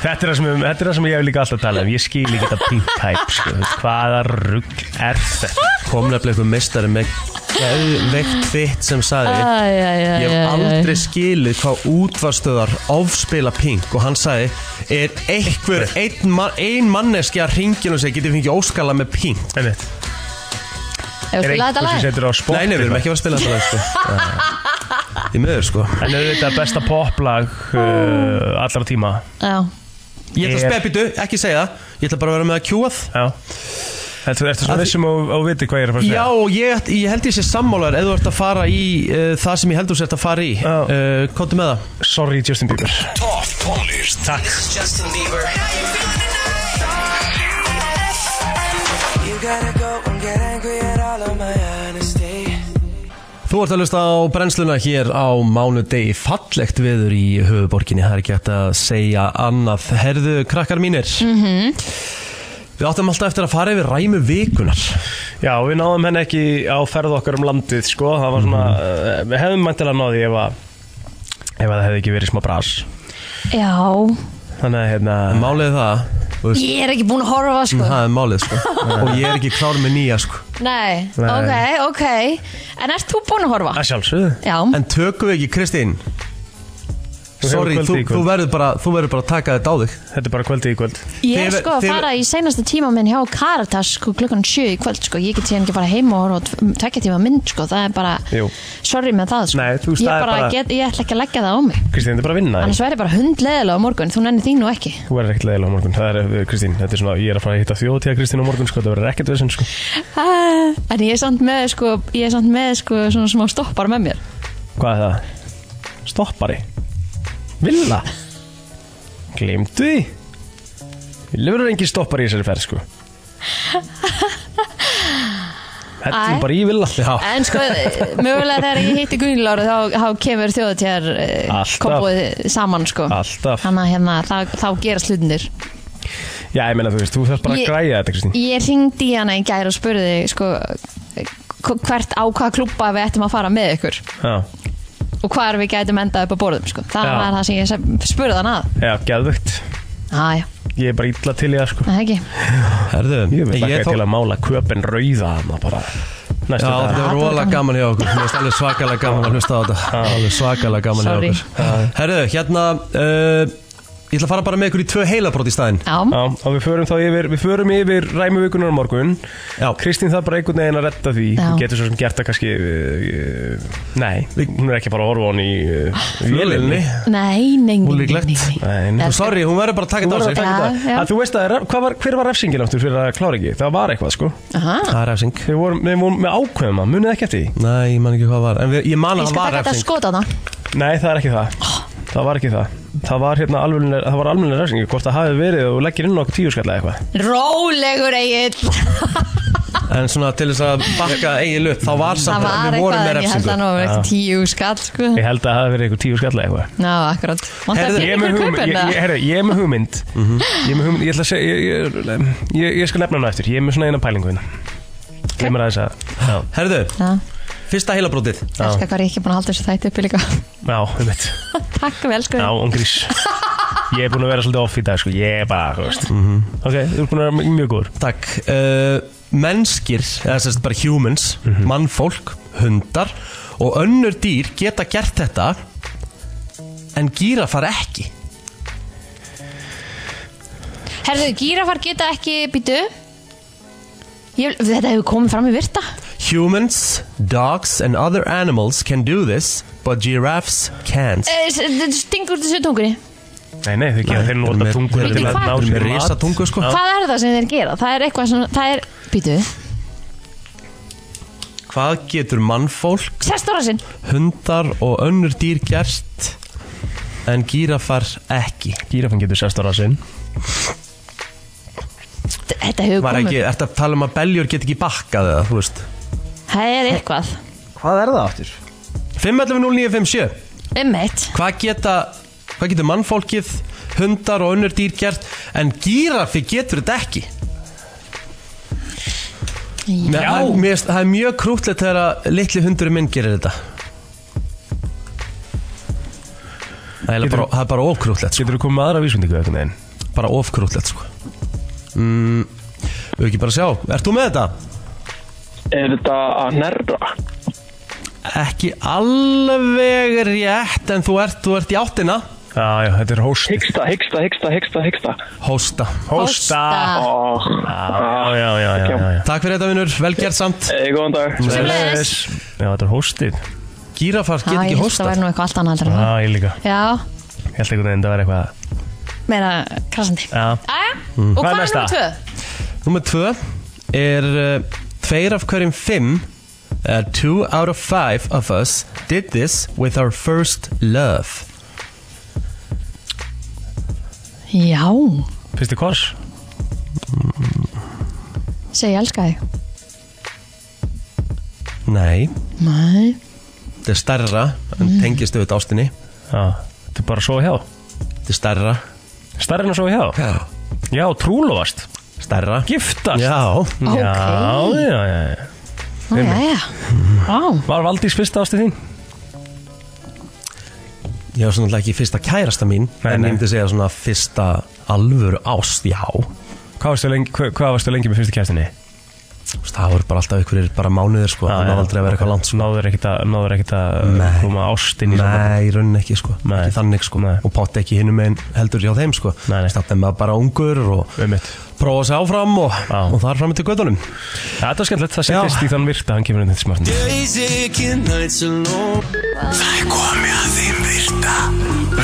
S2: þetta, er það sem, þetta er það sem ég hef líka alltaf talað um Ég skil ekki þetta pink type sko. Þú veist, Hvaða rugg er þetta?
S1: Kom nefnilega einhver mistari með Geðveikt þitt sem sagði
S3: Æ, æ, æ,
S1: Ég
S3: æ, æ.
S1: hef aldrei skilið hvað útvarstöðar ofspila Pink og hann sagði er einhver ein, man, ein manneski að ringinu sig getið fengið óskala með Pink
S2: Einmitt.
S3: Ef við
S2: er
S3: spilaði þetta
S2: einhver sem
S3: lag
S2: setur á spot
S1: Nei, nei, við erum ekki að spila þetta lag, sko Í miður sko
S2: En auðvitað besta poplag uh, allra tíma
S3: Já.
S1: Ég ætla að
S2: Er-
S1: spepitu, ekki segja það, ég ætla bara að vera með að kjúað
S2: Já Þetta er svo
S1: Að-
S2: vissum og, og viti hvað ég er að fara að
S1: Já, ég,
S2: segja
S1: ætl- ég held ég sé sammálar ef þú ert að fara í uh, það sem ég held þú sért að fara í
S2: Já.
S1: uh, Kóttu með það
S2: Sorry Justin Bieber
S4: Topp tónlist Takk
S8: Justin Bieber. You gotta go and get angry at all of my honesty.
S1: Þú ert að lusta á brennsluna hér á mánudegi fallegt viður í höfuborginni, það er ekki hægt að segja annað Herðu, krakkar mínir Við áttum alltaf eftir að fara yfir ræmi vikunar
S2: Já, við náðum henni ekki á ferð okkar um landið sko Það var svona,
S1: Mhm.
S2: uh, við hefðum mæntilega náði ef að Ef að það hefði ekki verið smá brás
S3: Já,
S2: Þannig að hérna
S1: Málið er það, þú veist,
S3: ég er ekki búin að horfa sko
S1: það er málið sko Og ég er ekki klár með nýja sko
S3: Nei, ok, ok En ert þú búin að horfa?
S2: Að sjálfsögðu
S3: Já,
S1: En tökum við ekki, Kristín
S2: Þú hefur
S1: Sorry,
S2: kvöldið
S1: þú,
S2: í
S1: þú,
S2: kvöld.
S1: verður bara, þú verður bara að taka þetta á þig
S2: Þetta er bara kvöldi í kvöld
S3: ég er
S1: þið-
S3: sko að
S1: þið-
S3: fara í seinasta tíma minn hjá Karatas sko klukkan 7 í kvöld sko Ég get síðan ekki að fara heim og horfa á tv- tvekja tíma mynd sko Það er bara,
S2: Jú.
S3: sorry með það sko
S2: Nei, þú veist,
S3: Ég,
S2: það er
S3: bara
S2: bara-
S3: get, ég ætla ekki að leggja það á mig
S2: Kristín, þetta er bara að vinna sko,
S3: Annars verður ég bara hundleðilega á morgun, þú nenni þín nú ekki
S2: Þú verður ekkert leiðilega á morgun Það er, eh, Kristín, þetta er svona Ég er að fara að hitta þjóðtíða Kristín á morgun sko Það verður ekkert vesen sko
S3: Ah, En ég er samt með sko, ég er samt með sko svona smá stoppar með mér
S2: Hvað er það? Stoppari Villa Gleimdu því Villa verður engin stoppari í þessari ferð sko Þetta
S3: Æ.
S2: er bara í Villa Já
S3: En sko, mögulega þegar ég hitti Gunnlóru þá, þá kemur þjóðatíðar
S2: Alltaf.
S3: komboðið saman sko
S2: Alltaf.
S3: Þannig að hérna, þá, þá gerast hlutinir
S2: Já, ég meina þú veist, þú þarf bara
S3: Ég-
S2: að græja þetta Kristín
S3: Ég ringdi í hana í gær og spurði sko hv- hvert á hvaða klúbba við ættum að fara með ykkur
S2: Já,
S3: og hvar við gætum endað upp á borðum sko. það
S2: Já.
S3: var það sem ég sem- spurði hana að
S2: já, geðvögt
S3: aðja,
S2: Ég er bara illa til í það sko
S3: það ekki
S1: Herðu,
S2: Ég vil
S1: ég
S2: lakka
S1: þó-
S2: til að mála köpen rauða þarna bara Næstu
S1: Já,
S2: dag
S1: þetta var
S3: var
S1: rola
S3: gaman.
S1: gaman hjá okkur Mér finnst alveg svakalega gaman að hlusta á þetta Alveg svakalega gaman hjá
S3: Sorry.
S1: okkur Herðu, hérna uh, Ég ætla að fara bara með ykkur í tvö heilabrót í staðinn
S3: já,
S2: Já, og við förum þá yfir, við förum yfir ræmuvíkunar á morgun
S1: Já.
S2: Kristín það er bara einhvern veginn að retta því
S3: Já.
S2: Hún getur svo sem gert það kannski eh, Nei, hún er ekki bara að horfa á hann í
S1: Ah,
S2: eh, vélinni
S3: nei, nei, nei, nei,
S1: Ólíklegt.
S3: nei, nei.
S2: Nei, nei.
S3: Eða, sko,
S1: Sorry, hún verður bara að taka þetta
S2: Hún
S1: á
S2: var að
S1: sig
S3: bara-
S2: taka
S3: Já,
S2: þetta.
S3: já.
S2: Að Ah, Þú veist að það er- hvað var, hver var refsingin áttur fyrir að klára ekki? Það var eitthvað sko
S3: aha.
S1: Það er refsing
S2: Við vorum, við vorum með ákveðum að, munið ekki eftir því?
S1: Nei, ég man ekki hvað var En við, ég man
S3: ég
S1: að
S3: skal
S1: það var
S3: taka þetta sko.
S1: refsing
S3: skot á það
S2: Nei, það er ekki það Það var ekki það Það var hérna alveg, það var alveg refsing Hvort það hafi verið og þú leggir inn okkur tíu skall eða eitthvað
S3: rólegur eigill
S1: En svona til þess að bakka eigin upp Þá var
S3: það
S1: samt
S3: var
S1: að við vorum
S3: eitthvað
S1: með
S3: en ég held að
S1: refsingu
S3: nú var eitthvað tíu skall sko.
S2: Ég held að það hafi verið eitthvað tíu skall eða eitthvað
S3: Ná, akkurat Vantar
S1: Heyrðu,
S2: Ég er
S3: peningur
S2: með
S3: í
S2: hugmynd,
S3: kaupin
S2: ég, ég,
S3: eða?
S2: herri, ég er með hugmynd Ég er með hugmynd, ég ætla að segja Ég, ég, ég, ég, ég skal nefna hana eftir, ég er með svona eina pælingu hérna Ég mér aðeins að Já,
S1: Herðu,
S3: Já,
S1: fyrsta heilabrótið
S3: elskar hvað ég ekki búin að halda þessu þætti uppi líka [laughs]
S2: já, um mitt
S3: Takk við elskum
S2: Já, um grís Ég er búin að vera svolítið off í dag, sko, ég er bara, þú veist Ok, þú er búin að vera mjög góður
S1: Takk uh, Mennskir, eða sérst bara humans
S2: Mhm.
S1: Mannfólk, hundar Og önnur dýr geta gert þetta En gírafar ekki
S3: Herðu, gírafar geta ekki býtu ég, Þetta hefur komið fram í virta
S1: Humans, dogs and other animals can do this But giraffes can't
S3: Eh, s- Þetta stingur þessu tungunni
S2: Nei, nei, þau gera, þeir
S1: Þetta er
S2: nota
S1: með-
S2: tungur
S1: þetta
S2: til
S1: er
S2: að
S1: með-
S2: ná
S1: þetta er
S2: sér
S1: með
S2: mat.
S1: risa tungu sko
S3: Hvað er það sem þeir gera? Það er eitthvað sem, það er, býtu
S1: Hvað getur mannfólk,
S3: Sestóra sinn
S1: hundar og önnur dýr gert En gírafar ekki
S2: Gírafan getur sest á rasinn
S3: Þetta hefur
S1: Var
S3: komið
S1: ekki, ertu að tala um að beljur get ekki bakkað eða, þú veist
S3: Það er eitthvað
S2: Hvað er það aftur?
S1: 511957
S3: Ummitt
S1: hvað geta hvað getur mannfólkið, hundar og önnur dýr gert en gíraffi getur þetta ekki Nei,
S2: Já.
S1: það, mér, finnst- það er mjög krútlegt þegar að litli hundurinn minn gerir þetta Það er, eiginlega
S2: Getur-
S1: bara, það er bara ofkrútlegt sko.
S2: Getur þú komið með aðra vísmyndingu eitthvað neginn?
S1: bara ofkrútlegt sko. mm, Við ekki bara sjá, ert þú með þetta?
S9: Er þetta að nerra?
S1: Ekki alveg rétt en þú ert, þú ert í áttina
S2: Já, já, þetta er hóst
S9: Hyggsta, hyggsta, hyggsta, hyggsta, hyggsta.
S1: Hósta
S2: Hósta
S9: Oh,
S2: Já, já, já, já, já, já.
S1: Takk fyrir þetta vinnur, vel gert samt
S9: hey, eh, góðan dag.
S3: Sömuleiðis.
S2: Já, þetta er hóstið
S1: Gírafar
S3: Það
S1: get ekki
S3: Það
S1: hósta
S3: væri nú eitthvað allt annað heldur en
S2: Já, ég líka
S3: það Já
S2: Ég held einhvern veginn að vera eitthvað
S3: meira krasandi
S2: Já.
S3: Æja, og
S2: Hvað er
S3: hvað er
S2: næsta?
S3: nummer tvö?
S1: Númer tvö er uh, Tveir af hverjum fimm uh, Two out of five of us Did this with our first love
S3: Já,
S2: Fyrsti kors
S3: segi ég elska þig
S1: Nei,
S3: Nei,
S1: þetta er stærra En tengist auðvitað ástinni
S2: Já, þetta er bara að sofa hjá
S1: Þetta er stærra
S2: Starrinn að sofa hjá
S1: Já
S2: Já, trúlofast
S1: Stærra
S2: Giftast
S1: Já
S3: Ok.
S2: Já, já, já, já
S3: Ó, já, já Vá,
S2: Var Valdís fyrsta ástu þín?
S1: Ég var svona ekki fyrsta kærasta mín
S2: Nei,
S1: En
S2: nei.
S1: ég myndi segja svona fyrsta alvöru ást Já Þú
S2: Hvað varstu lengi, hvað, hvað varstu lengi með fyrstu kæftinni?
S1: veist, Það voru bara alltaf einhverjir bara mánuðir sko Það var aldrei að vera eitthvað langt sko
S2: Náður ekkit að, náður ekkit að
S1: Nei.
S2: koma ástin í
S1: Nei, í rauninni ekki sko
S2: Nei.
S1: Ekki þannig sko
S2: Nei.
S1: Og pátti ekki hinum einn heldur hjá þeim sko
S2: Nei, nei.
S1: Státtum maður bara ungur og
S2: Ummitt
S1: prófa sig áfram og,
S2: Já.
S1: og það er fram til gödunum
S2: Þetta var skemmtilegt, það settist í þann virta Hann kemur inn þetta smartin
S4: Það er komið að þeim virta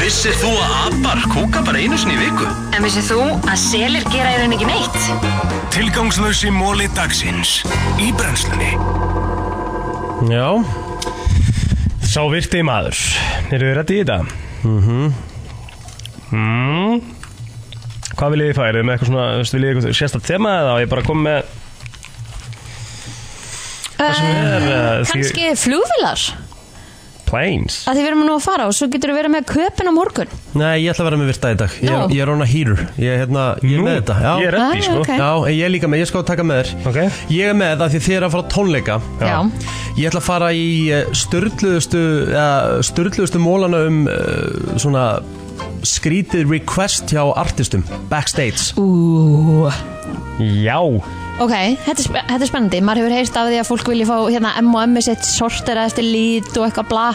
S4: Vissir þú að abar kúka bara einu sinni í viku?
S6: En vissið þú að selir gera í raun ekki neitt?
S4: Tilgangslösi móli dagsins Í brennslunni
S1: Já
S2: Sá virti maður Eru þið reddi í þetta? Mhm mm. Hvað viljið þið fá? Eru þið með eitthvað svona, þú veist, viljið þið eitthvað sérstætt þema eða á ég bara kom með er, eh,
S3: Eh,
S2: því-
S3: kannski flugvilar
S2: planes?
S3: að því við erum nú að fara og svo getur við verið með köpun á morgun
S1: Nei, ég ætla að vera með virta í dag Ég,
S3: Já.
S1: ég er on a heater Ég, er hérna, ég er
S2: Nú,
S1: með þetta Já,
S2: Ég er
S3: Ah,
S2: reddi, sko
S3: ok.
S1: Já, en ég er líka með, ég skal taka með þér
S2: Ok.
S1: Ég er með það því þið er að fara á tónleika
S2: Já.
S3: Já,
S1: Ég ætla að fara í eh, störluðustu störluðustu mólana um uh, svona skrítið request hjá artistum backstage
S3: ú
S2: Já
S3: Ok, þetta er, sp- þetta er spennandi, maður hefur heyrt af því að fólk vilja fá hérna M&M sitt sortera eftir lít og eitthvað bla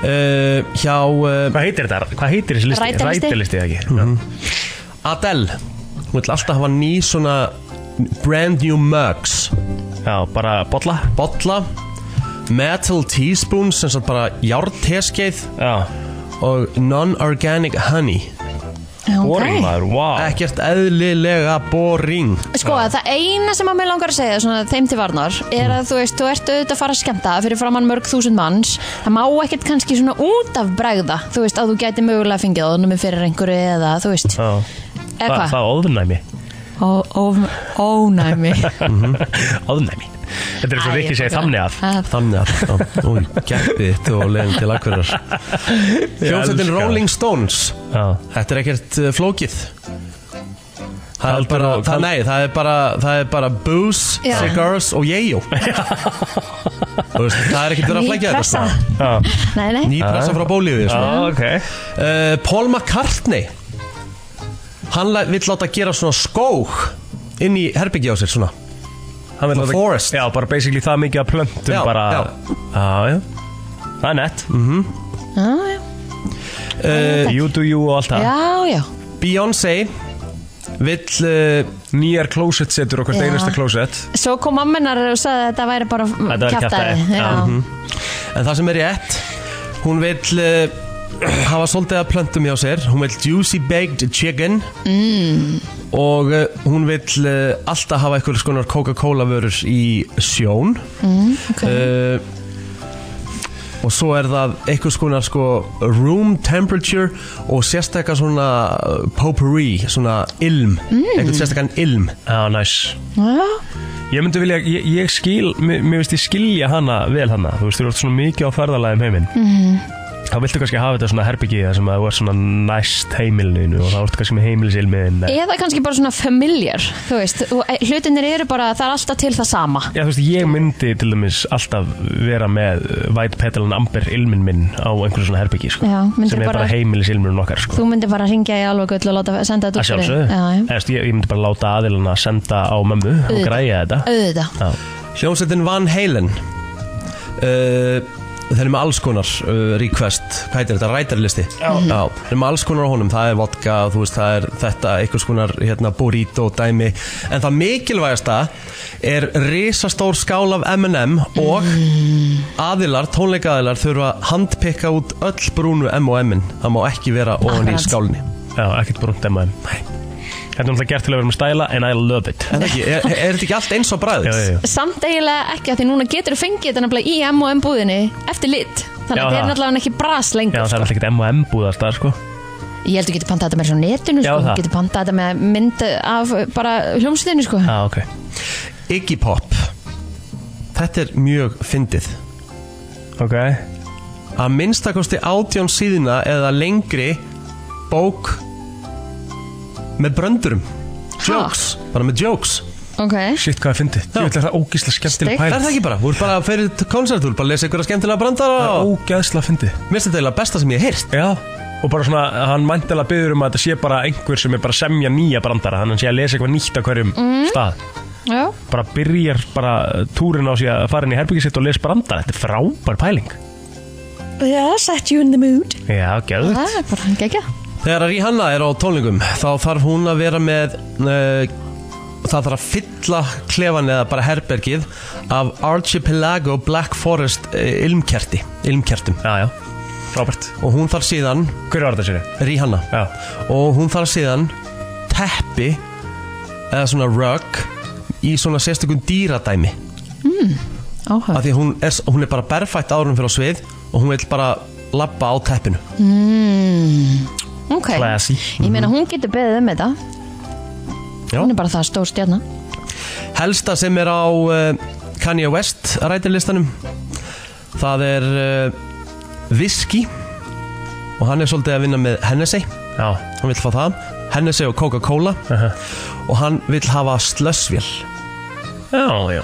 S1: uh, hjá uh,
S2: Hvað heitir þetta? Hvað heitir þessi listi?
S3: Rætalisti.
S2: Rætalisti eða ekki?
S1: Mhm.
S2: Mm
S1: Adele Hún ætla alltaf að hafa ný svona brand new mugs
S2: Já, bara bolla
S1: bolla metal teaspoons sem sagt bara járnteskeið
S2: Já,
S1: og non-organic honey
S3: okay.
S2: boring maður, wow
S1: ekkert eðlilega boring
S3: Sko, það eina sem að mér langar að segja svona, þeim til varnar er að þú veist, þú ert auðvitað að fara að skemmta fyrir framann mörg þúsund manns það má ekkert kannski svona út af bregða þú veist, að þú gæti mögulega fengið ánum fyrir einhverju eða þú veist
S2: Já.
S3: eða
S2: Það, það
S3: hvað,
S2: er [laughs] óðunæmi
S3: Ó- ó- ónæmi
S2: Óðunæmi Þetta er eins og Rikki segir þannig að
S1: þannig að
S2: [laughs]
S1: új, geppið þitt og leiðin til akkurar hljómsveitin
S2: elska.
S1: Rolling Stones
S2: Já.
S1: þetta er ekkert uh, flókið það er
S2: Kaldur
S1: bara
S2: og-
S1: það, nei, það er bara það er bara booze,
S3: Já.
S1: cigars og
S2: [laughs]
S1: yeyjó Þú veist, það er ekkert verið að
S3: Ný
S1: flækja þetta
S3: pressa
S1: sko.
S2: Já,
S3: Nei, nei,
S1: ný pressa frá bólífið
S2: Já, ok
S1: uh, Paul McCartney hann la- vill láta gera svona skóg inn í herbyggja á sér svona hann vill láta forest
S2: Já, bara basically það mikið að plöntum
S1: Já,
S2: bara
S1: já. Mm.
S2: já, já. Það er nett Eh,
S3: já, já,
S1: uh,
S2: You do you og allt það
S3: já, já.
S1: Beyoncé vill uh,
S2: Nýjar closet setur og hvert
S3: Já.
S2: einasta closet
S3: Svo kom mamminar og sagði að þetta væri bara
S2: væri kjaftæði.
S3: kjaftaði.
S2: Já. Mhm.
S3: Já,
S1: en það sem er rétt hún vill uh, hafa svolítið að plöntum hjá sér hún vill juicy baked chicken mm. og uh, hún vill uh, alltaf hafa einhvers konar Coca-Cola vörur í sjón
S3: ok.
S1: uh, og svo er það einhvers konar sko room temperature og sérstakka svona uh, potpourri, svona ilm einhvern sérstakann ilm
S2: Já, næs
S3: Já,
S2: Ég myndi vilja, ég, ég skil, mér mér finnst ég skilja hana vel hana Þú veist, þú ert svona mikið á ferðalagi um heiminn mm
S3: Mhm.
S2: -hmm. Þá viltu kannski hafa þetta svona herbyggið þar sem að þú ert svona næst heimilinu og þá ertu kannski með heimilisilmiðin
S3: eða kannski bara svona familiar, þú veist, og e, hlutinir eru bara, það er alltaf til það sama.
S2: Já, þú veist, ég myndi til dæmis alltaf vera með uh, White Petal and Amber ilmin minn á einhverju svona herbyggi, sko
S3: Já, myndir
S2: sem er bara,
S3: bara-
S2: bara heimilisilmurinn okkar, sko
S3: Þú myndir bara ringja í alveg gull og láta senda þetta út
S2: Að
S3: fyrir-
S2: sjálfsögðu
S3: Já,
S2: Eða,
S3: já.
S2: þú veist, ég, ég myndi bara láta aðilana senda á mömmu og
S3: Auðvitað.
S2: græja þetta
S3: Auðvitað.
S2: Já.
S1: hljómsveitin Van Halen uh, þeir eru með alls konar uh, request, hvað heitir þetta, rætarlisti Já. þeir eru með alls konar á honum, það er vodka þú veist, það er þetta, einhvers konar hérna, burrito, dæmi, en það mikilvægasta er risastór skál af M&M og aðilar, tónleikaðilar þurfa að handpikka út öll brúnu M&M-in, það má ekki vera ofan í
S3: Akkurat.
S1: skálinni
S2: Já, ekkert brúnt emma þeim Þetta er náttúrulega gert til að vera með stæla en I love it
S1: En það ekki, er, er þetta ekki allt eins og bræðið?
S2: Já, já, já.
S3: Samt eiginlega ekki að því núna getur þú fengið þetta nefnilega í M&M búðinni eftir lit Þannig
S2: Já,
S3: að þetta er
S2: það.
S3: náttúrulega ekki bras
S2: Já,
S3: lengur
S2: það er
S3: sko.
S2: alltaf ekkert M&M búð alltaf, sko
S3: Ég held að þú getur pantað þetta með svo netinu
S2: Já,
S3: sko.
S2: það.
S3: Þú getur pantað þetta með mynd af uh, bara hljómsveitinu sko.
S2: Já, Ah, ok
S1: Iggy Pop Þetta er mjög fyndið
S2: Ok
S1: Að minnstakosti átján síðina eða lengri bók með bröndurum Jokes, bara með jokes
S3: Ok,
S2: Shit, hvað ég fyndi Ég ætla það ógísla
S3: Steik.
S2: skemmtileg
S1: Það er
S2: pæl
S1: það ekki bara, þú ert bara að fyrir til konsert Þú ert bara að lesa ykkur að skemmtilega bröndara
S2: Það er
S1: og
S2: ógæðsla fyndi
S1: mér finnst þetta eiginlega besta sem ég hef heyrt
S2: Já Og bara svona, hann mæntilega byður um að þetta sé bara einhver sem er bara að semja nýja brandara Þannig að hann sé að lesa eitthvað nýtt á hverjum
S3: Mhm.
S2: stað
S3: já,
S2: Bara byrjar bara túrin á sig að fara inn í herbyggi sitt og lesa brandara Þetta er frábær pæling
S3: já, set you in the mood
S2: Já, gæðut
S3: Það er bara gegja
S1: Þegar Rihanna er á tónlingum þá þarf hún að vera með uh, það þarf að fylla klefan eða bara herbergið af Archipelago Black Forest uh, ilmkerti, ilmkertum
S2: Já, já, frábært
S1: og hún þarf síðan
S2: Hver var þetta sér?
S1: Rihanna
S2: Já,
S1: og hún þarf síðan teppi eða svona rug í svona sérstökum dýradæmi
S3: Áhör
S1: af því að hún er, hún er bara berfætt árum fyrir á svið og hún vil bara labba á teppinu
S3: Ok,
S2: classy
S3: ég meina hún getur beðið um þetta
S1: Já.
S3: Hún er bara það stór stjarna
S1: Helsta sem er á uh, Kanye West rætirlistanum Það er uh, Whisky Og hann er svolítið að vinna með Hennessy
S2: Já,
S1: Hann vill fá það Hennessy og Coca-Cola
S2: Aha.
S1: Og hann vill hafa slössvél
S2: já, já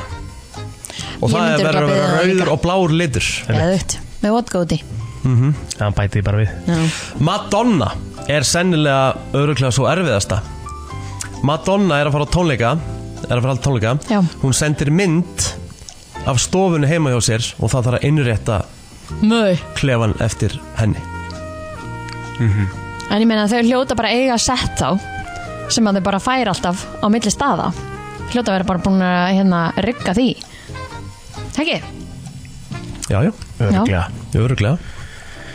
S1: Og
S3: Ég
S1: það
S3: myndi
S1: er verið að
S3: örugglega
S1: vera
S3: beðið það
S1: rauður
S3: líka.
S1: og blár litur
S3: Eðut, með vodka úti
S2: Já, hann bæti því bara við
S3: Já.
S1: Madonna er sennilega öruglega svo erfiðasta Madonna er að fara á tónleika er að fara á tónleika
S3: Já.
S1: hún sendir mynd af stofunni heima hjá sér og það þarf að innrétta
S3: Mö.
S1: klefan eftir henni
S3: En ég meina þau hljóta bara að eiga sett þá sem að þau bara færa alltaf á milli staða Hljóta að vera bara búin að hérna rigga því Ekki?
S1: Já, já,
S2: Örglega
S1: öruglega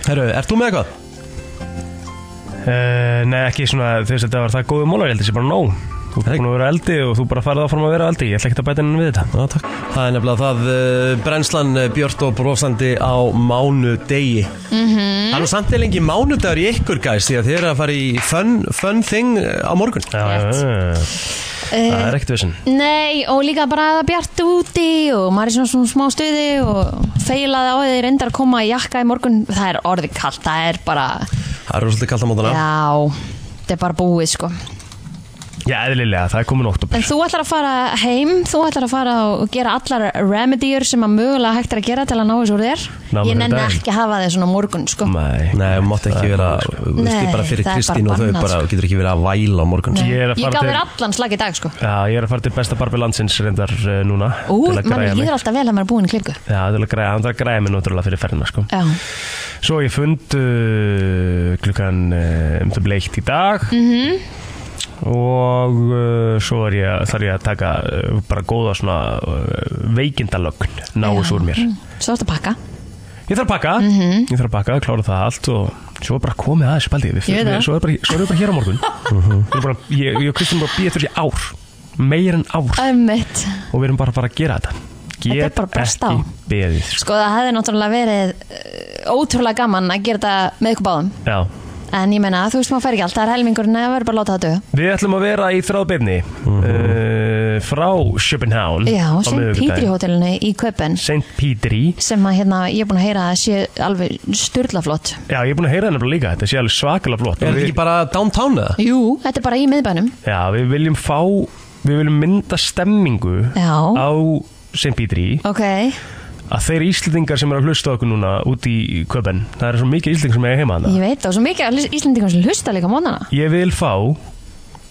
S1: Herru, ert þú með eitthvað?
S2: uh, Nei, ekki svona, þú veist, þetta var það góðu mólar Ég held þessi bara nóg Þú er
S1: Nei.
S2: búin að vera eldi og þú bara farið áfram að vera eldi Ég ætla ekki að bæta henni við þetta
S1: Já, takk Það er nefnilega það uh, brennslan uh, Björt og brosandi á mánu degi
S3: Mhm.
S1: -hmm. Það er nú samt eða lengi mánudagur í ykkur gæs því að þið eru að fara í fun, fun thing uh, á morgun
S2: Já, já, já, já. Það er ekkert vissin
S3: Nei, og líka bara að það bjart úti og maður er svona svona smá stuði og feilaði á því reyndar að koma í jakka í morgun Það er orðið kallt, það er bara,
S1: Það eru svolítið kallt á mótana
S3: já, þetta er bara búið sko
S2: Já, eðlilega, það er komin oktober
S3: En þú ætlar að fara heim, þú ætlar að fara og gera allar remedier sem að mögulega hægt er að gera til að ná þessu úr þér
S2: Ná mér
S3: Ég
S2: um
S3: nenni
S2: daginn.
S3: ekki að hafa þig svona á morgun sko
S2: Nei,
S1: Nei, þú mátt ekki vera,
S2: sko.
S1: þú veist,
S3: Nei,
S1: þið bara fyrir
S3: það er
S1: Kristín
S3: bara
S1: og þau
S3: bannað,
S1: bara,
S3: sko.
S1: þú getur ekki verið að væla á morgun
S2: Ég er að
S3: Ég
S2: fara
S3: gaf
S2: til-
S3: þér allan slag í dag sko
S2: Já, ég er að fara til besta barbi landsins reyndar uh, núna
S3: Ú,
S2: til að
S3: mann
S2: græja mig.
S3: líður alltaf vel að maður er búin í klipku
S2: Já, til að græja, hann þarf að græja mig náttúrulega fyrir ferðina, sko
S3: Já,
S2: Svo ég fund uh, klukkan uh, um það bleikt í dag -hmm.
S3: Mhm.
S2: og uh, svo er ég, þarf ég að taka uh, bara góða svona uh, veikindalögn náus úr mér.
S3: svo ertu að pakka
S2: Ég þarf að pakka, -hmm. ég þarf að pakka, klára það allt og svo er bara komið aðeins spaldið. Við,
S3: Mhm. Ég veit
S2: við,
S3: það.
S2: svo, er bara, svo erum við bara hér á morgun. Við erum bara, ég, ég og Kristján erum bara býðið þessi ár, meir en ár
S3: Ömmit
S2: og við erum bara að fara að gera þetta.
S3: er
S2: Get
S3: bara best á.
S2: ekki beðið. sko.
S3: Sko það hefði náttúrulega verið eh, ótrúlega gaman að gera þetta með ykkur báðum
S2: Já.
S3: En ég menna, þú veist maður fær ekki allt, það er helmingurinn að verður bara að láta það döga
S2: Við ætlum að vera í þráðbyrni uh, frá Schopenhán
S3: Já, sem Pítri hótelinu í Köpen
S2: St. Pítri
S3: sem að hérna, ég er búin að heyra að sé alveg styrlaflott
S2: Já, ég er búin að heyra hennar líka, þetta sé alveg svakalega flott
S1: Er
S2: Og
S1: þetta
S2: við,
S1: ekki bara downtown eða?
S3: Jú, þetta er bara í miðbænum
S2: Já, við viljum fá við viljum mynda stemmingu
S3: Já.
S2: á St. Pítri
S3: Ok,
S2: að þeir Íslendingar sem eru að hlusta á okkur núna út í köpen, það er svo mikið Íslendingar sem eiga heima hana
S3: ég veit það, og svo mikið af Íslendingum sem hlusta líka á mónana
S2: Ég vil fá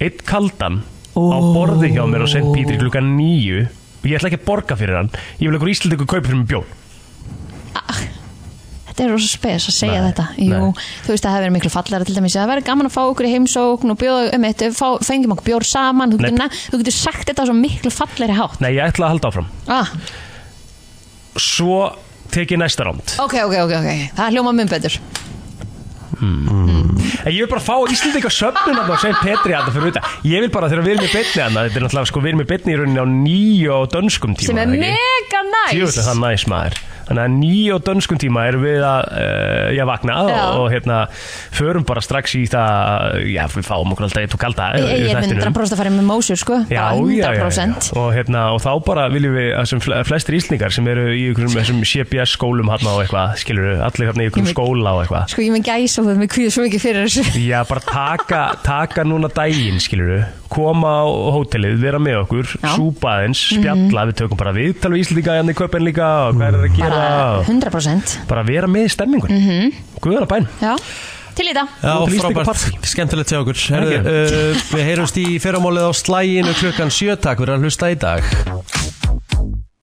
S2: eitt kaldan á borði hjá mér á St. Pítri klukkan nýju og ég ætla ekki að borga fyrir hann ég vil eitthvað Íslendingu kaupa fyrir mig bjón
S3: Ah, Þetta er rosa spes að segja
S2: Nei,
S3: þetta Jú,
S2: nei.
S3: þú veist að það hefur verið miklu fallara til dæmis Það verður gaman að fá okkur í heimsókn og bjóða um eitt fá, Fengjum okkur bjór saman Þú
S2: Nei.
S3: getur, na- þú getur sagt þetta á svo miklu fallari hátt
S2: Nei, ég ætla að halda áfram
S3: ah,
S2: svo tek ég næsta ránd
S3: Ok, ok, ok, ok Það hljóma mun betur
S2: En ég vil bara fá Íslandinga söfnun að það sem Petri að það fyrir utan Ég vil bara þegar við erum í bytni að Þetta er náttúrulega sko, við erum í bytni í rauninni á nýju og dönskum tíma
S3: sem er
S2: ekki?
S3: mega
S2: Djöfull
S3: næs
S2: er það næs maður Þannig að nýja og dönskum tíma erum við að uh, já, vakna og,
S3: Já.
S2: og hérna förum bara strax í það já, við fáum okkur alltaf eitt og kalda
S3: Ég, ég er
S2: yfir þættinum.
S3: 100% að fara með mósur sko
S2: Já,
S3: Bara
S2: já, já,
S3: 100%
S2: já. Og, hérna, og þá bara viljum við að sem fle- flestir íslningar sem eru í ykkur þessum CBS skólum hann og eitthvað, skilur við, allir hérna í ykkur
S3: Ég veit-
S2: skóla og eitthvað
S3: Sko ég með gæs og við kvíðum svo mikið fyrir þessu
S2: Já, bara taka, taka núna daginn, skilur koma á hótelið, vera með okkur
S3: Já. Mhm.
S2: súpa aðeins, spjalla, við tökum bara viðtal við Íslendinga, Janni Köpen líka og hvað er það að gera
S3: Bara Mhm.
S2: og-
S3: 100%
S2: bara vera með í stemmingun mm -hmm. Guðan að bæn
S3: Já, til í það
S1: Já,
S2: Nú til Íslendinga
S1: frábært,
S2: partí.
S1: skemmtilegt hjá okkur Herðu,
S2: Takk.
S1: uh, Við heyrumst í fyrramálið á slæginu klukkan sjö Takk fyrir að hlusta í dag